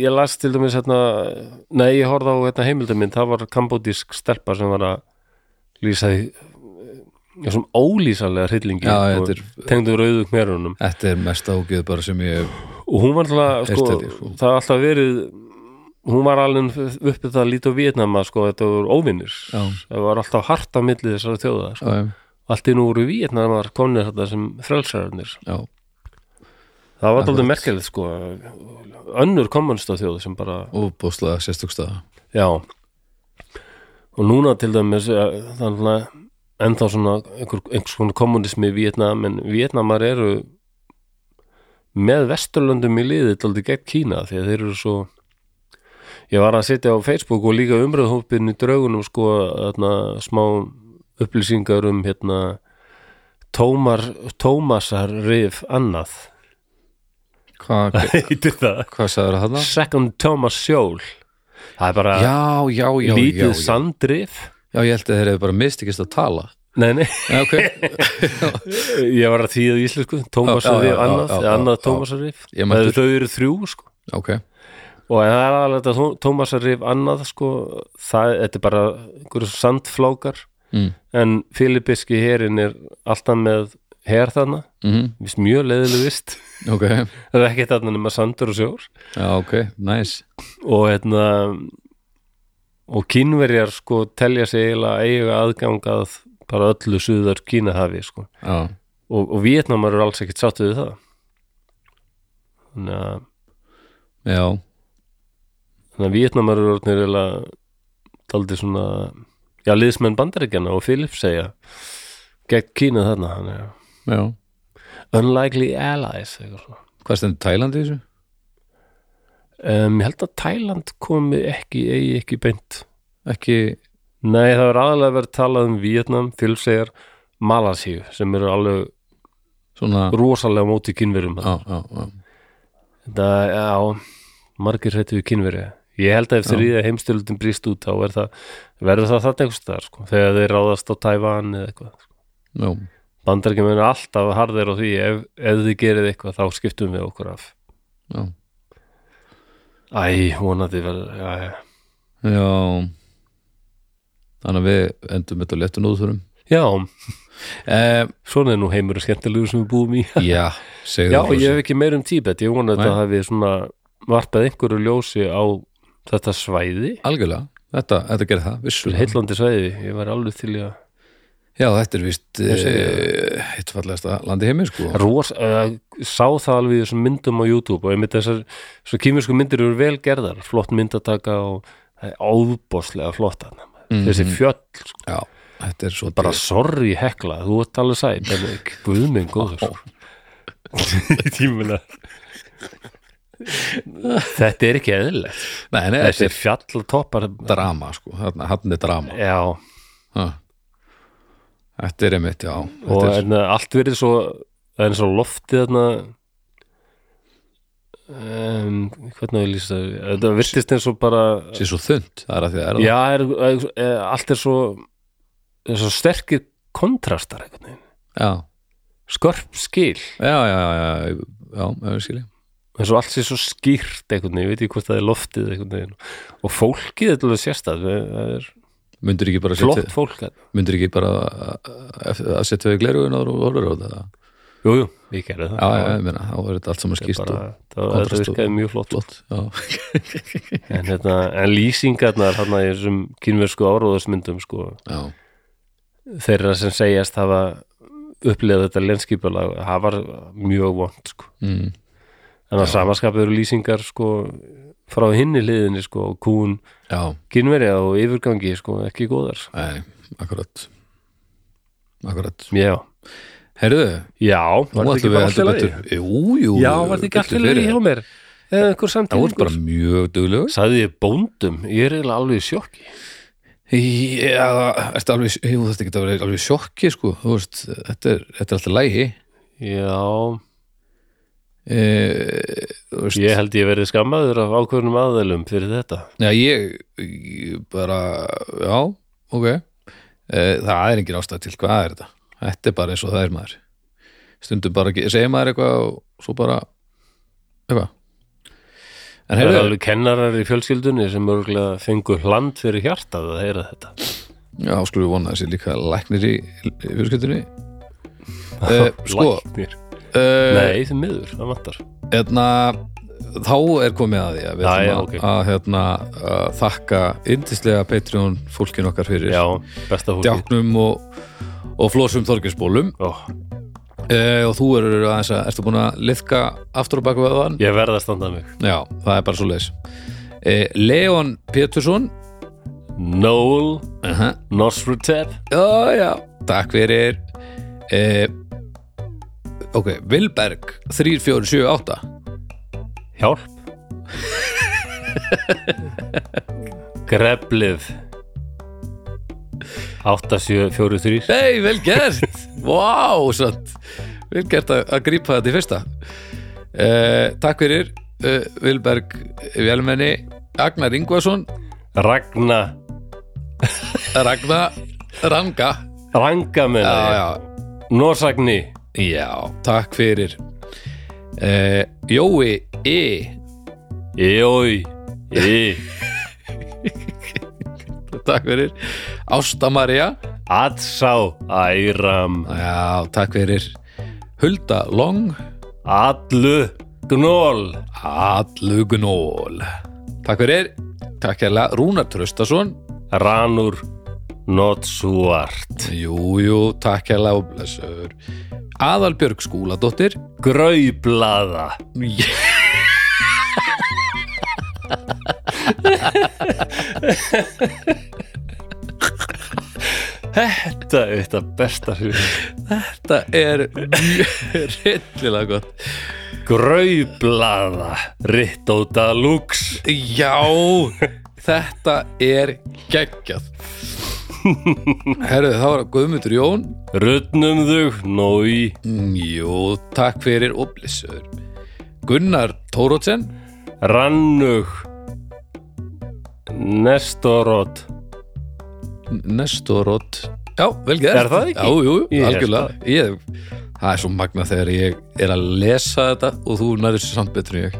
ég las til dæmis hérna, nei, ég horfði á hérna, heimildamind, það var kambodísk stelpa sem var að lýsa því þessum ólýsalega hryllingi
Já,
og
þetta er-
tengdu rauðu kmerunum
þetta er mest ágjöð bara sem ég
og hún var alltaf sko,
Eitt þetta, sko.
það er alltaf verið hún var alveg uppið það lítið á Vietnama sko, þetta voru óvinnir
Já.
það var alltaf hart á milli þessara þjóða sko.
já,
allt í nú voru Vietnamar konir þetta sem frelsararnir
já,
það var alltaf merkilegt sko önnur kommunsta þjóð sem bara
og bóðslega sérstökstaða
já og núna til dæmis eh, það er alltaf ennþá svona einhver, einhvers konar kommunismi í Vietnam en Vietnamar eru með Vesturlöndum í liði daldi gegn Kína því að þeir eru svo ég var að sitja á Facebook og líka umröðhópin í draugunum sko þarna, smá upplýsingar um hérna Tómar, Tómasar Rif annað
hvað
heitir það
hva sagður það þarna?
Second Thomas Sjól það er bara
já, já, já, já,
lítið
já.
sandrif
já, ég held að þeir eru bara mistikist að tala
Nei, nei,
Já, ok,
Eh, ég var að þýða í íslensku
Já, já,
Tómasarif,
já, já,
annað,
já,
eða
já,
annað
já.
Tómasarif
Ég mætti-
Þau eru þrjú, sko
ok
og en það er alveg þetta Tómasarif annað, sko það, þetta er bara einhverju sandflákar
mm.
en filipiski herin er alltaf með her þarna,
Mm
vist mjög leiðileg vist
ok,
það er ekki þarna nema sandur og sjór
já, ok, nice
og hérna og kínverjar sko telja sig eiginlega eiga aðgang að bara öllu suðar kínahafi sko
já,
og, og Vietnamar eru alls ekkert sáttu við það þannig að,
já,
þannig að Vietnamar eru orðnir eiginlega taldi svona já, liðsmenn bandaríkjana og Philip segja gegn Kína þarna þannig að,
já
unlikely allies eitthvað svona
hvað stendur Tælandi í þessu?
um, ég held að Tæland komi ekki, eigi ekki beint
ekki,
Nei, það er aðalega verið talað um Vietnam, Filsegar, Malasíu sem eru alveg
svona
rosalega á móti kynverum
já, já, já,
Þetta, já, margir hrættu við kynveri Ég held að ef þeir í það heimstöldum brýst út þá er það, verður það þetta einhvers staðar, sko, þegar þeir ráðast á Tævan eða eitthvað, sko.
já,
Bandarki munir alltaf harðir á því ef, ef þið gerið eitthvað, þá skiptum við okkur af
já,
Æ, vonandi verður, já, já
já. þannig að við endum þetta á léttum úðurum
Já,
eh,
svona er nú heimur skemmtilegur sem við búum í
já, segðu
Já,
frá
ég
þessu.
hef ekki meir um Tíbet, ég vona að
Nei.
þetta hafi svona varpað einhverju ljósi á þetta svæði,
algjörlega, þetta, þetta gerir það vissulega.
heillandi svæði, ég var alveg til í að
já, þetta er vist
segi
eh, eitt fallegasta landi heimi sko
Ros, uh, sá það alveg í þessum myndum á YouTube og einmitt þessar svo kýmisku myndir eru vel gerðar, flott myndataka og það er áðbóðslega flott hann þessi fjöll, sko,
Mhm. já, þetta er svo
Mhm. bara sorry hekla, þú ert alveg sæt en ekki guðminn góður sko. ég meina þetta er ekki eðlilegt
nei, nei,
þessi
þetta er
fjallatoppar
drama sko, þarna, hann er drama
já,
Ha. Þetta er einmitt, já
og
Þetta er,
en, allt verið svo það er eins og loftið þarna um, hvernig við lýsa það þetta virtist eins og bara
sé svo þund Það er að því að það er
já, er, er, er, allt er svo er svo sterkir kontrastar einhvern veginn,
það
skörp skil
Já, já, já, já, já, já, já, skil ég
eins og allt sé svo skýrt einhvern veginn, ég veit ekki hvort það er loftið einhvern veginn og fólkið þetta er alveg sérstæð það er
Mundur ekki bara setja,
flott fólk þarna.
mundur ekki bara að að setja við glerugun og orður á þetta Já,
jú, jú, ég gerði það
já, ég meina, þá er þetta allt saman
Ég
skýrt
bara,
og
það, þetta
kontrast og-
virkaði mjög flott
flott Já,
en, hérna, en lýsingarnar hérna í þessum kynversku áróðasmyndum sko,
já,
þeirra sem segjast hafa upplegað þetta lenskipulag hafa mjög vond sko.
mm.
en að samaskapið eru lýsingar sko, frá hinni hliðinni sko, kún,
já,
kynverja og yfirgangi sko, ekki góðar
nei, akkurat akkurat
já,
herðu,
já
nú ætlum
var þetta ekki
við
bara
heldur
alltaf lagi
betur jú, jú,
já, var þetta ekki
betur
alltaf lagi
fyrir.
hjá mér eða
það
einhver
voru
samtíð
bara mjög duglegur
sagði ég bóndum, ég er eiginlega alveg í sjokki
já, ertu alveg jú, þetta getur að vera alveg í sjokki sko, þú veist, þetta er, þetta er alltaf lægi
já,
e, þú veist
ég held ég verið skammaður af ákveðnum aðeilum fyrir þetta
Já, ég, ég bara, já, ok Eh, Það er engin ástæð til hvað er þetta Þetta er bara eins og það er maður Stundum bara ekki, segir maður eitthvað og svo bara, eitthvað En
Það eru
heyrðu,
alveg kennarar í fjölskyldunni sem örgulega fengu hland fyrir hjartað að heyra þetta.
já, skulum við vona að þessi líka læknir í fyrirskjöldunni uh, Sko,
Læknir.
uh,
Nei, þið miður, það vantar.
hérna þá er komið að því að við
Já,
ætlum
já,
að,
ok.
að hérna, að þakka yndislega Patreon fólkin okkar fyrir
Já, besta fólkið.
djáknum og, og flósum þorgjusbólum
Ó,
Uh, og þú eru aðeins að, ertu búin að liðka aftur á baku vöðvan?
ég verða að standa mig.
Já, það er bara svo leis. Leon Pétursson,
Noel
uh -huh.
Nosrutep.
já, já, takk fyrir. Uh, ok, Vilberg, 3478,
Hjálp. Greblið. 8743.
hei, vel gert, vá, wow, sant, vel gert að, að grípa þetta í fyrsta. Uh, takk fyrir, uh, Vilberg, velmenni, Agnar Ingvason,
Ragna.
Ragnar, Ranga,
Ranga með
já,
það.
já,
Norsagni.
Eh, Já, takk fyrir eh, Jói E
Jói. Í.
Takk fyrir Ásta Maria
Atsá. Æram.
Já, takk fyrir Hulda Long
Allu Gnól
Allugnól Takk fyrir Takk hérlega Rúnar Tröstason
Ranur Notsvart
Jú, jú, takk hérlega og blessur Aðalbjörg Skúladóttir
Graublaða Þetta er þetta besta hrifin
Þetta er reyndilega gott
Graublaða Rittóta Lux
Já, þetta er geggjað Herðu, það var Guðmundur Jón
Rutnum þau Nói
Mm, Jú, takk fyrir og blessur Gunnar Tórótsen
Rannug Nestorot
Nestorót Já, vel gert
Er það ekki?
Já, jú, jú,
Ég held
algjörlega ég, Það er svo magna þegar ég er að lesa þetta og þú nærður sér samt betur en ég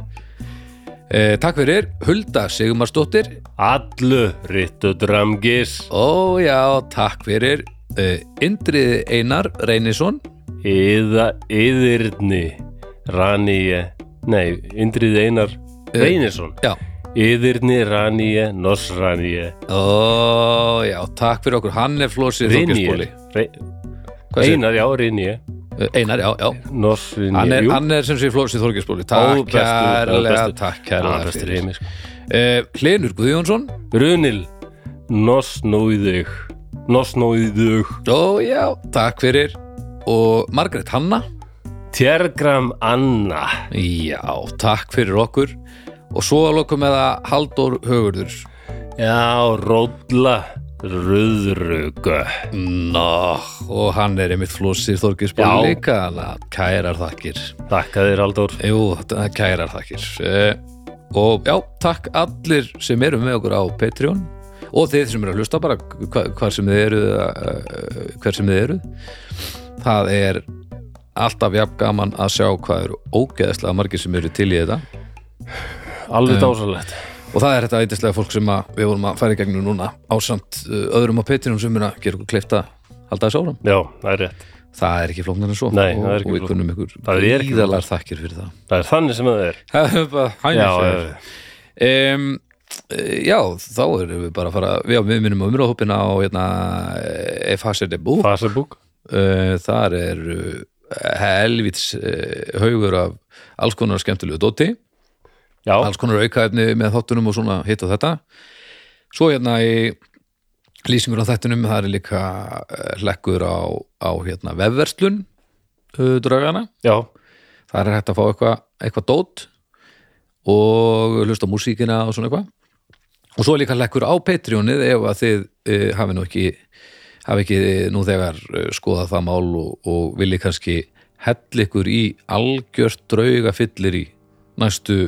eh, Takk fyrir Hulda Sigumarsdóttir
Allu Rittu Dramgis
Ó já, takk fyrir eh, Indriði Einar Reynisson
Eða yðirni Raníje Nei, Indrið Einar Reynisson
Já,
Yðirni Raníje, Nosraníje
ó já, takk fyrir okkur Hann er flósið
Rinje Re- Einar, já, Rinje
Eh, Einar, já, já Hann
Nosrinje,
er,
jú
hann er sem sé flósið Þorgeirsbóli
Ó,
Takk
bestur,
kærlega,
bestur.
takk
Hann
kærlega
bestur
fyrir.
heimi, sko.
Eh, Hlynur Guðjónsson
Runil Nosnóiðug Nosnóiðug
Ó já, takk fyrir Og Margrét Hanna
Tjergram Anna
Já, takk fyrir okkur Og svo að lokum með að Halldór Högurður
Já, Rólla Röðruga
Ná, og hann er einmitt flósið Þorgeirsbóli
Já.
líka hana, Kærar þakkir
Þakka þér Aldór
Jú, þetta er kærar þakkir eh, Og já, takk allir sem eru með okkur á Patreon og þeir sem eru að hlusta bara hva, hvar sem þið eru eh, hver sem þið eru það er alltaf jafn gaman að sjá hvað eru ógeðslega margir sem eru til í þetta
Alveg dásalegt
og það er þetta eitthvað fólk sem að við vorum að fara í gegnum núna ásamt uh, öðrum á Patreon sem er að gera okkur kleifta halda þess áram.
Já, það er rétt
Það er ekki flóknar en svo
Nei,
og,
það er ekki
og við
flóknara.
kunnum ykkur
Það er ekki
gríðalar þakkir fyrir það.
Það er þannig sem það er
Það er bara
Já,
hænir
já, já.
um, Eh, Já, þá erum við bara að fara við á miðminum á umröðhópina á hérna, eh, FHCDBU
Facebook
uh, þar er uh, helvits uh, haugur af alls konar skemmtilegu dóti
Já,
alls konar aukaefni með þáttunum og svona hitt og þetta svo hérna í lýsingur á þættunum það er líka eh, hlekkur á, á hérna vefverslun uh, dragana,
já,
það er hægt að fá eitthvað eitthvað dót og hlusta á músíkina og svona eitthvað og svo er líka hlekkur á Patreonið ef að þið uh, hafi nú ekki hafi ekki nú þegar uh, skoðað það mál og, og vilji kannski hell ykkur í algjört drauga fyllir í næstu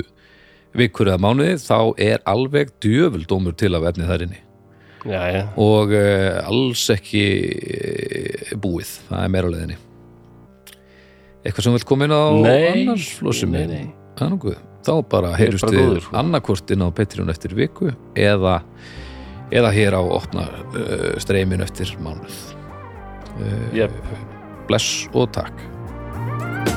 vikur eða mánuði þá er alveg djöfuldómur til af efni þar inni
já, já
og uh, alls ekki uh, búið, það er meira á leiðinni eitthvað sem vil koma inn á
Nei,
annars flósum
nei, nei.
þá bara heyrjumst
bara
við
góður, sko.
annarkvort inn á Patreon eftir viku eða, eða hér á opna uh, streymin eftir mánuð
Jep.
bless og takk